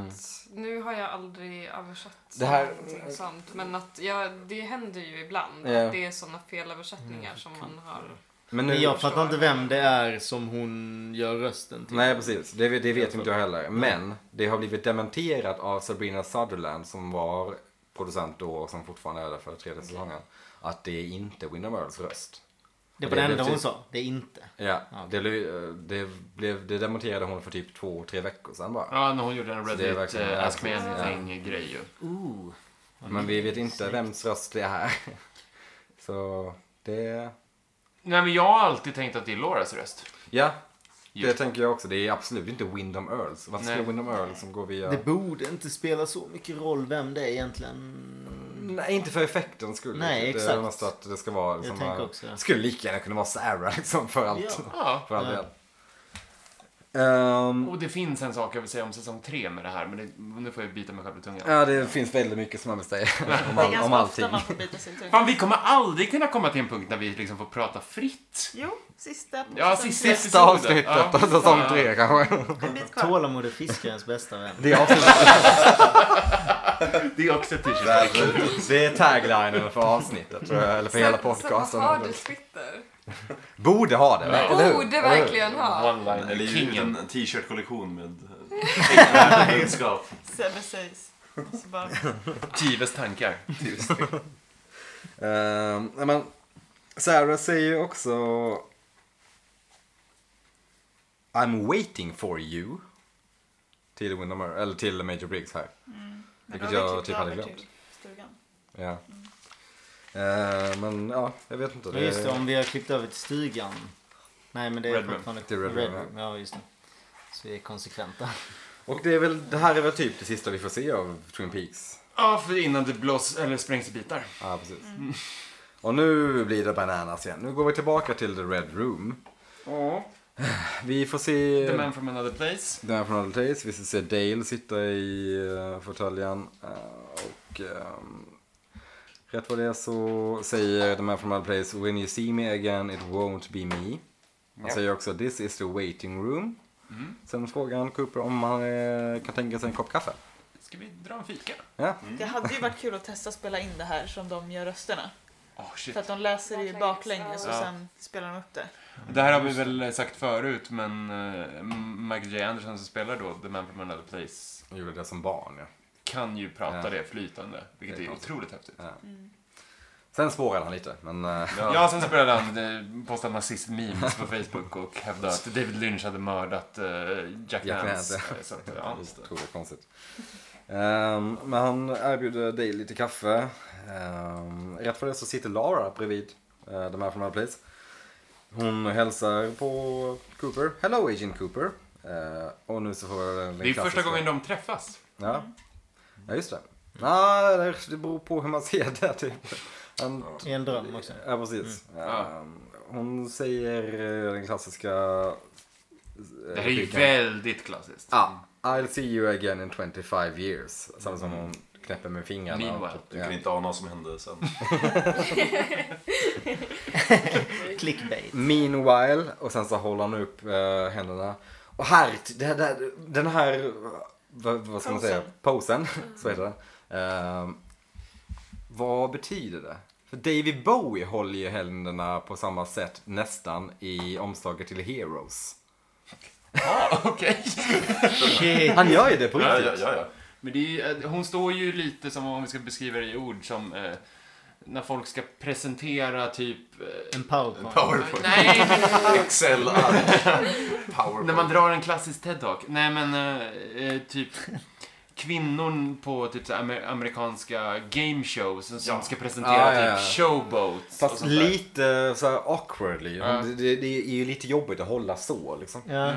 Speaker 6: nu har jag aldrig översatt
Speaker 2: Mm. Det här-
Speaker 6: någonting sånt. Men att jag, det händer ju ibland.
Speaker 2: Ja. Mm.
Speaker 6: Att det är sådana felöversättningar som man har.
Speaker 2: Men nu...
Speaker 1: Men jag fattar
Speaker 6: förstår
Speaker 1: inte
Speaker 6: jag.
Speaker 1: vem det är som hon gör rösten till.
Speaker 2: Nej, precis. Det, det vet inte jag heller. Men det har blivit dementerat av Sabrina Sutherland som var producent då och som fortfarande är det för tredje säsongen. Att det är inte Windom Earls röst.
Speaker 1: Det
Speaker 2: Det
Speaker 1: var det
Speaker 2: blev
Speaker 1: enda hon
Speaker 2: typ-
Speaker 1: sa. Det är inte.
Speaker 2: Ja,
Speaker 1: Ja.
Speaker 2: det, blev- det, blev, det dementerade hon för typ två, tre veckor sedan bara.
Speaker 5: Ja, när hon gjorde en
Speaker 2: Så det är
Speaker 5: Reddit
Speaker 2: verkligen-
Speaker 5: eh, Ask Me
Speaker 2: Ja.
Speaker 5: Anything-grej ju.
Speaker 1: Ooh.
Speaker 2: Men vi vet inte vems röst det är. Så det...
Speaker 5: Nej, men jag har alltid tänkt att det är Lauras röst.
Speaker 2: Ja, det
Speaker 5: Just.
Speaker 2: tänker jag också. Det är absolut inte Windom Earls. Varför
Speaker 5: Nej.
Speaker 2: skulle Windom Earls som går via...
Speaker 1: Det borde inte spela så mycket roll vem det är egentligen.
Speaker 2: Nej, inte för effekten skulle.
Speaker 1: Nej,
Speaker 2: Det
Speaker 1: exakt.
Speaker 2: är mest att det ska vara...
Speaker 1: tänker också det.
Speaker 2: Skulle lika gärna kunna vara Sarah liksom för liksom, allt.
Speaker 1: Ja.
Speaker 5: Ja.
Speaker 2: För all
Speaker 1: Ja.
Speaker 2: del. Ehm,
Speaker 5: Och det finns en sak jag vill säga om säsong tre med det här, men det, nu får jag bita mig själv i tungan.
Speaker 2: ja, det finns väldigt mycket som man vill säga om,
Speaker 4: Det är
Speaker 2: all, om
Speaker 4: ganska
Speaker 2: allting.
Speaker 4: ofta man får bita sig i tungan.
Speaker 5: Fan, vi kommer aldrig kunna komma till en punkt där vi liksom får prata fritt.
Speaker 4: Jo, sista.
Speaker 5: Ja,
Speaker 4: säsong
Speaker 5: sista-
Speaker 4: tre.
Speaker 2: Sista avsnittet av säsong tre kanske.
Speaker 4: En bit kvar.
Speaker 1: Tålamod är fiskarens bästa vän.
Speaker 2: Det är, avsnitt,
Speaker 5: Det är också t-shirt.
Speaker 2: det är taglinen för avsnittet, tror jag, eller för hela
Speaker 6: Så, så vad har du
Speaker 2: podcasten.
Speaker 6: Twitter?
Speaker 2: Borde ha det, eller hur?
Speaker 6: Borde Oh, verkligen ha.
Speaker 5: One-liner,
Speaker 3: Eller ju
Speaker 5: kingen.
Speaker 3: en t-shirt-kollektion med egenskap.
Speaker 4: Sebbe sägs. Så bara,
Speaker 5: Tives tankar.
Speaker 2: Ehm, nej, men Sarah säger ju också I'm waiting for you till Windham Earl- eller till Major Briggs här.
Speaker 4: men
Speaker 2: Vilket
Speaker 4: då har vi
Speaker 2: jag typ hade
Speaker 4: över
Speaker 2: glömt.
Speaker 4: till stugan.
Speaker 2: Ja. Ehm, men ja, jag vet inte.
Speaker 1: Ja, just det, om vi har klippt över till stugan. Nej men det är
Speaker 5: Red Room.
Speaker 1: fortfarande
Speaker 2: Till Red Room,
Speaker 1: Ja just det. Så vi är konsekventa.
Speaker 2: Och det, är väl, det här är väl typ det sista vi får se av Twin Peaks.
Speaker 5: Ja, för innan det blås, eller sprängs i bitar.
Speaker 2: Ja, precis. Och nu blir det bananas igen. Nu går vi tillbaka till The Red Room. Vi får se...
Speaker 5: The man from another place.
Speaker 2: Den här från Other Tales. Vi ser Dale sitta i uh, fåtöljen. eh, och ehm, rätt vad det är så säger den här från Other Place When you see me again it won't be me. Han säger också this is the waiting room. Sen frågar han Cooper om han eh, kan tänka sig en kopp kaffe.
Speaker 5: Ska vi dra en fika?
Speaker 2: Ja,
Speaker 4: Det hade ju varit kul att testa att spela in det här som de gör rösterna.
Speaker 5: Åh Oh, shit.
Speaker 4: För att de läser det ju baklänges och
Speaker 5: Ja.
Speaker 4: sen spelar de upp det.
Speaker 5: Det här har vi väl sagt förut, men eh, Michael J. Anderson som spelar då The Man from Another Place
Speaker 2: han gjorde det som barn ja.
Speaker 5: kan ju prata
Speaker 2: Ja.
Speaker 5: det flytande, vilket
Speaker 2: Det är
Speaker 5: är
Speaker 2: konstigt.
Speaker 5: otroligt häftigt.
Speaker 2: Sen spårade han lite men eh,
Speaker 5: Ja, sen spelade han, eh, postade nazist-memes på Facebook och hävdade att David Lynch hade mördat eh, Jack,
Speaker 2: Jack
Speaker 5: Nance.
Speaker 2: Nance,
Speaker 5: Eh, Så att, ja.
Speaker 2: det tror jag är konstigt. Ehm, men han erbjuder Dale lite kaffe. Um, rätt för det så sitter Lara bredvid uh, de här från Other Place. Hon hälsar på Cooper. Hello Agent Cooper. Eh, och nu så får jag den
Speaker 5: Det är första
Speaker 2: klassiska-
Speaker 5: gången de träffas.
Speaker 2: Ja, ja just det. Ja, det- det beror på hur man ser det typ. Han
Speaker 1: I en dröm också.
Speaker 2: Ja, precis.
Speaker 5: Mm.
Speaker 2: Ehm, hon säger eh, den klassiska...
Speaker 5: Det här är ju väldigt klassiskt.
Speaker 2: Ja, Mm. I'll see you again in 25 years. Samma som hon knäpper med fingrarna.
Speaker 5: Meanwhile.
Speaker 2: Typ,
Speaker 3: Du
Speaker 2: ja.
Speaker 3: kan inte ana vad som hände sen.
Speaker 1: Clickbait.
Speaker 2: Meanwhile, och sen så håller hon upp eh, händerna. Och här, det, här- det, här- den här, vad, vad ska man säga, posen, så heter den. Ehm, vad betyder det? För David Bowie håller ju händerna på samma sätt nästan i omslaget till Heroes.
Speaker 5: Ja, okej.
Speaker 1: Shit.
Speaker 2: Han gör ju det på
Speaker 3: Ja,
Speaker 2: riktigt.
Speaker 3: ja, ja. ja.
Speaker 5: Men det är, ju- eh, hon står ju lite som, om vi ska beskriva det i ord, som eh, när folk ska presentera typ... Eh,
Speaker 1: En powerpoint.
Speaker 3: Powerpoint.
Speaker 5: nej, men
Speaker 3: Excel. Powerpoint.
Speaker 5: När man drar en klassisk TED-talk. Nej men eh, eh, typ kvinnor på typ så här amer- amerikanska game shows som, som ska
Speaker 2: Ja,
Speaker 5: presentera
Speaker 2: ja, ja.
Speaker 5: typ showboats.
Speaker 2: Fast
Speaker 5: och sånt där.
Speaker 2: lite så här awkwardly.
Speaker 5: Ja.
Speaker 2: Det, det, det är ju lite jobbigt att hålla så liksom.
Speaker 1: Ja.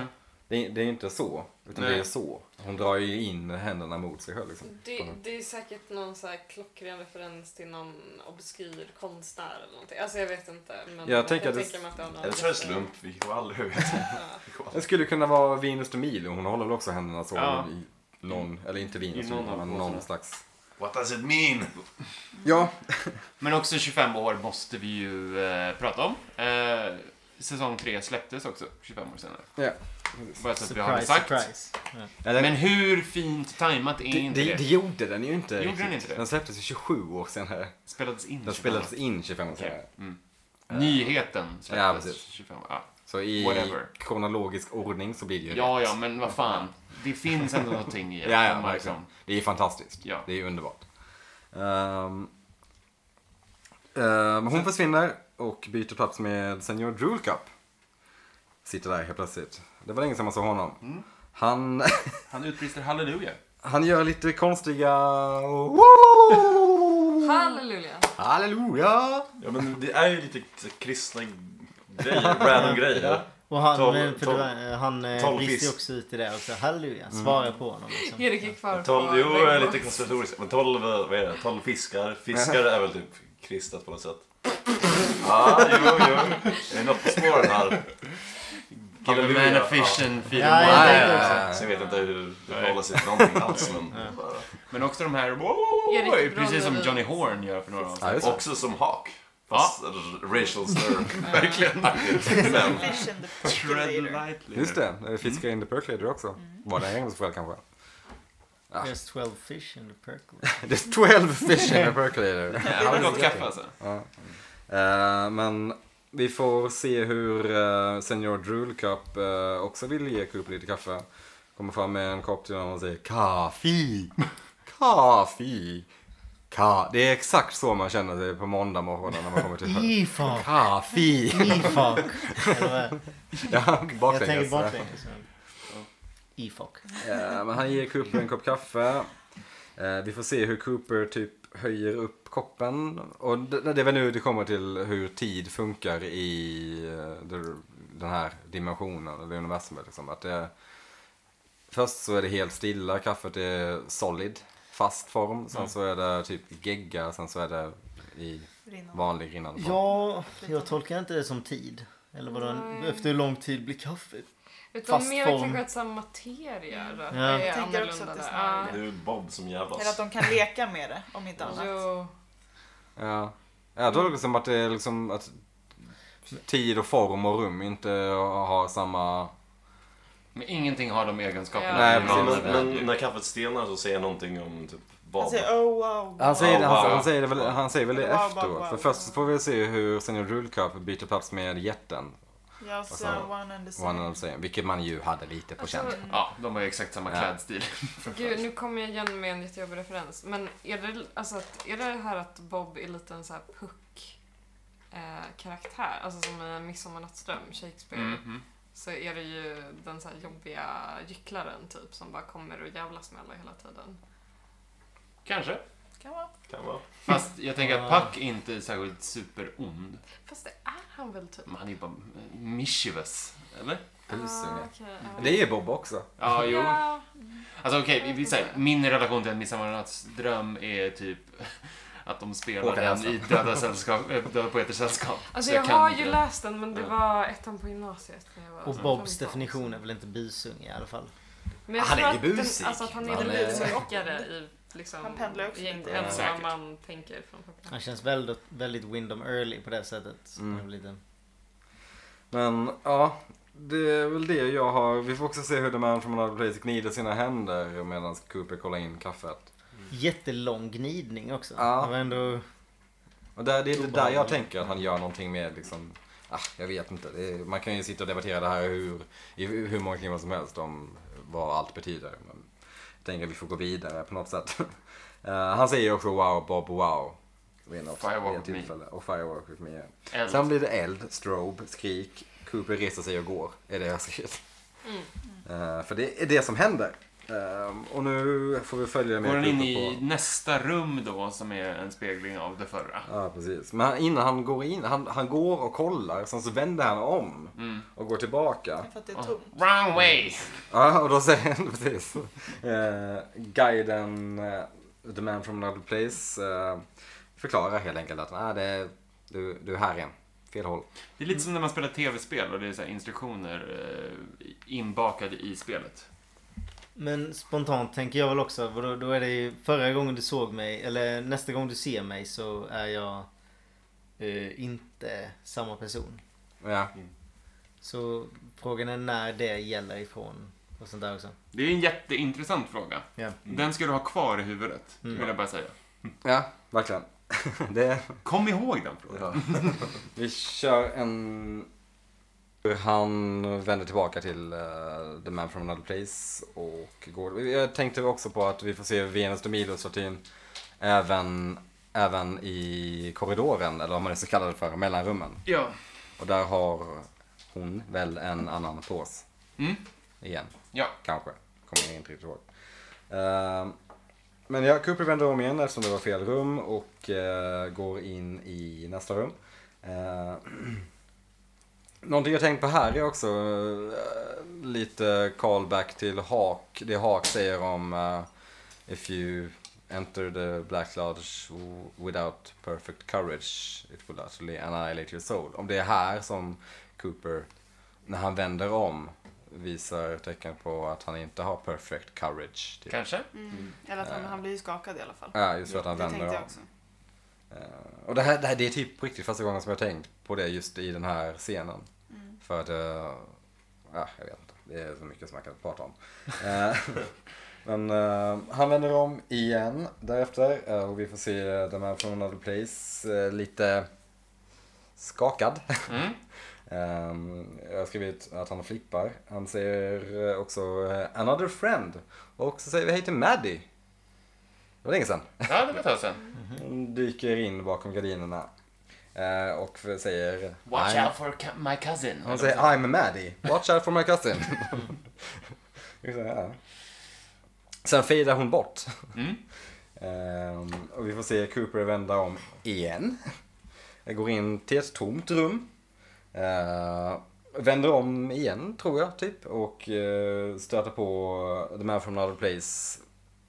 Speaker 2: Det, är- det är ju inte så, utan
Speaker 5: Nej.
Speaker 2: det är så. Hon drar ju in händerna mot sig själv liksom.
Speaker 6: Det, det är säkert någon så här klockren referens till någon obskyr konstnär eller någonting. Alltså jag vet inte. Men
Speaker 2: Jag tänker att det-
Speaker 6: tänker mig att det har någon
Speaker 3: Eller så är det slump. Vi kommer aldrig veta. Vi kommer aldrig-
Speaker 2: Det skulle kunna vara Venus de Milo. Hon håller väl också händerna så
Speaker 5: Ja.
Speaker 2: i någon, eller inte Venus de
Speaker 5: I någon
Speaker 2: Milo,
Speaker 5: av
Speaker 2: men
Speaker 5: båtarna.
Speaker 2: någon slags.
Speaker 3: What does it mean?
Speaker 2: Ja,
Speaker 5: Men också 25 år måste vi ju eh, prata om. Eh, säsong 3 släpptes också 25 år senare.
Speaker 2: ja.
Speaker 5: Bara så att vi har det
Speaker 1: Surprise,
Speaker 5: sagt.
Speaker 1: surprise. Ja.
Speaker 2: Eller,
Speaker 5: Men hur fint tajmat är
Speaker 2: det,
Speaker 5: inte
Speaker 2: det,
Speaker 5: det?
Speaker 2: det gjorde den ju inte.
Speaker 5: Gjorde
Speaker 2: riktigt.
Speaker 5: den inte det?
Speaker 2: Den släpptes ju 27 år senare.
Speaker 5: Spelades in
Speaker 2: Den
Speaker 5: 25
Speaker 2: spelades
Speaker 5: år.
Speaker 2: in 25 år senare.
Speaker 5: Okej. Mm. Nyheten
Speaker 2: Ja,
Speaker 5: släpptes
Speaker 2: precis.
Speaker 5: 25 år. Ja.
Speaker 2: Så i
Speaker 5: Whatever.
Speaker 2: kronologisk ordning så blir det ju
Speaker 5: ja,
Speaker 2: rätt.
Speaker 5: ja, men vad fan. Det finns ändå någonting i
Speaker 2: Ja, ja,
Speaker 5: man liksom-
Speaker 2: verkligen. Det är fantastiskt.
Speaker 5: Ja.
Speaker 2: Det är underbart. Ehm, ehm, hon försvinner och byter plats med Senior Drulcup. Sitter där helt plötsligt. Det var länge sedan man såg honom. Han,
Speaker 5: Han utbrister halleluja.
Speaker 2: han gör lite konstiga...
Speaker 6: Halleluja!
Speaker 2: Halleluja!
Speaker 3: Ja, men det är ju lite så kristna grejer. Random grejer.
Speaker 1: Och han,
Speaker 3: Tolv-
Speaker 1: men, för
Speaker 3: tolv-
Speaker 1: det var- han eh,
Speaker 3: tolv
Speaker 1: brister ju
Speaker 3: fisk.
Speaker 1: också ut i det också. Halleluja. Svara på honom liksom.
Speaker 6: Erik gick kvar
Speaker 3: Tolv,
Speaker 6: på
Speaker 3: jo, jag är
Speaker 6: väggen.
Speaker 3: lite konspiratoriskt. Men tolv, eh, vad är det? Tolv fiskar. Fiskar är väl typ kristet på något sätt. Ja, jo, jo. Det är något på spåren här.
Speaker 5: Give a man a fish and feed him
Speaker 1: Ja, jag
Speaker 5: wild.
Speaker 1: tänkte också.
Speaker 3: Så jag vet inte hur det förhåller sig till någonting alls. Men bara.
Speaker 5: Men också de här,
Speaker 6: Ja, det är
Speaker 5: wow,
Speaker 6: bra
Speaker 5: precis som
Speaker 6: melodi.
Speaker 5: Johnny Horn gör för några avsnitt.
Speaker 2: Ja, just det.
Speaker 3: Också som hak. Fast r- racial slur.
Speaker 5: Verkligen.
Speaker 3: Men
Speaker 4: Fish and the
Speaker 5: Tread
Speaker 4: percolator.
Speaker 5: lightly.
Speaker 2: Just det, eh, Fiska in the Percolator också. Var det en engelsk själv kanske? Ah.
Speaker 1: There's 12 fish in the perk.
Speaker 2: There's 12 fish in the Percolator.
Speaker 5: Ja, Han har gått kaffe alltså.
Speaker 2: Eh, men vi får se hur eh, Senior Drool Cup eh, också vill ge Coop lite kaffe. Kommer fram med en kopp till honom och säger kaffe, kaffe, ka. Det är exakt så man känner sig på måndag morgonen när man kommer till
Speaker 1: Ifak!
Speaker 2: Kaffe.
Speaker 1: Ifak! Eller vad är det?
Speaker 2: Ja,
Speaker 1: Jag tänker
Speaker 2: baklänges.
Speaker 1: baklänges. Ifak.
Speaker 2: Eh, men han ger Cooper en kopp kaffe. Eh, vi får se hur Cooper typ höjer upp koppen. Och det, det är väl nu det kommer till hur tid funkar i eh, der- den här dimensionen, eller universumet. Liksom. Att det, först så är det helt stilla, kaffet är solid, fast form. Sen så är det typ gegga, sen så är det i
Speaker 4: Rinna.
Speaker 2: vanlig rinnande form.
Speaker 1: Ja, jag tolkar inte det som tid. Eller vadå? Efter hur lång tid blir kaffet?
Speaker 6: Utan
Speaker 1: Fast
Speaker 6: mer
Speaker 1: form.
Speaker 6: kanske att så här materia då,
Speaker 1: Ja.
Speaker 6: är
Speaker 4: Jag tänker också
Speaker 6: annorlunda
Speaker 4: att det
Speaker 6: där.
Speaker 4: snarare
Speaker 6: Ja.
Speaker 3: det är Bob som
Speaker 4: Eller att
Speaker 3: jävlas.
Speaker 4: de kan leka med det, om inte annat.
Speaker 6: Jo.
Speaker 2: Ja. Jag tolkar det som att det är liksom att tid och form och rum inte har samma
Speaker 5: Men ingenting har de egenskaperna.
Speaker 6: Ja.
Speaker 2: Nej,
Speaker 5: som
Speaker 2: precis.
Speaker 5: vanliga
Speaker 3: Men, men
Speaker 5: djur.
Speaker 3: när kaffet stelnar så säger jag någonting om typ Bob.
Speaker 4: Han säger oh wow.
Speaker 2: Han säger,
Speaker 3: Ja,
Speaker 2: han,
Speaker 3: wow.
Speaker 2: han säger det väl, han säger väl det
Speaker 4: Wow, wow,
Speaker 2: efteråt.
Speaker 4: wow.
Speaker 2: För först får vi se hur Senior Rulcup byter plats med jätten.
Speaker 4: Jag
Speaker 2: så-
Speaker 4: ser one and the
Speaker 2: One
Speaker 4: same.
Speaker 2: and the same, vilket man ju hade lite på känn.
Speaker 6: Alltså,
Speaker 5: Ja, de har ju exakt samma
Speaker 2: Ja.
Speaker 5: klädstil.
Speaker 6: gud, nu kommer jag igen med en jättejobbig referens. Men är det, alltså, att, är det det här att Bob är lite en så här puck eh, karaktär, alltså som i en midsommarnattsdröm, Shakespeare.
Speaker 5: Mhm.
Speaker 6: Så är det ju den så här jobbiga gycklaren typ som bara kommer och jävlas med alla hela tiden.
Speaker 5: Kanske.
Speaker 4: Kan vara.
Speaker 3: Kan vara.
Speaker 5: Fast jag tänker att Puck inte är särskilt superond.
Speaker 6: Fast det är han väl typ?
Speaker 5: Men han är ju bara eh, mischievous. Eller?
Speaker 2: Busunge.
Speaker 6: Ah, okej, ja.
Speaker 2: Det är Bob också.
Speaker 5: Ja, jo.
Speaker 6: Ja,
Speaker 5: Alltså okej, vi- vi säger min relation till en midsommarnattsdröm är typ att de spelar
Speaker 2: Håkan
Speaker 5: den
Speaker 2: Hellström.
Speaker 5: i Döda, sällskap, eh, döda Poeters Sällskap.
Speaker 6: Alltså
Speaker 5: Så
Speaker 6: jag
Speaker 5: kan
Speaker 6: har
Speaker 5: inte-
Speaker 6: ju läst den men det
Speaker 5: Ja.
Speaker 6: var ettan på gymnasiet när jag var
Speaker 1: Och
Speaker 6: så
Speaker 1: Bobs
Speaker 6: 15.
Speaker 1: definition är väl inte busung i alla fall.
Speaker 6: Men jag
Speaker 2: Ah, Han
Speaker 6: tror
Speaker 2: är ju
Speaker 6: att den-
Speaker 2: busig.
Speaker 6: Alltså att han är
Speaker 2: Han
Speaker 6: en
Speaker 2: är-
Speaker 6: busåkare i liksom...
Speaker 4: Han pendlar också
Speaker 6: i
Speaker 4: lite.
Speaker 6: ens vad
Speaker 5: Säkert.
Speaker 6: man tänker från
Speaker 1: Han
Speaker 6: populärt.
Speaker 1: känns väldigt, väldigt Windom Early på det sättet. Så
Speaker 2: Mm.
Speaker 1: han blir lite-
Speaker 2: Men ja, det är väl det jag har. Vi får också se hur The Man from Another Place gnider sina händer medan Cooper kollar in kaffet.
Speaker 1: Jättelång gnidning också.
Speaker 2: Ja.
Speaker 1: Det var ändå...
Speaker 2: Och där, det är inte där jag
Speaker 1: Obehagligt.
Speaker 2: tänker att han gör någonting med liksom Ah, jag vet inte. Det är, man kan ju sitta och debattera det här hur, i hur många timmar som helst om vad allt betyder. Men jag tänker att vi får gå vidare på något sätt. Eh, han säger ju också wow Bob wow. Vid något,
Speaker 5: Firework
Speaker 2: vid ett
Speaker 5: with me.
Speaker 2: tillfälle. Och firework with me.
Speaker 5: Eld.
Speaker 2: Sen blir det eld, strobe, skrik. Cooper reser sig och går. Är det jag har skrivit.
Speaker 5: Mm.
Speaker 2: Eh, för det är det som händer. Eh, och nu får vi följa med
Speaker 5: Går den in
Speaker 2: Cooper
Speaker 5: i nästa rum då som är en spegling av det förra?
Speaker 2: Ja, precis. Men han- innan han går in, han, han går och kollar, sen så vänder han om
Speaker 5: Mm.
Speaker 2: och går tillbaka.
Speaker 4: För att det är tomt.
Speaker 5: Wrong way!
Speaker 2: Ja, och då säger han precis. Eh, guiden, eh, the man from another place, eh, förklarar helt enkelt att nej, det är, du, du är här igen. Fel håll.
Speaker 5: Det är lite som när man spelar tv-spel och det är så här instruktioner eh, inbakade i spelet.
Speaker 1: Men spontant tänker jag väl också, för då, då är det ju förra gången du såg mig, eller nästa gång du ser mig så är jag eh, inte samma person.
Speaker 2: Ja.
Speaker 1: Så frågan är när det gäller ifrån och sånt där också.
Speaker 5: Det är en jätteintressant fråga.
Speaker 1: Ja.
Speaker 5: Den ska du ha kvar i huvudet,
Speaker 1: Mm.
Speaker 5: vill jag bara säga.
Speaker 2: ja, verkligen. det,
Speaker 5: Kom ihåg den frågan.
Speaker 2: Vi kör en... hur Han vänder tillbaka till eh, The Man from Another Place och går... Jag tänkte också på att vi får se Venus de Milo-statyn även, även i korridoren, eller vad man nu ska kalla det för, mellanrummen.
Speaker 5: Ja.
Speaker 2: Och där har hon väl en annan pås
Speaker 5: Mm.
Speaker 2: igen.
Speaker 5: Ja.
Speaker 2: Kanske. Kommer jag inte riktigt ihåg. Ehm, men ja, Cooper vänder om igen eftersom det var fel rum och eh, går in i nästa rum. Uh, någonting jag tänkt på här är också eh, lite callback till Hawk. Det Hawk säger om eh, If you enter the Black Lodge without perfect courage it will utterly annihilate your soul. Om det är här som Cooper när han vänder om visar tecken på att han inte har perfect courage. Typ.
Speaker 5: Kanske?
Speaker 4: Mm. Eller att han, han blir ju skakad i alla fall.
Speaker 2: Ja, just för Eh. att han
Speaker 4: Det
Speaker 2: vänder
Speaker 4: tänkte jag
Speaker 2: om.
Speaker 4: också.
Speaker 2: Eh, Och det här, det här det är typ på riktigt första gången som jag har tänkt på det just i den här scenen.
Speaker 4: Mm.
Speaker 2: För att, eh, ja, jag vet inte. Det är så mycket som man kan prata om. Eh, Men eh, han vänder om igen därefter eh, och vi får se eh, The Man from Another Place eh, lite skakad.
Speaker 5: Mm.
Speaker 2: Ehm, jag har skrivit att han flippar. Han säger eh, också eh, Another Friend. Och så säger vi hej till Maddie. Det var länge sedan.
Speaker 5: Ja, det var ett tag sedan.
Speaker 2: Hon dyker in bakom gardinerna eh, och säger
Speaker 5: Watch
Speaker 2: "I'm-"
Speaker 5: out for cu- my cousin.
Speaker 2: Hon säger I'm Maddie, watch out for my cousin. Jag säger, "Ja." Sen fejdar hon bort.
Speaker 5: Mm.
Speaker 2: Ehm, och vi får se Cooper vända om igen. Jag går in till ett tomt rum. Eh, vänder om igen, tror jag, typ. Och eh, stöter på The Man from Another Place,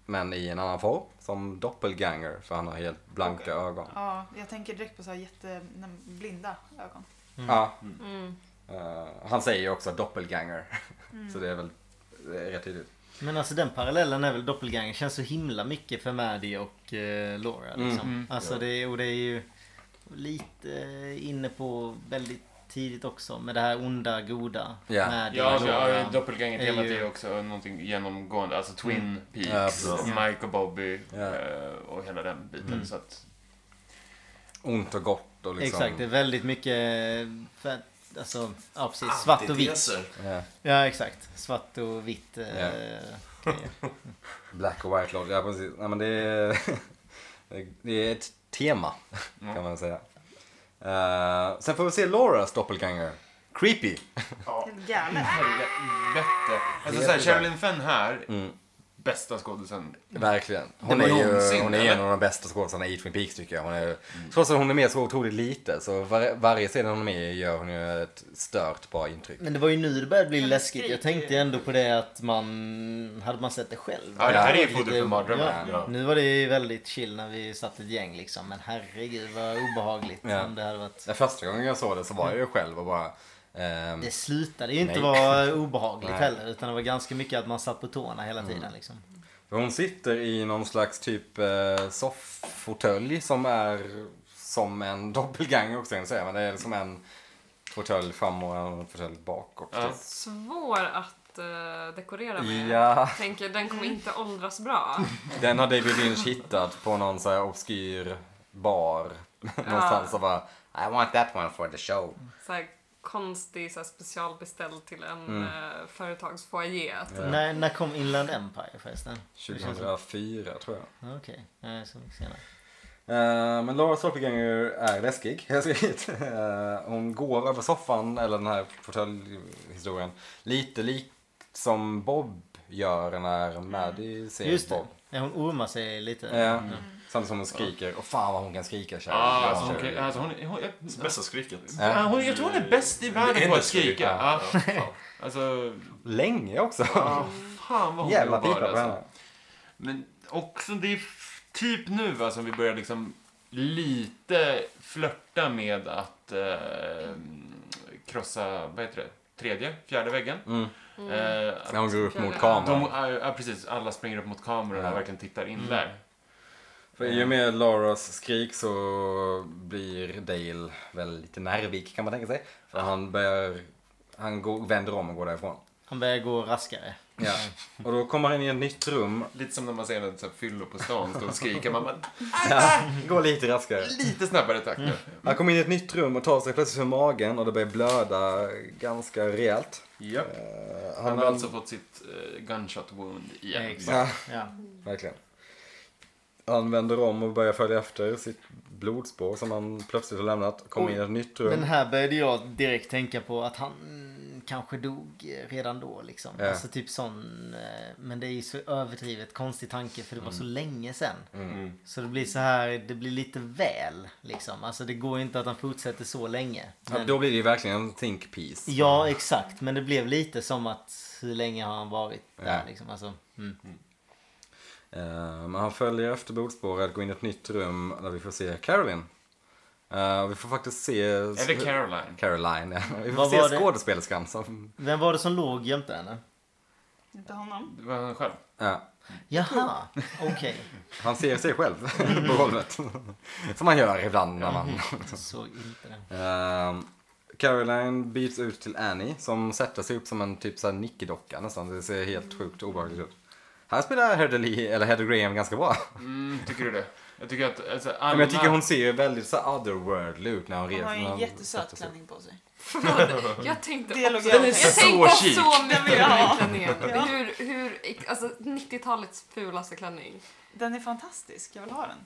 Speaker 2: men i en annan form. Som doppelganger, för han har helt blanka ögon.
Speaker 4: Ja, jag tänker direkt på så här jätte, blinda ögon.
Speaker 2: Ja.
Speaker 6: Mm.
Speaker 2: Eh, han säger ju också doppelganger. Så det är väl det är rätt tydligt.
Speaker 1: Men alltså den parallellen är väl doppelganger känns så himla mycket för Maddie och eh, Laura liksom.
Speaker 5: Mm.
Speaker 1: Alltså det, är- och det är ju lite eh, inne på väldigt tidigt också med det här onda, goda.
Speaker 2: Ja.
Speaker 1: Maddie
Speaker 5: Ja,
Speaker 1: och
Speaker 5: ja,
Speaker 1: Laura.
Speaker 5: ja doppelganger-temat
Speaker 1: är
Speaker 5: är
Speaker 1: ju-
Speaker 5: ju också någonting genomgående. Alltså Twin
Speaker 2: Ja,
Speaker 5: Peaks,
Speaker 2: precis.
Speaker 5: Mike och Bobby
Speaker 2: Ja.
Speaker 5: eh, och hela den biten. Så att,
Speaker 2: Ont och gott och liksom.
Speaker 1: Exakt, det är väldigt mycket för, att- alltså, ja, precis,
Speaker 5: Ah,
Speaker 1: svart och vitt.
Speaker 3: Antiteser.
Speaker 2: Ja.
Speaker 1: Ja exakt, svart och vitt. eh,
Speaker 2: Ja.
Speaker 1: grejer.
Speaker 2: Black och white lodge, ja precis. Nej, men det, är, det är ett tema kan man säga. Eh, sen får vi se Lauras doppelganger. Creepy.
Speaker 4: Helt galet.
Speaker 5: Helvete. Alltså
Speaker 2: Det är
Speaker 5: såhär,
Speaker 2: det där.
Speaker 5: Sherilyn Fenn här,
Speaker 2: Mm.
Speaker 5: bästa skådisen.
Speaker 2: Verkligen. Hon
Speaker 5: Det
Speaker 2: är,
Speaker 5: var
Speaker 2: ju,
Speaker 5: någonsin,
Speaker 2: hon är ju
Speaker 5: eller?
Speaker 2: en av de bästa skådespelarna i Twin Peaks tycker jag. Hon är, Trots att hon är med så otroligt lite så var, varje scen hon är med i gör hon ju ett stört bra intryck.
Speaker 1: Men det var ju nu det började bli
Speaker 4: Men det
Speaker 1: läskigt. Jag
Speaker 4: skriker
Speaker 1: tänkte
Speaker 4: ju.
Speaker 1: ändå på det att man... Hade man sett det själv?
Speaker 5: Ja, det här är ju
Speaker 1: Lite-
Speaker 5: foder för mardrömmar.
Speaker 1: Ja. Nu var det ju väldigt chill när vi satt ett gäng liksom. Men herregud vad obehagligt
Speaker 2: Ja.
Speaker 1: om det hade varit...
Speaker 2: Den första gången jag såg det så var jag ju själv och bara... ehm,
Speaker 1: Det slutade ju inte
Speaker 2: Nej.
Speaker 1: vara obehagligt
Speaker 2: Nej.
Speaker 1: heller. Utan det var ganska mycket att man satt på tårna hela tiden liksom.
Speaker 2: För hon sitter i någon slags typ eh, sofffåtölj som är som en doppelganger också kan jag säga. Men det är som en fåtölj fram och en fåtölj bak. Och
Speaker 5: Ja.
Speaker 6: Svår att eh, dekorera med.
Speaker 2: ja,
Speaker 6: Tänker, den kommer inte åldras bra.
Speaker 2: den har David Lynch hittat på någon så här obskyr bar. Någonstans och bara I want that one for the show.
Speaker 6: Så här, konstig så här, specialbeställd till en eh, företagsfoajé.
Speaker 2: Mm. Ja.
Speaker 1: När, när kom Inland Empire förresten? Det känns som-
Speaker 2: 2004 tror jag.
Speaker 1: Ja, Okej, Nej, så mycket senare.
Speaker 2: Eh, men Laura Stolpeganger är läskig. Jag ska hit. Eh, hon går över soffan, eller den här fåtöljhistorien, lite likt som Bob gör när Maddie ser
Speaker 1: Mm. Just det.
Speaker 2: Bob.
Speaker 1: Ja, hon ormar sig lite.
Speaker 2: Eh, Samtidigt som hon skriker. Och fan vad hon kan skrika
Speaker 5: Ja,
Speaker 2: Cheryl.
Speaker 5: alltså, hon,
Speaker 2: Cheryl.
Speaker 5: kan- alltså, hon, hon, jag,
Speaker 3: Bästa skriket.
Speaker 5: ja, hon, jag tror hon är bäst i världen på att
Speaker 3: Endlessly.
Speaker 5: skrika. Ja. Alltså,
Speaker 2: Länge också.
Speaker 5: ja, Ah, fan vad hon
Speaker 2: Jävla
Speaker 5: jobbar,
Speaker 2: pipa på
Speaker 5: alltså.
Speaker 2: henne.
Speaker 5: Men också det är f- typ nu va, som vi börjar liksom lite flörta med att eh, krossa, vad heter det, tredje, fjärde väggen.
Speaker 2: Mm.
Speaker 5: Eh,
Speaker 2: När
Speaker 5: att
Speaker 2: hon går upp mot
Speaker 5: de,
Speaker 2: kameran.
Speaker 5: ja, ja, precis, alla springer upp mot kameran
Speaker 2: Ja. Mm.
Speaker 5: och verkligen tittar in där.
Speaker 2: För I och med Lauras skrik så blir Dale väl lite nervig kan man tänka sig. För han börjar, han går, vänder om och går därifrån.
Speaker 1: Han börjar gå raskare.
Speaker 2: Ja. Och då kommer han in i ett nytt rum.
Speaker 5: Lite som när man ser en så här fyllo på stan stå och skrika. Man bara,
Speaker 2: Går lite raskare.
Speaker 5: lite snabbare tack nu.
Speaker 2: Han kommer in i ett nytt rum och tar sig plötsligt för magen och det börjar blöda ganska rejält.
Speaker 5: Japp.
Speaker 2: Eh,
Speaker 5: Han har
Speaker 2: vänd-
Speaker 5: alltså fått sitt eh, gunshot wound igen.
Speaker 1: Exakt.
Speaker 2: Ja,
Speaker 1: Ja.
Speaker 2: verkligen. Han vänder om och börjar följa efter sitt blodspår som han plötsligt har lämnat. Kommer in i ett nytt rum.
Speaker 1: Men här började jag direkt tänka på att han kanske dog redan då liksom.
Speaker 2: Ja.
Speaker 1: Alltså typ sån. eh, Men det är ju så överdrivet konstig tanke för det var så
Speaker 2: Mm.
Speaker 1: länge sedan. Så det blir så här, det blir lite väl liksom. Alltså det går ju inte att han fortsätter så länge.
Speaker 2: Ja,
Speaker 1: Men,
Speaker 2: då blir det ju verkligen en think piece.
Speaker 1: Ja exakt, men det blev lite som att hur länge har han varit där
Speaker 2: Ja.
Speaker 1: liksom. Alltså, mm.
Speaker 2: Eh, Men han följer efter blodspåret, går in i ett nytt rum där vi får se Caroline. Eh, vi får faktiskt se...
Speaker 5: Eller Caroline.
Speaker 2: Caroline, ja. Vi får
Speaker 1: Vad var
Speaker 2: se
Speaker 1: det?
Speaker 2: skådespelerskan som...
Speaker 1: Vem var det som låg jämte henne?
Speaker 4: Inte honom.
Speaker 5: Det var han själv.
Speaker 2: Ja.
Speaker 1: Jaha, okej.
Speaker 2: Han ser sig själv på golvet. Som man gör ibland när man...
Speaker 1: Jag såg inte det.
Speaker 2: Ehm, Caroline byts ut till Annie som sätter sig upp som en typ såhär Nicky-docka nästan. Det ser helt sjukt obehagligt ut. Här spelar Heather, Lee, eller Heather Graham ganska bra.
Speaker 5: Mm, tycker du det? Jag tycker att... Alltså,
Speaker 2: Men
Speaker 5: Anna-
Speaker 2: jag tycker hon ser ju väldigt så här otherworldly ut när hon
Speaker 4: Hon
Speaker 2: reser.
Speaker 4: har ju
Speaker 2: när
Speaker 4: en
Speaker 2: hon
Speaker 4: jättesöt
Speaker 2: sätter sig upp.
Speaker 4: klänning på sig.
Speaker 6: Jag tänkte
Speaker 4: Det
Speaker 6: också...
Speaker 4: låg jag
Speaker 6: jag
Speaker 4: tänkt.
Speaker 5: Så
Speaker 6: tänkte
Speaker 5: chic.
Speaker 6: så mycket på
Speaker 4: Ja.
Speaker 6: den klänningen.
Speaker 4: Ja.
Speaker 6: Hur, hur, alltså 90-talets fulaste klänning.
Speaker 4: Den är fantastisk, jag vill ha den.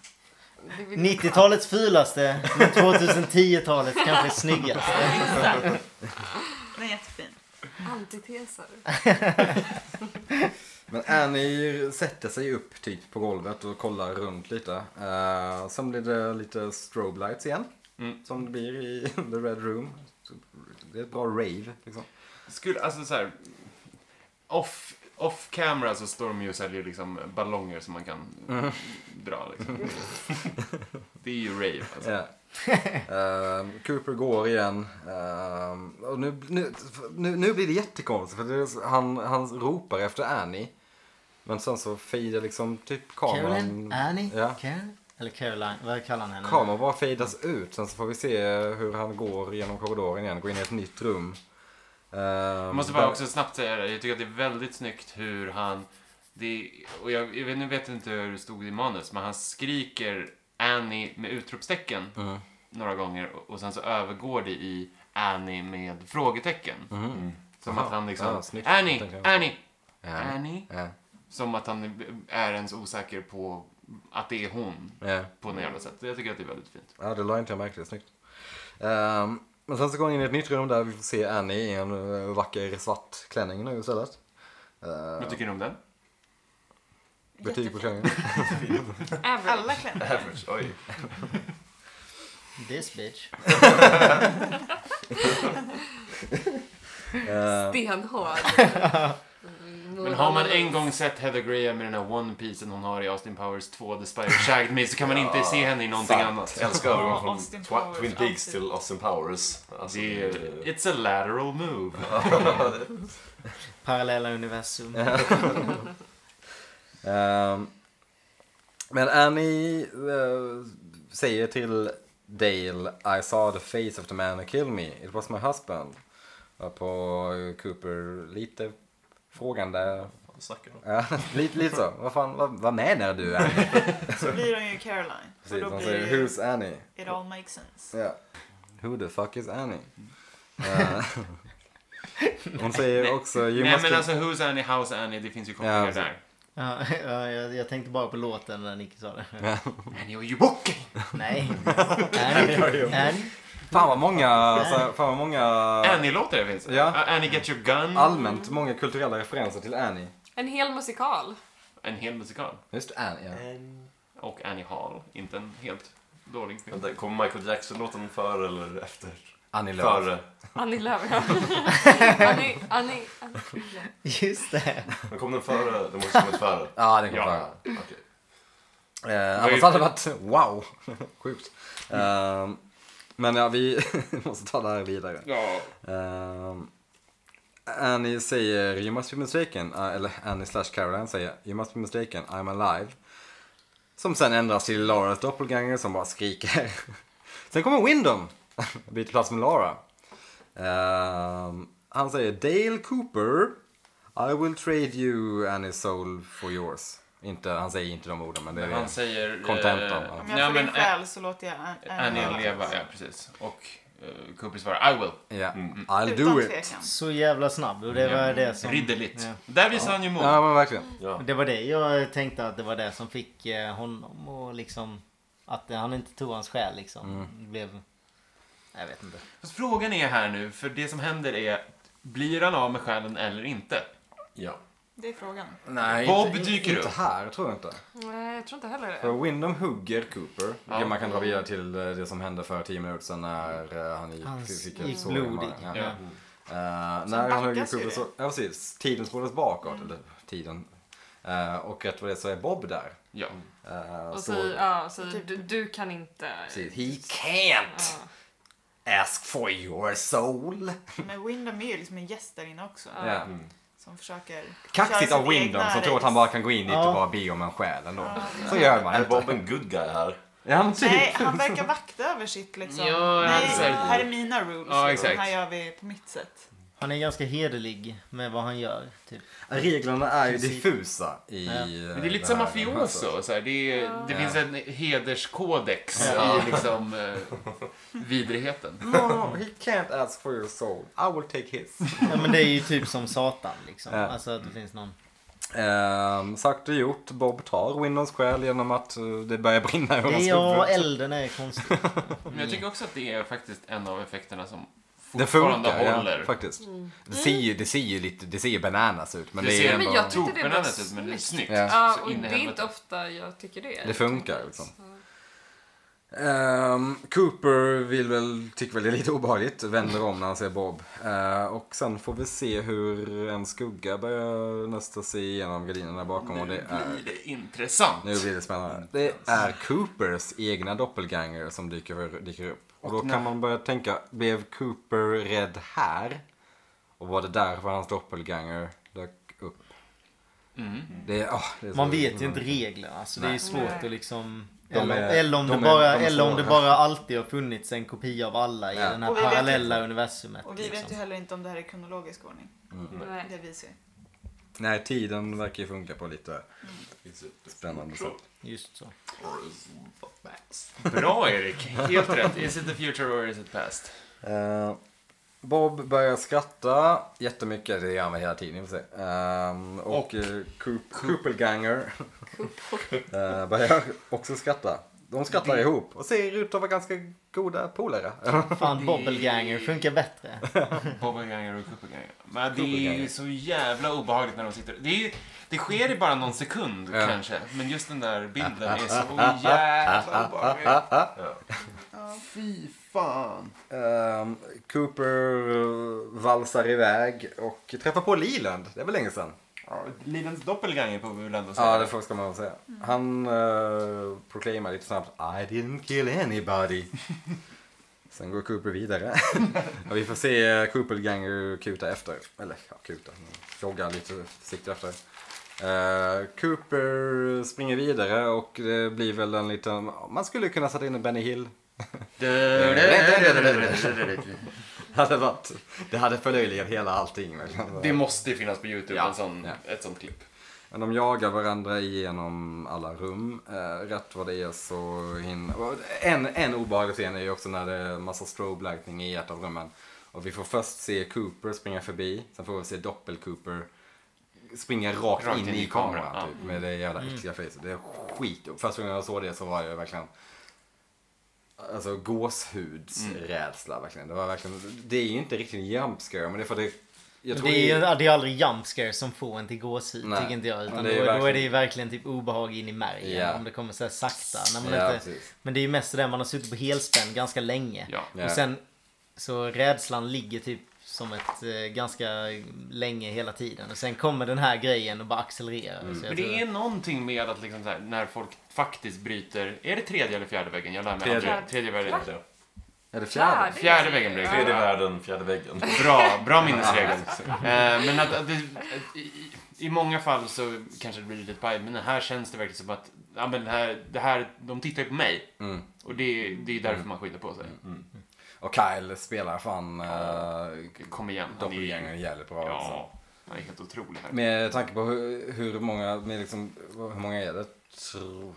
Speaker 6: Det vill-
Speaker 1: 90-talets fulaste, men 2010-talets kanske snyggaste.
Speaker 4: Den är jättefin.
Speaker 6: Antiteser.
Speaker 2: Men Annie sätter sig upp typ på golvet och kollar runt lite. Uh, sen blir det lite strobe lights igen. Som det blir i The Red Room. Det är ett bra rave liksom.
Speaker 5: Skulle, alltså så här, off, off camera så står de ju och säljer liksom ballonger som man kan
Speaker 2: Mm.
Speaker 5: dra liksom. Det är ju rave alltså.
Speaker 2: Ja. Ehm, Cooper går igen. Ehm, och nu, nu, nu, nu blir det jättekonstigt för det är, så- han, han ropar efter Annie. Men sen så fejdar liksom typ kameran.
Speaker 1: Caroline, Annie,
Speaker 2: Ja.
Speaker 1: Karen? Eller Caroline, vad kallar han henne?
Speaker 2: Kameran bara fejdas ut. Sen så får vi se hur han går genom korridoren igen. Går in i ett nytt rum. Ehm,
Speaker 5: Jag måste bara också snabbt säga det, jag tycker att det är väldigt snyggt hur han, det, och jag, jag vet, nu vet jag inte hur det stod i manus, men han skriker Annie med utropstecken
Speaker 2: Mm.
Speaker 5: några gånger och, och sen så övergår det i Annie med frågetecken.
Speaker 2: Mhm.
Speaker 5: Som
Speaker 2: Aha.
Speaker 5: att han liksom,
Speaker 2: Ja, snyggt.
Speaker 5: Annie,
Speaker 2: Tänkte jag.
Speaker 5: Annie,
Speaker 2: Ja.
Speaker 5: Annie.
Speaker 2: Ja.
Speaker 5: Som att han är ens osäker på att det är hon
Speaker 2: Ja.
Speaker 5: på något jävla sätt. Jag tycker att det är väldigt fint.
Speaker 2: Ja, det la inte jag märke till. Snyggt. Ehm, men sen så går han in i ett nytt rum där vi får se Annie i en eh, vacker svart klänning nu istället. Ehm,
Speaker 5: Vad tycker ni om den?
Speaker 2: Betyg på
Speaker 4: Jättefin.
Speaker 2: klänningen.
Speaker 6: Average.
Speaker 4: Alla klänningar.
Speaker 3: Average, oj.
Speaker 1: This bitch.
Speaker 2: Eh,
Speaker 6: Stenhård. Mm,
Speaker 5: Men har man en gång sett Heather Graham i den här One Piece hon har i Austin Powers 2, The Spy Who Shagged Me, så kan man inte se henne i någonting
Speaker 3: Sant.
Speaker 5: annat.
Speaker 3: Jag älskar övergången från
Speaker 4: Austin
Speaker 3: Twi-
Speaker 4: Powers,
Speaker 3: Twin Peaks
Speaker 4: alltid.
Speaker 3: till Austin Powers. Alltså,
Speaker 5: Det är,
Speaker 3: det-
Speaker 5: it's a lateral move.
Speaker 1: Parallella universum.
Speaker 2: Eh, ehm, men Annie eh, säger till Dale I saw the face of the man who killed me. It was my husband. På Cooper lite frågande.
Speaker 3: Vad snackar du om?
Speaker 2: Ja, lite, lite så. Vad fan, vad, vad menar du Annie?
Speaker 4: Så blir hon ju Caroline. Och
Speaker 2: Precis,
Speaker 4: då
Speaker 2: hon
Speaker 4: blir det
Speaker 2: säger
Speaker 4: ju,
Speaker 2: Who's Annie?
Speaker 4: it all makes sense.
Speaker 2: Ja. Who the fuck is Annie? Eh, hon säger också you
Speaker 5: Nej
Speaker 2: must
Speaker 5: men
Speaker 2: be-
Speaker 5: alltså Who's Annie, How's Annie, det finns ju kopplingar
Speaker 2: Ja,
Speaker 5: där.
Speaker 1: Ja, ja, jag, jag tänkte bara på låten när Nicky sa det.
Speaker 5: Annie och you walking!
Speaker 1: Nej. Annie, Annie.
Speaker 2: Fan vad många, alltså, fan vad många
Speaker 5: Annie-låtar det finns.
Speaker 2: Ja.
Speaker 5: Uh, Annie Get Your Gun.
Speaker 2: allmänt många kulturella referenser till Annie.
Speaker 6: En hel musikal.
Speaker 5: En hel musikal.
Speaker 2: Just Annie, ja.
Speaker 5: Och Annie Hall, inte en helt dålig film.
Speaker 3: Vänta, kommer Michael Jackson-låten före eller efter?
Speaker 2: Annie Lööf.
Speaker 3: Före.
Speaker 6: Annie Lööf. Annie, Annie, Annie. Lööf.
Speaker 1: Just det.
Speaker 3: Men kom den före? Den måste kommit före.
Speaker 2: Ja, den kom
Speaker 5: Ja.
Speaker 2: före.
Speaker 3: Okej.
Speaker 2: Eh,
Speaker 5: var ju-
Speaker 2: annars hade det varit wow, sjukt. Ehm, men ja, vi måste ta det här vidare.
Speaker 5: Ja.
Speaker 2: Ehm, Annie säger you must be mistaken, eh, eller Annie slash Caroline säger you must be mistaken, I'm alive. Som sen ändras till Laras doppelganger som bara skriker. sen kommer Windom, byter plats med Lara. Ehm, han säger Dale Cooper, I will trade you Annie's soul for yours. Inte, han säger inte de orden men det är
Speaker 5: Han säger...
Speaker 2: Contentan, ja.
Speaker 4: Om
Speaker 5: ja,
Speaker 4: jag får din
Speaker 5: men, eh,
Speaker 4: själ så låter jag An-
Speaker 5: Annie leva, ja precis. Och uh, Cooper svarar I will.
Speaker 2: Ja,
Speaker 5: Mm,
Speaker 2: I'll
Speaker 4: Utan
Speaker 2: do it.
Speaker 4: tvekan.
Speaker 1: Så jävla snabb. Och det var det som...
Speaker 5: Ridderligt.
Speaker 1: Ja.
Speaker 5: Där visar han ju mod.
Speaker 2: Ja men verkligen.
Speaker 3: Ja.
Speaker 1: Det var det jag tänkte att det var det som fick eh, honom och liksom... Att han inte tog hans själ liksom. Det blev... Jag vet inte.
Speaker 5: Fast frågan är här nu, för det som händer är, blir han av med själen eller inte?
Speaker 3: ja.
Speaker 4: Det är frågan.
Speaker 2: Nej,
Speaker 5: Bob
Speaker 2: inte,
Speaker 5: dyker
Speaker 2: inte
Speaker 5: upp.
Speaker 2: här tror jag inte.
Speaker 6: Nej, jag tror inte heller det.
Speaker 2: För Windom hugger Cooper.
Speaker 5: Ja.
Speaker 2: Det man kan dra vidare till eh, det som hände för 10 minuter sedan när eh, han gick,
Speaker 1: Hans
Speaker 2: fick
Speaker 1: gick
Speaker 2: sår i magen.
Speaker 1: blodig.
Speaker 2: Ja.
Speaker 5: Ja.
Speaker 2: Eh,
Speaker 4: Sen
Speaker 2: när han hugger
Speaker 4: backas ju
Speaker 2: Cooper
Speaker 4: det.
Speaker 2: så, ja precis, tiden spåras bakåt. Eller tiden. Eh, och rätt vad det är så är Bob där.
Speaker 5: Ja.
Speaker 2: Eh,
Speaker 6: Och
Speaker 2: så,
Speaker 6: säger, ja, säger
Speaker 5: Typ.
Speaker 6: du, du kan inte.
Speaker 2: precis. He can't
Speaker 6: Ja.
Speaker 2: ask for your soul.
Speaker 4: Men Windham är ju liksom en gäst där inne också.
Speaker 6: Ja.
Speaker 2: Ja. Mm.
Speaker 4: Som försöker...
Speaker 2: Kaxigt
Speaker 4: köra
Speaker 2: av
Speaker 4: sitt
Speaker 2: Windom
Speaker 4: egna
Speaker 2: som tror att
Speaker 4: race.
Speaker 2: han bara kan gå in dit
Speaker 1: Ja.
Speaker 2: och bara be om en själ ändå. Så gör man
Speaker 3: Är
Speaker 2: inte.
Speaker 3: Bob en good guy här?
Speaker 2: Ja, men typ.
Speaker 4: Nej, han verkar vakta över sitt liksom.
Speaker 5: Ja,
Speaker 4: Nej,
Speaker 5: exakt.
Speaker 4: här är mina rules.
Speaker 5: Ja,
Speaker 4: liksom.
Speaker 5: exakt.
Speaker 4: Här gör vi på mitt sätt.
Speaker 1: Han är ganska hederlig med vad han gör. Typ.
Speaker 2: Reglerna är ju diffusa i... eh,
Speaker 1: Ja.
Speaker 5: Men det är lite som mafioso. Så här, det är, det
Speaker 2: Ja.
Speaker 5: finns en hederskodex i liksom, eh, vidrigheten.
Speaker 2: No, no, he can't ask for your soul. I will take his.
Speaker 1: Ja, men det är ju typ som Satan liksom.
Speaker 2: Ja.
Speaker 1: Alltså att det finns någon.
Speaker 2: Ehm, sagt och gjort, Bob tar Windows själ genom att eh, det börjar brinna ur hans
Speaker 1: Ja,
Speaker 2: huvud.
Speaker 1: elden är konstig.
Speaker 5: Men jag tycker också att det är faktiskt en av effekterna som
Speaker 2: Mm. Det
Speaker 5: fortfarande
Speaker 2: funkar, ja,
Speaker 5: håller.
Speaker 2: faktiskt. Det, ser ju, det ser ju lite, det ser ju bananas ut, men
Speaker 5: Det
Speaker 2: det,
Speaker 5: ser-
Speaker 2: är
Speaker 5: Ja,
Speaker 2: ändå...
Speaker 6: men jag tyckte det
Speaker 5: Topen
Speaker 6: var
Speaker 5: annars, men det är snyggt.
Speaker 2: Ja.
Speaker 6: Ja,
Speaker 5: Så
Speaker 6: och
Speaker 5: in i
Speaker 6: det är
Speaker 5: helvete.
Speaker 6: inte ofta jag tycker det.
Speaker 2: Det funkar, liksom.
Speaker 6: Så.
Speaker 2: Ehm, Cooper vill väl, tycker väl det är lite obehagligt, vänder om när han ser Bob. Eh, och sen får vi se hur en skugga börjar nästa sig igenom gardinerna bakom och det är...
Speaker 5: Nu blir det intressant.
Speaker 2: Nu blir det spännande. Det är Coopers egna doppelganger som dyker, dyker upp. Och då kan man börja tänka, blev Cooper rädd här? Och var det därför hans doppelganger dök upp?
Speaker 5: Mm.
Speaker 2: Det, är- åh, det är så-
Speaker 1: Man vet ju inte reglerna. Så det är ju svårt
Speaker 4: Nej.
Speaker 1: att liksom...
Speaker 2: De
Speaker 1: Eller,
Speaker 2: är-
Speaker 1: eller, om
Speaker 2: de
Speaker 1: det
Speaker 2: är-
Speaker 1: bara,
Speaker 2: de är
Speaker 1: eller om det
Speaker 2: svåra.
Speaker 1: bara alltid har funnits en kopia av alla i
Speaker 2: Ja.
Speaker 1: den här
Speaker 4: Och vi vet
Speaker 1: parallella universumet.
Speaker 4: Och vi vet ju
Speaker 1: liksom.
Speaker 4: heller inte om det här är kronologisk ordning.
Speaker 6: Nej.
Speaker 4: Det vi ser.
Speaker 2: Nej, tiden verkar ju funka på lite spännande sätt.
Speaker 1: Just så.
Speaker 5: Bra Erik, helt rätt. Is it the future or is it past?
Speaker 2: Eh, Bob börjar skratta jättemycket, det gör han väl hela tiden i och för sig. Ehm, och och Koopelganger Eh, börjar också skratta. De skrattar ihop och ser ut att vara ganska goda polare.
Speaker 1: Fan, Bobbelganger funkar bättre.
Speaker 5: Bobbelganger och Kuppelganger. Men det är ju så jävla obehagligt när de sitter. Det, är, ju- det sker i bara någon sekund
Speaker 2: Ja.
Speaker 5: kanske. Men just den där bilden är så jävla obehaglig. Fy fan.
Speaker 2: Ehm, Cooper eh, valsar iväg och träffar på Leland. Det är väl länge sedan?
Speaker 5: Livens doppelganger på väl ändå säga.
Speaker 2: Ja, det får- ska man väl säga. Han uh, proklamar lite snabbt I didn't kill anybody. Sen går Cooper vidare. och vi får se eh, Cooperganger kuta efter. Eller ja, kuta. men Jogga lite försiktigt efter. Eh, Cooper springer vidare och det blir väl en liten... Man skulle kunna sätta in en Benny Hill. Det hade varit... Det hade förlöjligat hela allting. verkligen.
Speaker 5: Det måste ju finnas på YouTube
Speaker 2: Ja.
Speaker 5: en sån,
Speaker 2: Ja.
Speaker 5: ett sånt klipp.
Speaker 2: Men de jagar varandra igenom alla rum. Eh, rätt vad det är så hinner... En, en obehaglig scen är ju också när det är massa strobe lightning i ett av rummen. Och vi får först se Cooper springa förbi, sen får vi se Doppel-Cooper springa rakt, in, i kameran.
Speaker 5: ja.
Speaker 2: typ, med det jävla äckliga
Speaker 1: Mm.
Speaker 2: facet. Det är skit. Och Första gången jag såg det så var jag verkligen... Alltså gåshudsrädsla verkligen. Det var verkligen... Det är ju inte riktigt en jump scare, men det är för att det... Jag
Speaker 1: Men
Speaker 2: tror
Speaker 1: Det är, ju- det är aldrig jump scare som får en till gåshud
Speaker 2: Nej.
Speaker 1: tycker inte jag. Utan
Speaker 2: Men
Speaker 1: då,
Speaker 2: det är ju
Speaker 1: då är det
Speaker 2: verkligen-
Speaker 1: ju verkligen typ obehag in i märgen.
Speaker 2: Ja.
Speaker 1: Om det kommer så här sakta. När man
Speaker 2: Ja,
Speaker 1: inte,
Speaker 2: precis.
Speaker 1: men det är ju mest det där man har suttit på helspänn ganska länge.
Speaker 5: Ja.
Speaker 2: Ja.
Speaker 1: Och sen så rädslan ligger typ som ett eh, ganska länge hela tiden. Och sen kommer den här grejen och bara accelererar.
Speaker 2: Mm.
Speaker 1: Så jag
Speaker 5: Men
Speaker 1: tror-
Speaker 5: det är någonting med att liksom så här, när folk faktiskt bryter, är det tredje eller fjärde väggen? Jag lär mig
Speaker 2: Tredje.
Speaker 5: aldrig. Tredje väggen.
Speaker 2: Är det fjärde?
Speaker 5: Fjärde väggen blir det.
Speaker 3: Tredje världen, fjärde väggen.
Speaker 5: Bra, bra minnesregel. Eh, men att, att det, att i, i många fall så kanske det blir lite paj, men här känns det verkligen som att ja, men det här, det här, de tittar ju på mig.
Speaker 2: Mm.
Speaker 5: Och det, det är därför man skyller på sig.
Speaker 2: Och Kyle spelar fan eh,
Speaker 5: Kom igen, han är
Speaker 2: doppelganger jävligt bra också.
Speaker 5: Ja, han är helt otrolig här.
Speaker 2: liksom. Med tanke på hur, hur många, med liksom, hur många är det? Tror-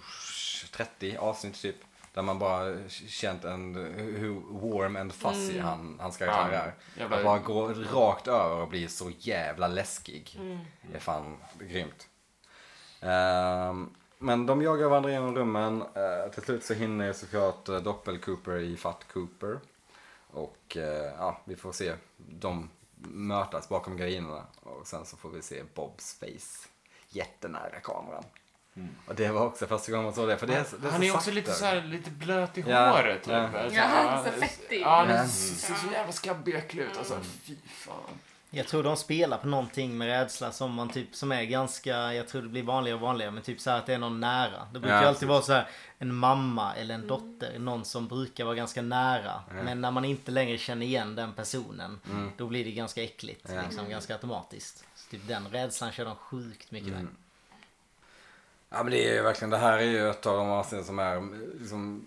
Speaker 2: 30 avsnitt typ. Där man bara känt en, hur warm and fuzzy han, hans karaktär
Speaker 5: Fan,
Speaker 2: är.
Speaker 5: jävla-
Speaker 2: Att bara gå rakt över och bli så jävla läskig.
Speaker 5: Mm.
Speaker 2: Det är fan grymt. Ehm, men de jagar varandra genom rummen. Eh, till slut så hinner ju såklart eh, Doppel Cooper i Fatt Cooper. Och eh, ja, vi får se. De mötas bakom gardinerna. Och sen så får vi se Bobs face. Jättenära kameran. Och det var också första gången man såg det. För det är, så- det är
Speaker 5: han
Speaker 2: så
Speaker 5: är också
Speaker 2: sakta.
Speaker 5: lite, så här, lite blöt i
Speaker 2: Ja,
Speaker 5: håret. Typ.
Speaker 2: ja.
Speaker 5: Alltså,
Speaker 6: Ja, så fettig.
Speaker 5: Ja, han
Speaker 2: Ja. Mm.
Speaker 5: är så, så jävla skabbig och äcklig ut. Alltså, fy fan.
Speaker 1: Jag tror de spelar på någonting med rädsla som man typ som är ganska, jag tror det blir vanligare och vanligare men typ så här att det är någon nära. Det brukar
Speaker 2: Ja,
Speaker 1: ju alltid
Speaker 2: precis.
Speaker 1: vara så här en mamma eller en dotter, någon som brukar vara ganska nära. Men när man inte längre känner igen den personen
Speaker 2: Mm.
Speaker 1: då blir det ganska äckligt, liksom ganska automatiskt. Så typ den rädslan kör de sjukt mycket
Speaker 2: Mm.
Speaker 1: med.
Speaker 2: Ja men det är ju verkligen, det här är ju ett av de avsnitten som är liksom,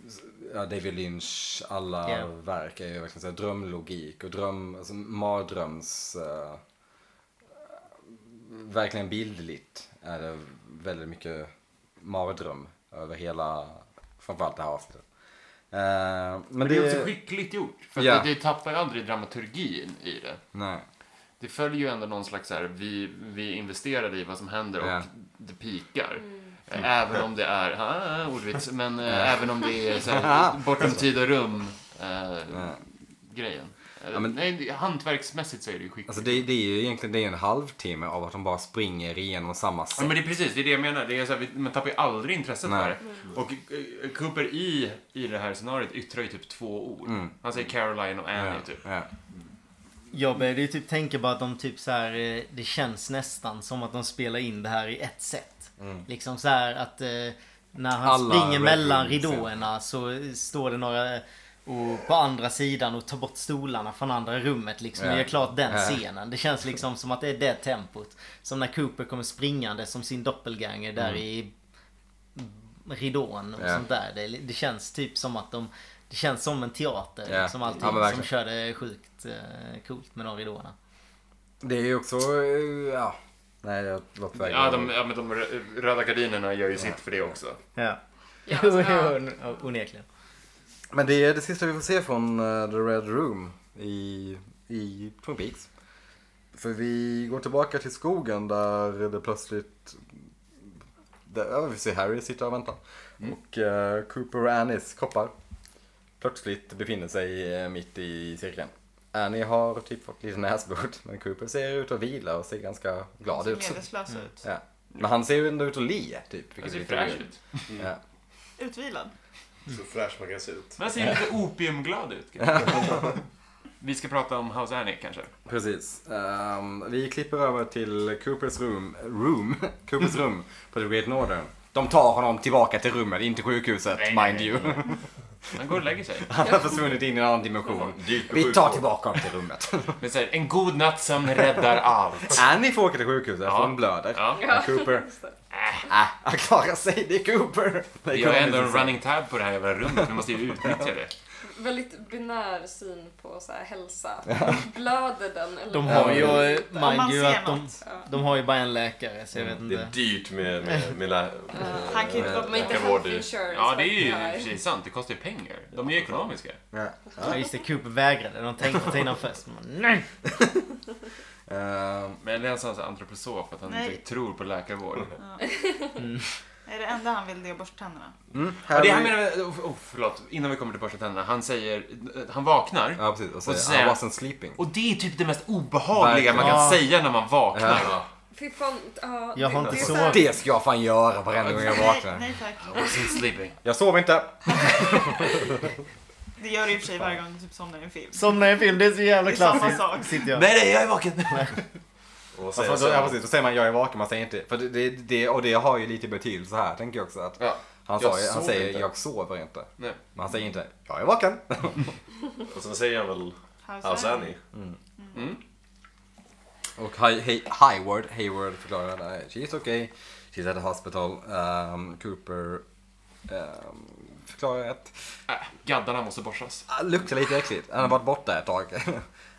Speaker 2: ja, David Lynch alla
Speaker 1: Ja.
Speaker 2: verk är ju verkligen så här, drömlogik och dröm, alltså mardröms, eh, verkligen bildligt är det väldigt mycket mardröm över hela, framförallt det här avsnittet. Eh, men,
Speaker 5: Men det är också skickligt gjort. För
Speaker 2: Ja.
Speaker 5: att det, det tappar ju aldrig dramaturgin i det.
Speaker 2: Nej.
Speaker 5: Det följer ju ändå någon slags så här, vi, vi investerar i vad som händer och
Speaker 2: Ja.
Speaker 5: det pikar. Eh, Även om det är, ah, ordvits, men eh, även om det är så här, bortom tid och rum eh,
Speaker 2: nej.
Speaker 5: grejen. Eh,
Speaker 2: Ja, men-
Speaker 5: Nej, det- hantverksmässigt så är det ju skickligt.
Speaker 2: Alltså det, det är ju egentligen det är en halvtimme av att de bara springer igenom samma
Speaker 5: Ja,
Speaker 2: sätt.
Speaker 5: men det är precis, det är det jag menar. Det är så här, vi- man tappar ju aldrig intresset
Speaker 2: Nej.
Speaker 5: för det. Och eh, Cooper i, i det här scenariot yttrar ju typ två ord.
Speaker 2: Mm.
Speaker 5: Han säger Caroline och Annie
Speaker 2: Ja,
Speaker 5: typ.
Speaker 2: ja.
Speaker 1: Jag började ju typ tänka på att de typ så här, eh, det känns nästan som att de spelar in det här i ett sätt. Liksom så här att eh, när han
Speaker 2: Mm. Alla
Speaker 1: springer
Speaker 2: Red
Speaker 1: mellan
Speaker 2: Room-scener.
Speaker 1: ridåerna så eh, står det några eh, och på andra sidan och tar bort stolarna från andra rummet liksom och
Speaker 2: Ja.
Speaker 1: gör klart den
Speaker 2: Ja.
Speaker 1: scenen. Det känns liksom som att det är det tempot. Som när Cooper kommer springande som sin doppelganger där i ridån och
Speaker 2: Mm. Ja.
Speaker 1: sånt där. Det, det känns typ som att de det känns som en teater
Speaker 2: Ja.
Speaker 1: liksom allting
Speaker 2: Ja, men
Speaker 1: som
Speaker 2: verkligen.
Speaker 1: körde sjukt eh, coolt med de ridåerna.
Speaker 2: Det är ju också, eh, ja. Nej, jag låter verkligen-
Speaker 5: Ja, de, ja, men de rö- röda gardinerna gör ju sitt för det också.
Speaker 1: Ja.
Speaker 6: Ja,
Speaker 1: Jo,
Speaker 6: ja.
Speaker 1: jo, ja, onekligen.
Speaker 2: Men det är det sista vi får se från eh, The Red Room i, i Twin Peaks. För vi går tillbaka till skogen där det plötsligt... Där, ja, vi ser Harry sitta och vänta. Och eh, Cooper och Annies koppar plötsligt befinner sig eh, mitt i cirkeln. Annie har typ fått lite näsblod, men Cooper ser ut att vila och ser ganska glad
Speaker 4: Ser
Speaker 2: ut.
Speaker 4: medelslös ut.
Speaker 2: Ja. Men han ser ju ändå ut att le, typ.
Speaker 5: Han
Speaker 2: vilket är
Speaker 5: ser
Speaker 2: lite
Speaker 5: fräsch
Speaker 2: weird.
Speaker 5: ut.
Speaker 2: Ja.
Speaker 4: Utvilad.
Speaker 3: Så fräsch man kan se ut.
Speaker 5: Men han ser lite opiumglad ut. kanske. Vi ska prata om House Annie kanske.
Speaker 2: Precis. Ehm, vi klipper över till Coopers room, room, Coopers
Speaker 5: Mm.
Speaker 2: rum på The Great Northern. De tar honom tillbaka till rummet, inte sjukhuset,
Speaker 5: Nej, nej,
Speaker 2: mind
Speaker 5: nej.
Speaker 2: you.
Speaker 5: Han går och lägger sig.
Speaker 2: Han har försvunnit in i en annan dimension.
Speaker 3: Dyrt
Speaker 2: Vi tar tillbaka honom till rummet.
Speaker 5: Men så här, en god nattsömn räddar allt.
Speaker 2: Annie får åka till sjukhuset för
Speaker 5: Ja.
Speaker 2: hon blöder.
Speaker 5: Ja.
Speaker 2: Men Cooper, äh, han klarar sig. Det är Cooper. Det är
Speaker 5: Vi har
Speaker 2: Cooper
Speaker 5: ändå en
Speaker 2: som-
Speaker 5: running tab på det här jävla rummet. Vi måste ju utnyttja det.
Speaker 6: Väldigt binär syn på så här, hälsa. Blöder den eller
Speaker 1: De har ju, eh,
Speaker 4: Om man
Speaker 1: mind you,
Speaker 4: ser
Speaker 1: att de,
Speaker 4: något.
Speaker 6: Ja.
Speaker 1: de har ju bara en läkare så jag vet
Speaker 3: Mm, Det är
Speaker 1: inte.
Speaker 3: dyrt med, med, med, lä-
Speaker 4: Han kan ju
Speaker 5: Eh,
Speaker 4: inte vara
Speaker 6: De har inte
Speaker 3: Vilken
Speaker 6: health
Speaker 3: vård du-
Speaker 6: insurance.
Speaker 5: Ja, det är ju
Speaker 6: Nej.
Speaker 5: precis sant. Det kostar ju pengar. De är ju ekonomiska.
Speaker 2: Ja.
Speaker 1: Ja, just det, Cooper vägrade. De tänkte ta in honom först. Men nej!
Speaker 2: Ehm,
Speaker 5: Men det är alltså hans antroposof, att han
Speaker 4: Nej.
Speaker 5: inte tror på läkarvård.
Speaker 4: Är det enda han vill det är att borsta tänderna.
Speaker 2: mm,
Speaker 5: Ja, det
Speaker 2: Harry-
Speaker 5: han menar med, oh, oh, förlåt, innan vi kommer till borsta tänderna. Han säger, han vaknar.
Speaker 2: Ja, precis. Och
Speaker 5: Och
Speaker 2: säger,
Speaker 5: sen-
Speaker 2: I wasn't sleeping.
Speaker 5: Och det är typ det mest obehagliga man
Speaker 2: Verkligen.
Speaker 5: kan säga när man vaknar.
Speaker 2: Ja.
Speaker 6: Fy fan, ja,
Speaker 1: Jag har
Speaker 6: det-
Speaker 1: inte
Speaker 6: det är
Speaker 1: så-
Speaker 6: här-
Speaker 2: Det ska jag fan göra varenda gång jag
Speaker 4: Nej,
Speaker 2: vaknar.
Speaker 4: nej tack.
Speaker 5: Wasn't sleeping.
Speaker 2: Jag sover inte.
Speaker 4: Det gör du i och för sig varje gång du typ somnar i en film.
Speaker 1: Somna i en film, det är så jävla
Speaker 4: Det är samma
Speaker 1: klassiskt.
Speaker 4: sak.
Speaker 1: Sitter jag.
Speaker 5: Nej, nej, jag är vaken.
Speaker 3: och vad
Speaker 2: Ja,
Speaker 3: säger
Speaker 2: fast då,
Speaker 3: jag
Speaker 2: ja,
Speaker 3: sen?
Speaker 2: precis. Då säger man jag är vaken, man säger inte. För det, det, det, och det har ju lite betydelse här, tänker jag också. Att
Speaker 5: Ja.
Speaker 2: han,
Speaker 5: Jag
Speaker 2: sa, ju- han
Speaker 5: sover
Speaker 2: säger
Speaker 5: inte.
Speaker 2: jag sover inte.
Speaker 5: Nej.
Speaker 2: Men han säger inte jag är vaken.
Speaker 3: Och sen säger han väl
Speaker 4: How's
Speaker 3: House
Speaker 4: that?
Speaker 3: Annie.
Speaker 2: Och Hi- Hi- Hayward, Hayward förklarar att she's okay, she's at the hospital. Um, Cooper um, förklarar att
Speaker 5: Äh, gaddarna måste borstas.
Speaker 2: ah, luktar lite äckligt. Han har varit borta ett tag.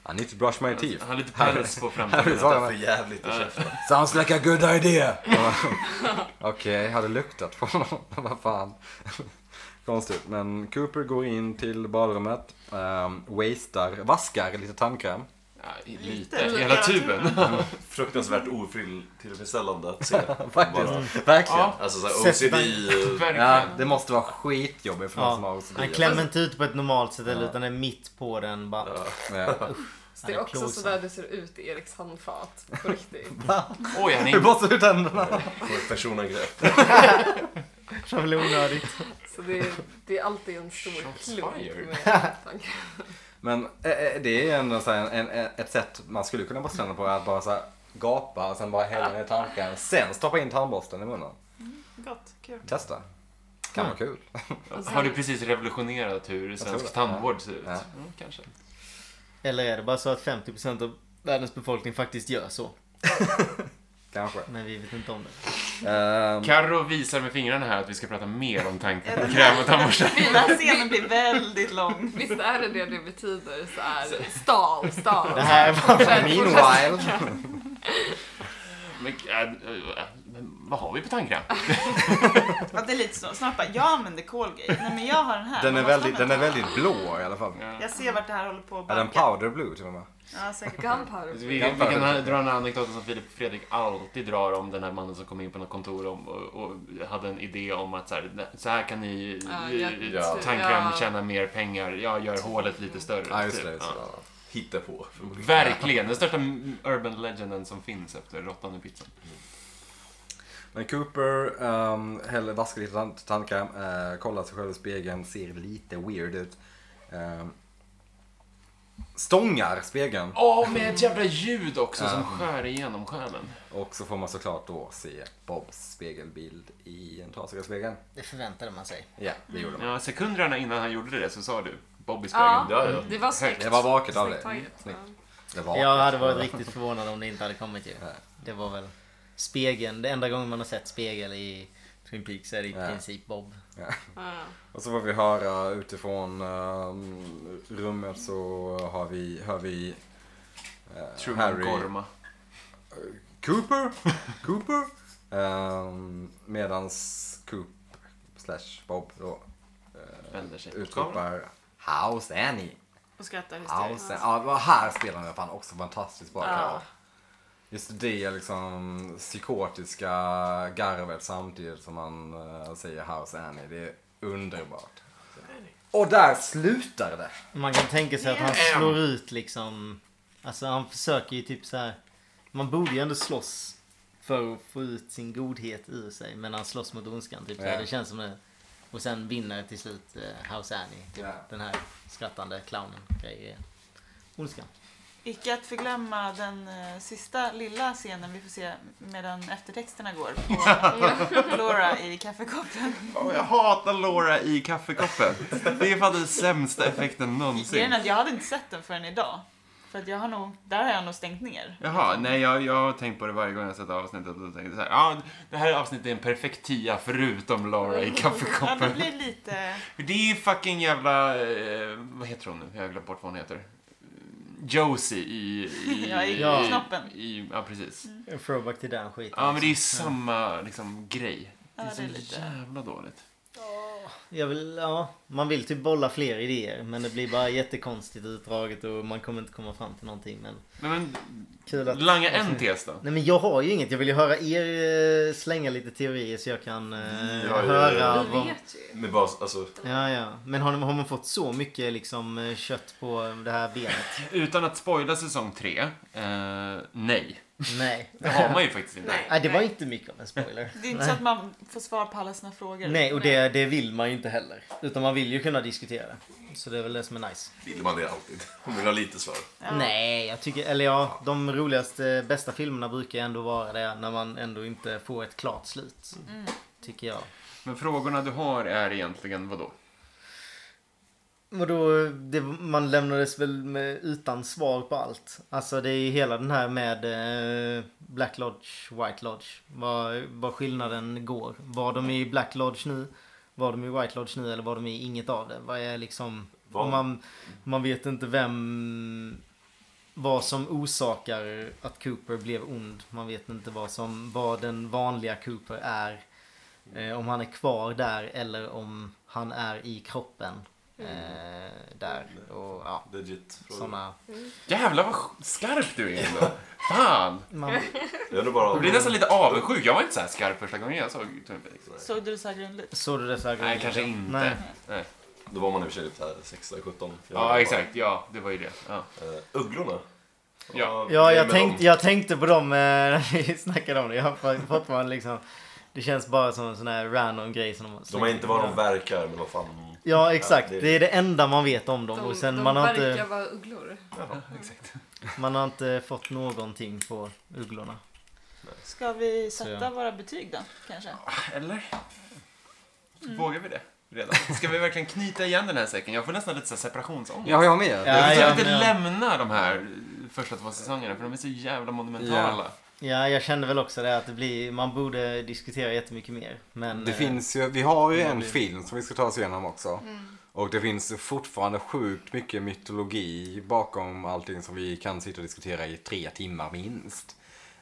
Speaker 2: I need to brush my teeth.
Speaker 5: Han har lite päls på
Speaker 2: Harry
Speaker 5: framtiden.
Speaker 2: svarar
Speaker 3: För jävligt i käften.
Speaker 2: Sounds like a good idea! Okej, har det luktat på honom? Vad fan. Konstigt, men Cooper går in till badrummet, um, wastar, vaskar lite tandkräm.
Speaker 5: Ja, i-
Speaker 4: Lite.
Speaker 5: lite. Hela tuben.
Speaker 3: Fruktansvärt otillfredsställande att se.
Speaker 1: Mm.
Speaker 3: Bara,
Speaker 2: Verkligen.
Speaker 5: Ja.
Speaker 3: alltså såhär OCD. eh,
Speaker 2: Ja,
Speaker 5: Verkligen.
Speaker 2: det måste vara skitjobbigt för någon som har
Speaker 1: Ja,
Speaker 2: OCD.
Speaker 1: han klämmer inte ut på ett normalt sätt eller utan det är mitt på den bara.
Speaker 2: Ja.
Speaker 6: Det
Speaker 1: Han
Speaker 6: är
Speaker 1: är
Speaker 6: också
Speaker 1: plågsam.
Speaker 6: sådär det ser ut i Eriks handfat. På riktigt.
Speaker 5: Oj, han är
Speaker 2: Hur
Speaker 5: inte...
Speaker 2: borstar du tänderna?
Speaker 3: Får personangrepp.
Speaker 1: Så väl onödigt.
Speaker 6: Så det är, det är alltid en stor
Speaker 5: Shots
Speaker 6: klump
Speaker 5: fired.
Speaker 6: med tanke.
Speaker 2: Men eh, eh, det är ändå så här en, en, ett sätt man skulle kunna bestämma på att bara så här, gapa och sen bara hälla ner tanken. Sen stoppa in tandborsten i munnen.
Speaker 4: Gott, kul.
Speaker 2: Testa. Kan vara kul.
Speaker 5: Har du precis revolutionerat hur
Speaker 2: tror det.
Speaker 5: svensk tandvård ser ut?
Speaker 2: Ja.
Speaker 5: Mm, kanske.
Speaker 1: Eller är det bara så att 50% av världens befolkning faktiskt gör så?
Speaker 2: Kanske.
Speaker 1: Men vi vet inte om det.
Speaker 2: Ehm,
Speaker 5: Karo visar med fingrarna här att vi ska prata mer om
Speaker 4: Ja, den-
Speaker 5: tandkräm och tandborste.
Speaker 4: Den här scenen blir väldigt lång.
Speaker 6: Visst är det det det betyder så här stal, stal.
Speaker 1: Det här är bara...
Speaker 2: meanwhile.
Speaker 5: Men, äh, äh, men vad har vi på tandkräm?
Speaker 4: Ja, det är lite så. Snart bara, jag använder Colgate. Nej men jag har den här.
Speaker 2: Den är,
Speaker 4: Man
Speaker 2: väldigt,
Speaker 4: måste
Speaker 2: den är
Speaker 4: använda
Speaker 2: väldigt blå i alla fall.
Speaker 5: Ja.
Speaker 4: den. Jag ser vart det här håller på att
Speaker 2: Är den
Speaker 4: barka.
Speaker 2: powder blue till och med?
Speaker 4: Ja, säkert.
Speaker 6: Gunpowder.
Speaker 5: Vi, vi kan dra den här anekdoten som Filip Fredrik alltid drar om den här mannen som kom in på något kontor om, och, och hade en idé om att så här, så här kan ni
Speaker 6: Ja,
Speaker 5: eh,
Speaker 6: jag-
Speaker 5: eh, tandkräm
Speaker 6: ja.
Speaker 5: tjäna mer pengar. Jag gör hålet lite större.
Speaker 2: Ja, just
Speaker 5: typ.
Speaker 2: det. Just
Speaker 5: Ja.
Speaker 2: det.
Speaker 3: Hitta på.
Speaker 5: Verkligen, den största urban legenden som finns efter råttan i pizzan.
Speaker 2: Men Cooper um, häller, vaskar lite tand- tandkräm, eh, kollar sig själv i spegeln, ser lite weird ut. Ehm, stångar spegeln.
Speaker 5: Åh, med ett jävla ljud också som skär igenom själen.
Speaker 2: Och så får man såklart då se Bobs spegelbild i en trasiga spegel.
Speaker 1: Det förväntade man sig.
Speaker 2: Ja, det gjorde man.
Speaker 5: Ja, sekunderna innan han gjorde det så sa du Bobby
Speaker 6: Ja.
Speaker 5: Spegeln. Ja. Ja,
Speaker 6: Det var snyggt.
Speaker 2: Det var vackert av dig.
Speaker 6: Snyggt taget.
Speaker 2: Snyggt.
Speaker 6: Ja.
Speaker 2: Det var
Speaker 1: Jag hade varit riktigt förvånad om det inte hade kommit ju.
Speaker 2: Ja.
Speaker 1: Det var väl spegeln. Det enda gången man har sett spegel i Twin Peaks är det i
Speaker 2: Ja.
Speaker 1: princip Bob.
Speaker 6: Ja.
Speaker 2: Och så får vi höra utifrån ehm, rummet så har vi, hör vi eh,
Speaker 5: Truman Gorma.
Speaker 2: Cooper, Cooper. Um, medans Coop slash Bob då
Speaker 5: Vänder sig mot kameran.
Speaker 2: utropar How's Annie?
Speaker 4: Och skrattar hysteriskt.
Speaker 2: How's Annie? Ja, vad här spelar den fan också fantastiskt bra.
Speaker 4: Ja.
Speaker 2: Carl. Just det liksom psykotiska garvet samtidigt som man eh, säger How's Annie. Det är underbart. Och där slutar det.
Speaker 1: Man kan tänka sig att han
Speaker 5: Yeah.
Speaker 1: slår ut liksom... Alltså han försöker ju typ så här. Man borde ju ändå slåss för att få ut sin godhet ur sig. Men han slåss mot ondskan. Typ så här.
Speaker 2: Ja.
Speaker 1: Det känns som det. Och sen vinner till slut eh, House Annie. Typ.
Speaker 2: Ja.
Speaker 1: Den här skrattande clownen. Grejer. Ondskan.
Speaker 4: Icke att förglömma den eh, sista lilla scenen vi får se medan eftertexterna går på Laura i kaffekoppen.
Speaker 5: Åh, jag hatar Laura i kaffekoppen. Det är fan den sämsta effekten någonsin.
Speaker 4: Grejen är att jag hade inte sett den förrän idag. För att jag har nog, där har jag nog stängt ner.
Speaker 5: Jaha, nej jag, jag har tänkt på det varje gång jag har sett avsnittet och tänkt så här, ja, det här avsnittet är en perfekt tia förutom Laura i
Speaker 4: Ja, det
Speaker 5: kaffekoppen.
Speaker 4: blir lite...
Speaker 5: Det är fucking jävla, eh, vad heter hon nu? Jag har glömt bort vad hon heter. Josie i... i
Speaker 4: Ja, i
Speaker 1: Ja.
Speaker 4: knoppen. Mm.
Speaker 5: I, ja, precis.
Speaker 1: En throwback till den skiten.
Speaker 5: Ja, men det är samma liksom grej. Det
Speaker 4: Ja,
Speaker 5: är
Speaker 4: det
Speaker 5: så
Speaker 4: är lite-
Speaker 5: jävla dåligt.
Speaker 1: Jag vill, ja, man vill typ bolla fler idéer men det blir bara jättekonstigt utdraget och man kommer inte komma fram till någonting men
Speaker 5: Men, men
Speaker 1: kul att...
Speaker 5: langa en tes då.
Speaker 1: Nej men jag har ju inget, jag vill ju höra er eh, slänga lite teorier så jag kan eh,
Speaker 3: Mm, Ja, ja, ja.
Speaker 1: höra
Speaker 6: Vi
Speaker 1: vad...
Speaker 6: vet ju.
Speaker 3: Med bas, alltså,
Speaker 1: Ja, ja. Men har, har man fått så mycket liksom eh, kött på eh, det här benet?
Speaker 5: Utan att spoila säsong tre, eh, nej.
Speaker 1: Nej.
Speaker 5: Det har man ju faktiskt inte.
Speaker 1: Nej, det var inte mycket av en spoiler.
Speaker 4: Det är inte så att man får svar på alla sina frågor.
Speaker 1: Nej, och det, det vill man ju inte heller. Utan man vill ju kunna diskutera det. Så det är väl det som är nice.
Speaker 3: vill man det alltid? Hon vill ha lite svar.
Speaker 1: Nej, jag tycker, eller ja, de roligaste, bästa filmerna brukar ändå vara det när man ändå inte får ett klart slut. Tycker jag.
Speaker 5: Men frågorna du har är egentligen vadå?
Speaker 1: Och då, det, man lämnades väl med, utan svar på allt. Alltså det är ju hela den här med eh, Black Lodge, White Lodge. Vad, vad skillnaden går. Var de i Black Lodge nu? Var de i White Lodge nu eller var de i inget av det? Vad är liksom...
Speaker 3: Vad-
Speaker 1: Och man, man vet inte vem... Vad som orsakar att Cooper blev ond. Man vet inte vad, som, vad den vanliga Cooper är. Eh, om han är kvar där eller om han är i kroppen.
Speaker 6: Mm.
Speaker 1: Eh, där och ja,
Speaker 3: Legit fråga.
Speaker 1: sådana.
Speaker 5: Jävlar vad sk- skarp du är ändå. Fan!
Speaker 1: Man,
Speaker 3: Jag undrar bara
Speaker 5: Jag
Speaker 3: om...
Speaker 5: blir nästan lite avundsjuk. Jag var inte så här skarp första gången jag såg Twin Peaks.
Speaker 4: Såg du det så här grundligt?
Speaker 1: såg du dessa
Speaker 5: Nej, kanske inte.
Speaker 1: Nej.
Speaker 5: Nej.
Speaker 3: Då var man i och för sig typ 16-17.
Speaker 5: Ja, exakt. Ja, det var ju det. Ja.
Speaker 3: Eh, Ugglorna.
Speaker 5: Ja.
Speaker 1: Ja,
Speaker 3: det är
Speaker 1: jag
Speaker 3: med
Speaker 1: tänkte,
Speaker 3: dem.
Speaker 1: jag tänkte på dem eh, när vi snackade om det. Jag har fått- fått man liksom. Det känns bara som en sån här random grej som de har
Speaker 3: De har
Speaker 1: slängt
Speaker 3: inte vad
Speaker 1: in.
Speaker 3: de verkar, men vad fan.
Speaker 1: Ja exakt,
Speaker 3: Ja, det-
Speaker 1: det är det enda man vet om dem
Speaker 6: De,
Speaker 1: och sen
Speaker 6: de
Speaker 1: man har,
Speaker 6: verkar
Speaker 1: inte,
Speaker 6: vara ugglor.
Speaker 1: man har inte fått någonting på ugglorna.
Speaker 4: Ska vi
Speaker 1: Så,
Speaker 4: sätta
Speaker 1: ja.
Speaker 4: våra betyg då, kanske?
Speaker 5: Eller? Vågar vi det? Redan? Ska vi verkligen knyta igen den här säcken? Jag får nästan lite så här separationsångest.
Speaker 2: Ja, jag med.
Speaker 5: Jag
Speaker 1: Ja,
Speaker 5: vill
Speaker 1: ja,
Speaker 5: inte
Speaker 1: men-
Speaker 5: lämna de här första två säsongerna för de är så jävla monumentala.
Speaker 1: Ja jag kände väl också det att det blir, man borde diskutera jättemycket mer. Men
Speaker 2: Det
Speaker 1: eh,
Speaker 2: finns ju, vi har ju
Speaker 1: det
Speaker 2: en
Speaker 1: blir-
Speaker 2: film som vi ska ta oss igenom också. Och det finns fortfarande sjukt mycket mytologi bakom allting som vi kan sitta och diskutera i tre timmar minst.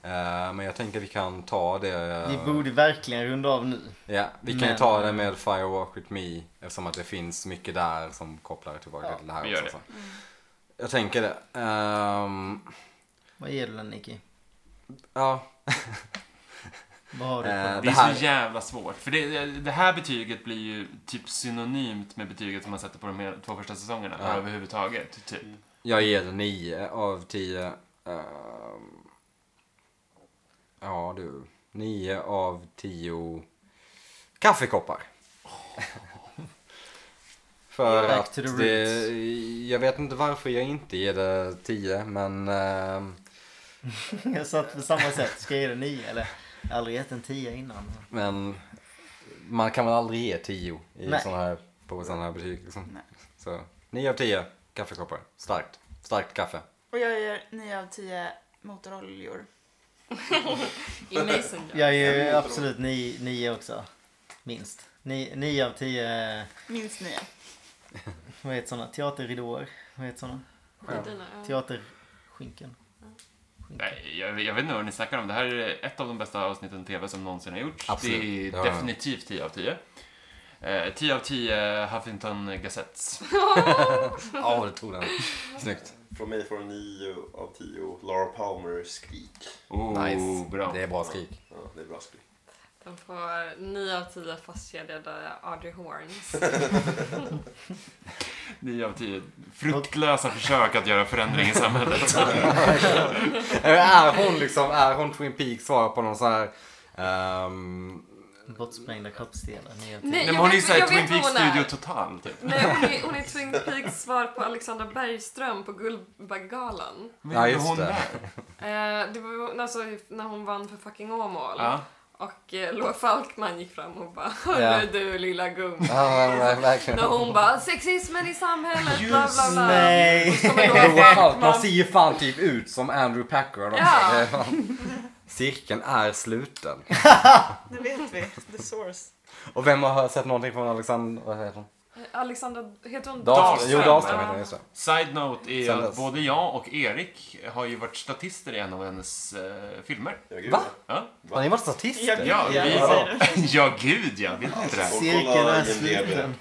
Speaker 2: Eh, men jag tänker vi kan ta det...
Speaker 1: vi borde verkligen runda av nu.
Speaker 2: Ja, vi kan ju
Speaker 1: Men-
Speaker 2: ta det med Firewalk with me eftersom att det finns mycket där som kopplar tillbaka till det här
Speaker 5: vi gör
Speaker 2: också. Jag tänker det. Ehm,
Speaker 1: Vad ger du den Nicky?
Speaker 2: ja,
Speaker 1: Vad har du på
Speaker 2: eh,
Speaker 1: den?
Speaker 5: Det
Speaker 2: det
Speaker 5: är
Speaker 2: här...
Speaker 5: så jävla svårt. För det, det här betyget blir ju typ synonymt med betyget som man sätter på de här två första säsongerna
Speaker 2: Ja.
Speaker 5: överhuvudtaget. Typ.
Speaker 2: Jag ger det 9 av 10. Ehm, ja, du. 9 av 10 kaffekoppar. För
Speaker 1: Back
Speaker 2: att
Speaker 1: to the
Speaker 2: det, jag vet inte varför jag inte ger det 10, men ehm,
Speaker 1: Jag satt på samma sätt, ska jag ge den 9 eller? Jag har aldrig gett en 10 innan.
Speaker 2: Men man kan väl aldrig ge 10 i
Speaker 1: Nej.
Speaker 2: sån här, på sådana här betyg. Liksom.
Speaker 4: Nej.
Speaker 2: Så 9 av 10 kaffekoppar. Starkt. Starkt kaffe.
Speaker 4: Och jag ger 9 av 10 motoroljor.
Speaker 6: Inne i Sundar.
Speaker 1: Jag är ju absolut 9 nio också. Minst. 9 av 10,
Speaker 4: Minst 9.
Speaker 1: vad heter såna? Teaterridåer? Vad heter såna?
Speaker 6: Skidorna, ja.
Speaker 1: Teaterskynken?
Speaker 5: Nej, jag, jag vet inte vad ni snackar om. Det här är ett av de bästa avsnitten tv som någonsin har gjorts.
Speaker 2: Absolut.
Speaker 5: Det är
Speaker 2: Ja, ja.
Speaker 5: definitivt 10 av 10. Eh, 10 av 10 Huffington Gazettes.
Speaker 2: Ja, det tog den. Snyggt.
Speaker 3: Från mig får en 9 av 10 Laura Palmer skrik.
Speaker 5: Oh,
Speaker 2: Nice.
Speaker 5: Bra.
Speaker 2: Det är bra skrik.
Speaker 3: Ja, det är bra skrik.
Speaker 6: De får 9 av 10 fastkedjade Audrey Horns.
Speaker 5: 9 av 10 fruktlösa försök att göra förändring i samhället.
Speaker 2: är hon liksom, är hon Twin Peaks svar på någon sån här ehm,
Speaker 1: Bortsprängda kroppsdelar? nio av tio.
Speaker 6: Nej,
Speaker 5: Men
Speaker 6: jag
Speaker 5: hon är ju
Speaker 6: vet,
Speaker 5: såhär
Speaker 6: jag
Speaker 5: Twin
Speaker 6: vet vad
Speaker 5: Peaks
Speaker 6: hon är.
Speaker 5: Studio Total, typ.
Speaker 6: Nej, hon är, hon är Twin Peaks svar på Alexandra Bergström på Guldbaggegalan.
Speaker 5: Men
Speaker 2: Ja,
Speaker 5: hur är
Speaker 2: just
Speaker 5: hon
Speaker 2: det.
Speaker 5: där?
Speaker 6: Eh, det var alltså, när hon vann för fucking Åmål.
Speaker 5: Ja.
Speaker 6: Och eh, Loa Falkman gick fram och bara
Speaker 2: Ja.
Speaker 6: Hörru du lilla gumman.
Speaker 2: Ja, men ver- verkligen.
Speaker 6: När hon bara sexismen i samhället bla bla bla.
Speaker 1: Nej.
Speaker 6: Och så kommer Loa
Speaker 2: Loa Falkman
Speaker 6: Falkman.
Speaker 2: ser ju fan typ ut som Andrew Packard också.
Speaker 6: Ja.
Speaker 2: Det är fan- Cirkeln är sluten.
Speaker 4: Det vet vi. The source.
Speaker 2: Och vem har sett någonting från Alexander, vad heter hon?
Speaker 6: Eh, Alexandra, heter hon
Speaker 2: Dahlström. Jo, Dahlström
Speaker 6: Ja.
Speaker 2: heter hon, just det.
Speaker 5: Side note är
Speaker 2: Sen
Speaker 5: att
Speaker 2: dess.
Speaker 5: både jag och Erik har ju varit statister i en av hennes eh, filmer.
Speaker 3: Ja, gud,
Speaker 2: Va?
Speaker 5: Ja,
Speaker 2: Har ni varit statister?
Speaker 4: Jag-
Speaker 5: ja,
Speaker 4: Ja,
Speaker 5: vi
Speaker 4: jag
Speaker 5: var... ja gud ja, vet ni inte det?
Speaker 3: Och
Speaker 1: Cirkeln
Speaker 3: kolla
Speaker 1: är
Speaker 3: IMDb.
Speaker 1: sluten.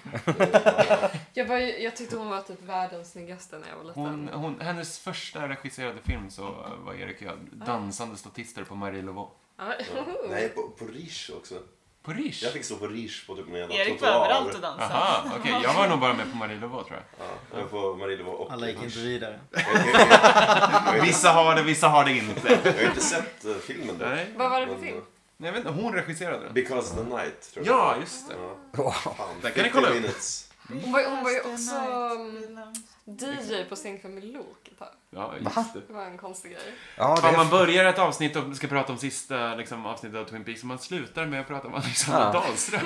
Speaker 6: Jag, var ju, jag tyckte hon var typ världens snyggaste när jag var liten.
Speaker 5: Hon, hon, hennes första regisserade film så var Erik och jag dansande statister på Marie Laveau.
Speaker 6: Ja.
Speaker 3: Ja. Nej, på, på Riche också.
Speaker 5: På Riche?
Speaker 3: Jag fick stå på Riche på typ en jävla
Speaker 4: Erik var överallt och dansade.
Speaker 5: Aha, okej. Jag var nog bara med på Marie Laveau tror jag.
Speaker 3: Ja, jag var på Marielovo och
Speaker 1: Alla gick inte
Speaker 3: Riche.
Speaker 1: vidare.
Speaker 5: Vissa har det, vissa har det inte.
Speaker 3: Jag har inte sett eh, filmen då.
Speaker 5: Nej,
Speaker 6: Vad var det för
Speaker 3: Men,
Speaker 6: film?
Speaker 5: Nej, jag vet inte. Hon regisserade
Speaker 3: eh,
Speaker 5: den.
Speaker 3: Because the night, tror jag.
Speaker 5: Ja, just det.
Speaker 3: Ja.
Speaker 2: Wow.
Speaker 3: Fan,
Speaker 5: Där kan ni kolla
Speaker 3: 50
Speaker 5: upp.
Speaker 3: minutes.
Speaker 6: Hon var, hon var ju också
Speaker 4: Thursday night,
Speaker 6: um,
Speaker 4: Wilhelm.
Speaker 6: DJ på Sänken med Lok ett tag.
Speaker 5: Ja, just det.
Speaker 6: Det var en konstig grej.
Speaker 2: Ja, det
Speaker 5: Fan, man
Speaker 2: är...
Speaker 5: börjar ett avsnitt och ska prata om sista liksom, avsnittet av Twin Peaks och man slutar med att prata om Alexander
Speaker 2: Ja.
Speaker 5: Dahlström.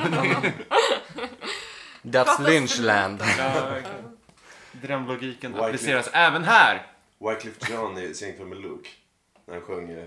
Speaker 2: That's Lynchland.
Speaker 5: Ja, verkligen. Drömlogiken
Speaker 3: White
Speaker 5: appliceras även här.
Speaker 3: Wycliffe John i Sängen med Luke. När han sjöng eh,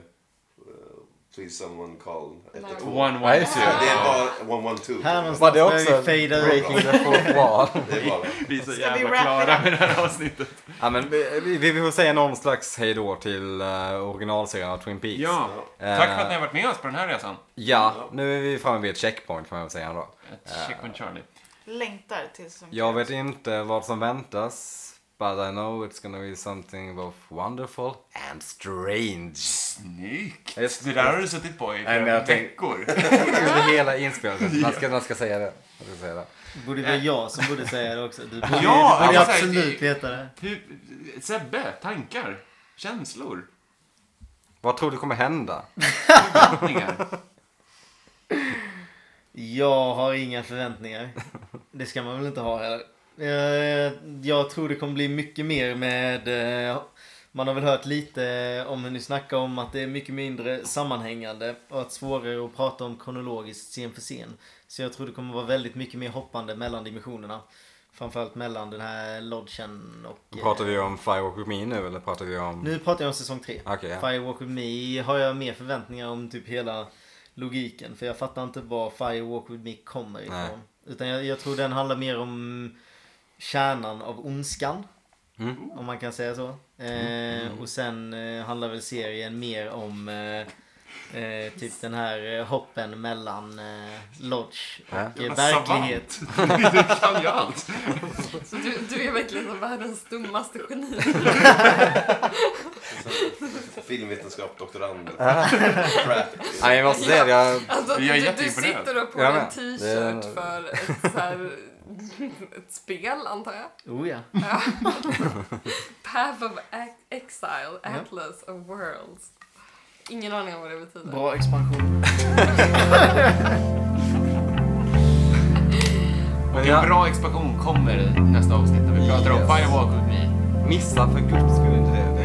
Speaker 3: Please someone call 112.
Speaker 5: One,
Speaker 2: Ja,
Speaker 5: one,
Speaker 2: just
Speaker 5: two.
Speaker 2: det.
Speaker 3: Det var 112.
Speaker 1: Här
Speaker 2: Var
Speaker 1: någonstans
Speaker 2: det
Speaker 1: behöver
Speaker 2: också
Speaker 1: vi fejda ut.
Speaker 2: breaking the fourth wall?
Speaker 3: Det var det.
Speaker 5: Vi är så
Speaker 4: Ska vi
Speaker 5: jävla
Speaker 4: wrap it
Speaker 5: klara med det här avsnittet.
Speaker 2: ja, men vi, vi- vi får säga någon slags hejdå till eh, originalserien av Twin Peaks.
Speaker 5: Ja.
Speaker 2: Eh,
Speaker 5: Tack för att ni har varit med oss på den här resan.
Speaker 2: Ja, nu är vi framme vid ett checkpoint kan man väl säga då.
Speaker 5: Ett
Speaker 2: Eh.
Speaker 5: Checkpoint Charlie.
Speaker 4: Längtar till som
Speaker 2: Jag vet inte vad som väntas. But I know it's gonna be something both wonderful and strange.
Speaker 5: Snyggt!
Speaker 2: Just
Speaker 5: Det där har du suttit på i
Speaker 2: Nej, men
Speaker 5: flera
Speaker 2: jag tänk-
Speaker 5: veckor.
Speaker 2: Under hela inspelningen. Man ska, man ska säga det. Man ska säga det.
Speaker 1: Borde vara jag som borde säga det också. Du borde,
Speaker 5: Ja,
Speaker 1: du borde
Speaker 5: alltså,
Speaker 1: absolut
Speaker 5: det-
Speaker 1: veta det.
Speaker 5: Hur, Sebbe, tankar? Känslor?
Speaker 2: Vad tror du kommer hända?
Speaker 5: Förväntningar?
Speaker 1: Jag har inga förväntningar. Det ska man väl inte ha heller. Eh, Jag tror det kommer bli mycket mer med... eh, Man har väl hört lite om hur ni snackar om att det är mycket mindre sammanhängande och att svårare att prata om kronologiskt scen för scen. Så jag tror det kommer vara väldigt mycket mer hoppande mellan dimensionerna. Framförallt mellan den här lodgen och... eh,
Speaker 2: Pratar vi om Firewalk With Me nu eller pratar vi om...
Speaker 1: Nu pratar jag om säsong 3.
Speaker 2: Okej, ja.
Speaker 1: Firewalk With Me har jag mer förväntningar om typ hela logiken. För jag fattar inte var Firewalk With Me kommer ifrån.
Speaker 2: Nej.
Speaker 1: Utan jag, jag tror den handlar mer om kärnan av ondskan.
Speaker 2: Mm.
Speaker 1: Om man kan säga så. Eh, och sen eh, handlar väl serien mer om eh, eh, typ den här eh, hoppen mellan eh, Lodge och
Speaker 2: Ja.
Speaker 5: Alltså,
Speaker 1: eh, verklighet.
Speaker 5: Savant. du kan ju allt.
Speaker 6: Så du, du är verkligen världens dummaste geni.
Speaker 3: Filmvetenskap, doktorand.
Speaker 2: Nej, jag måste säga det. Jag...
Speaker 6: Alltså,
Speaker 5: Jag är
Speaker 6: du, du
Speaker 5: jätteimponerad.
Speaker 6: sitter då på
Speaker 2: Jag
Speaker 6: en
Speaker 2: med.
Speaker 6: t-shirt
Speaker 2: Det-
Speaker 6: för ett, så här, ett spel, antar jag.
Speaker 1: Oh ja.
Speaker 6: Path of Ac- Exile, Atlas of Worlds. Ingen aning om vad det betyder.
Speaker 1: Bra expansion.
Speaker 5: Och
Speaker 2: Ja.
Speaker 5: en bra expansion kommer nästa avsnitt när vi pratar om
Speaker 2: Yes.
Speaker 5: Firewalk with me.
Speaker 2: Missa för guds skull inte det.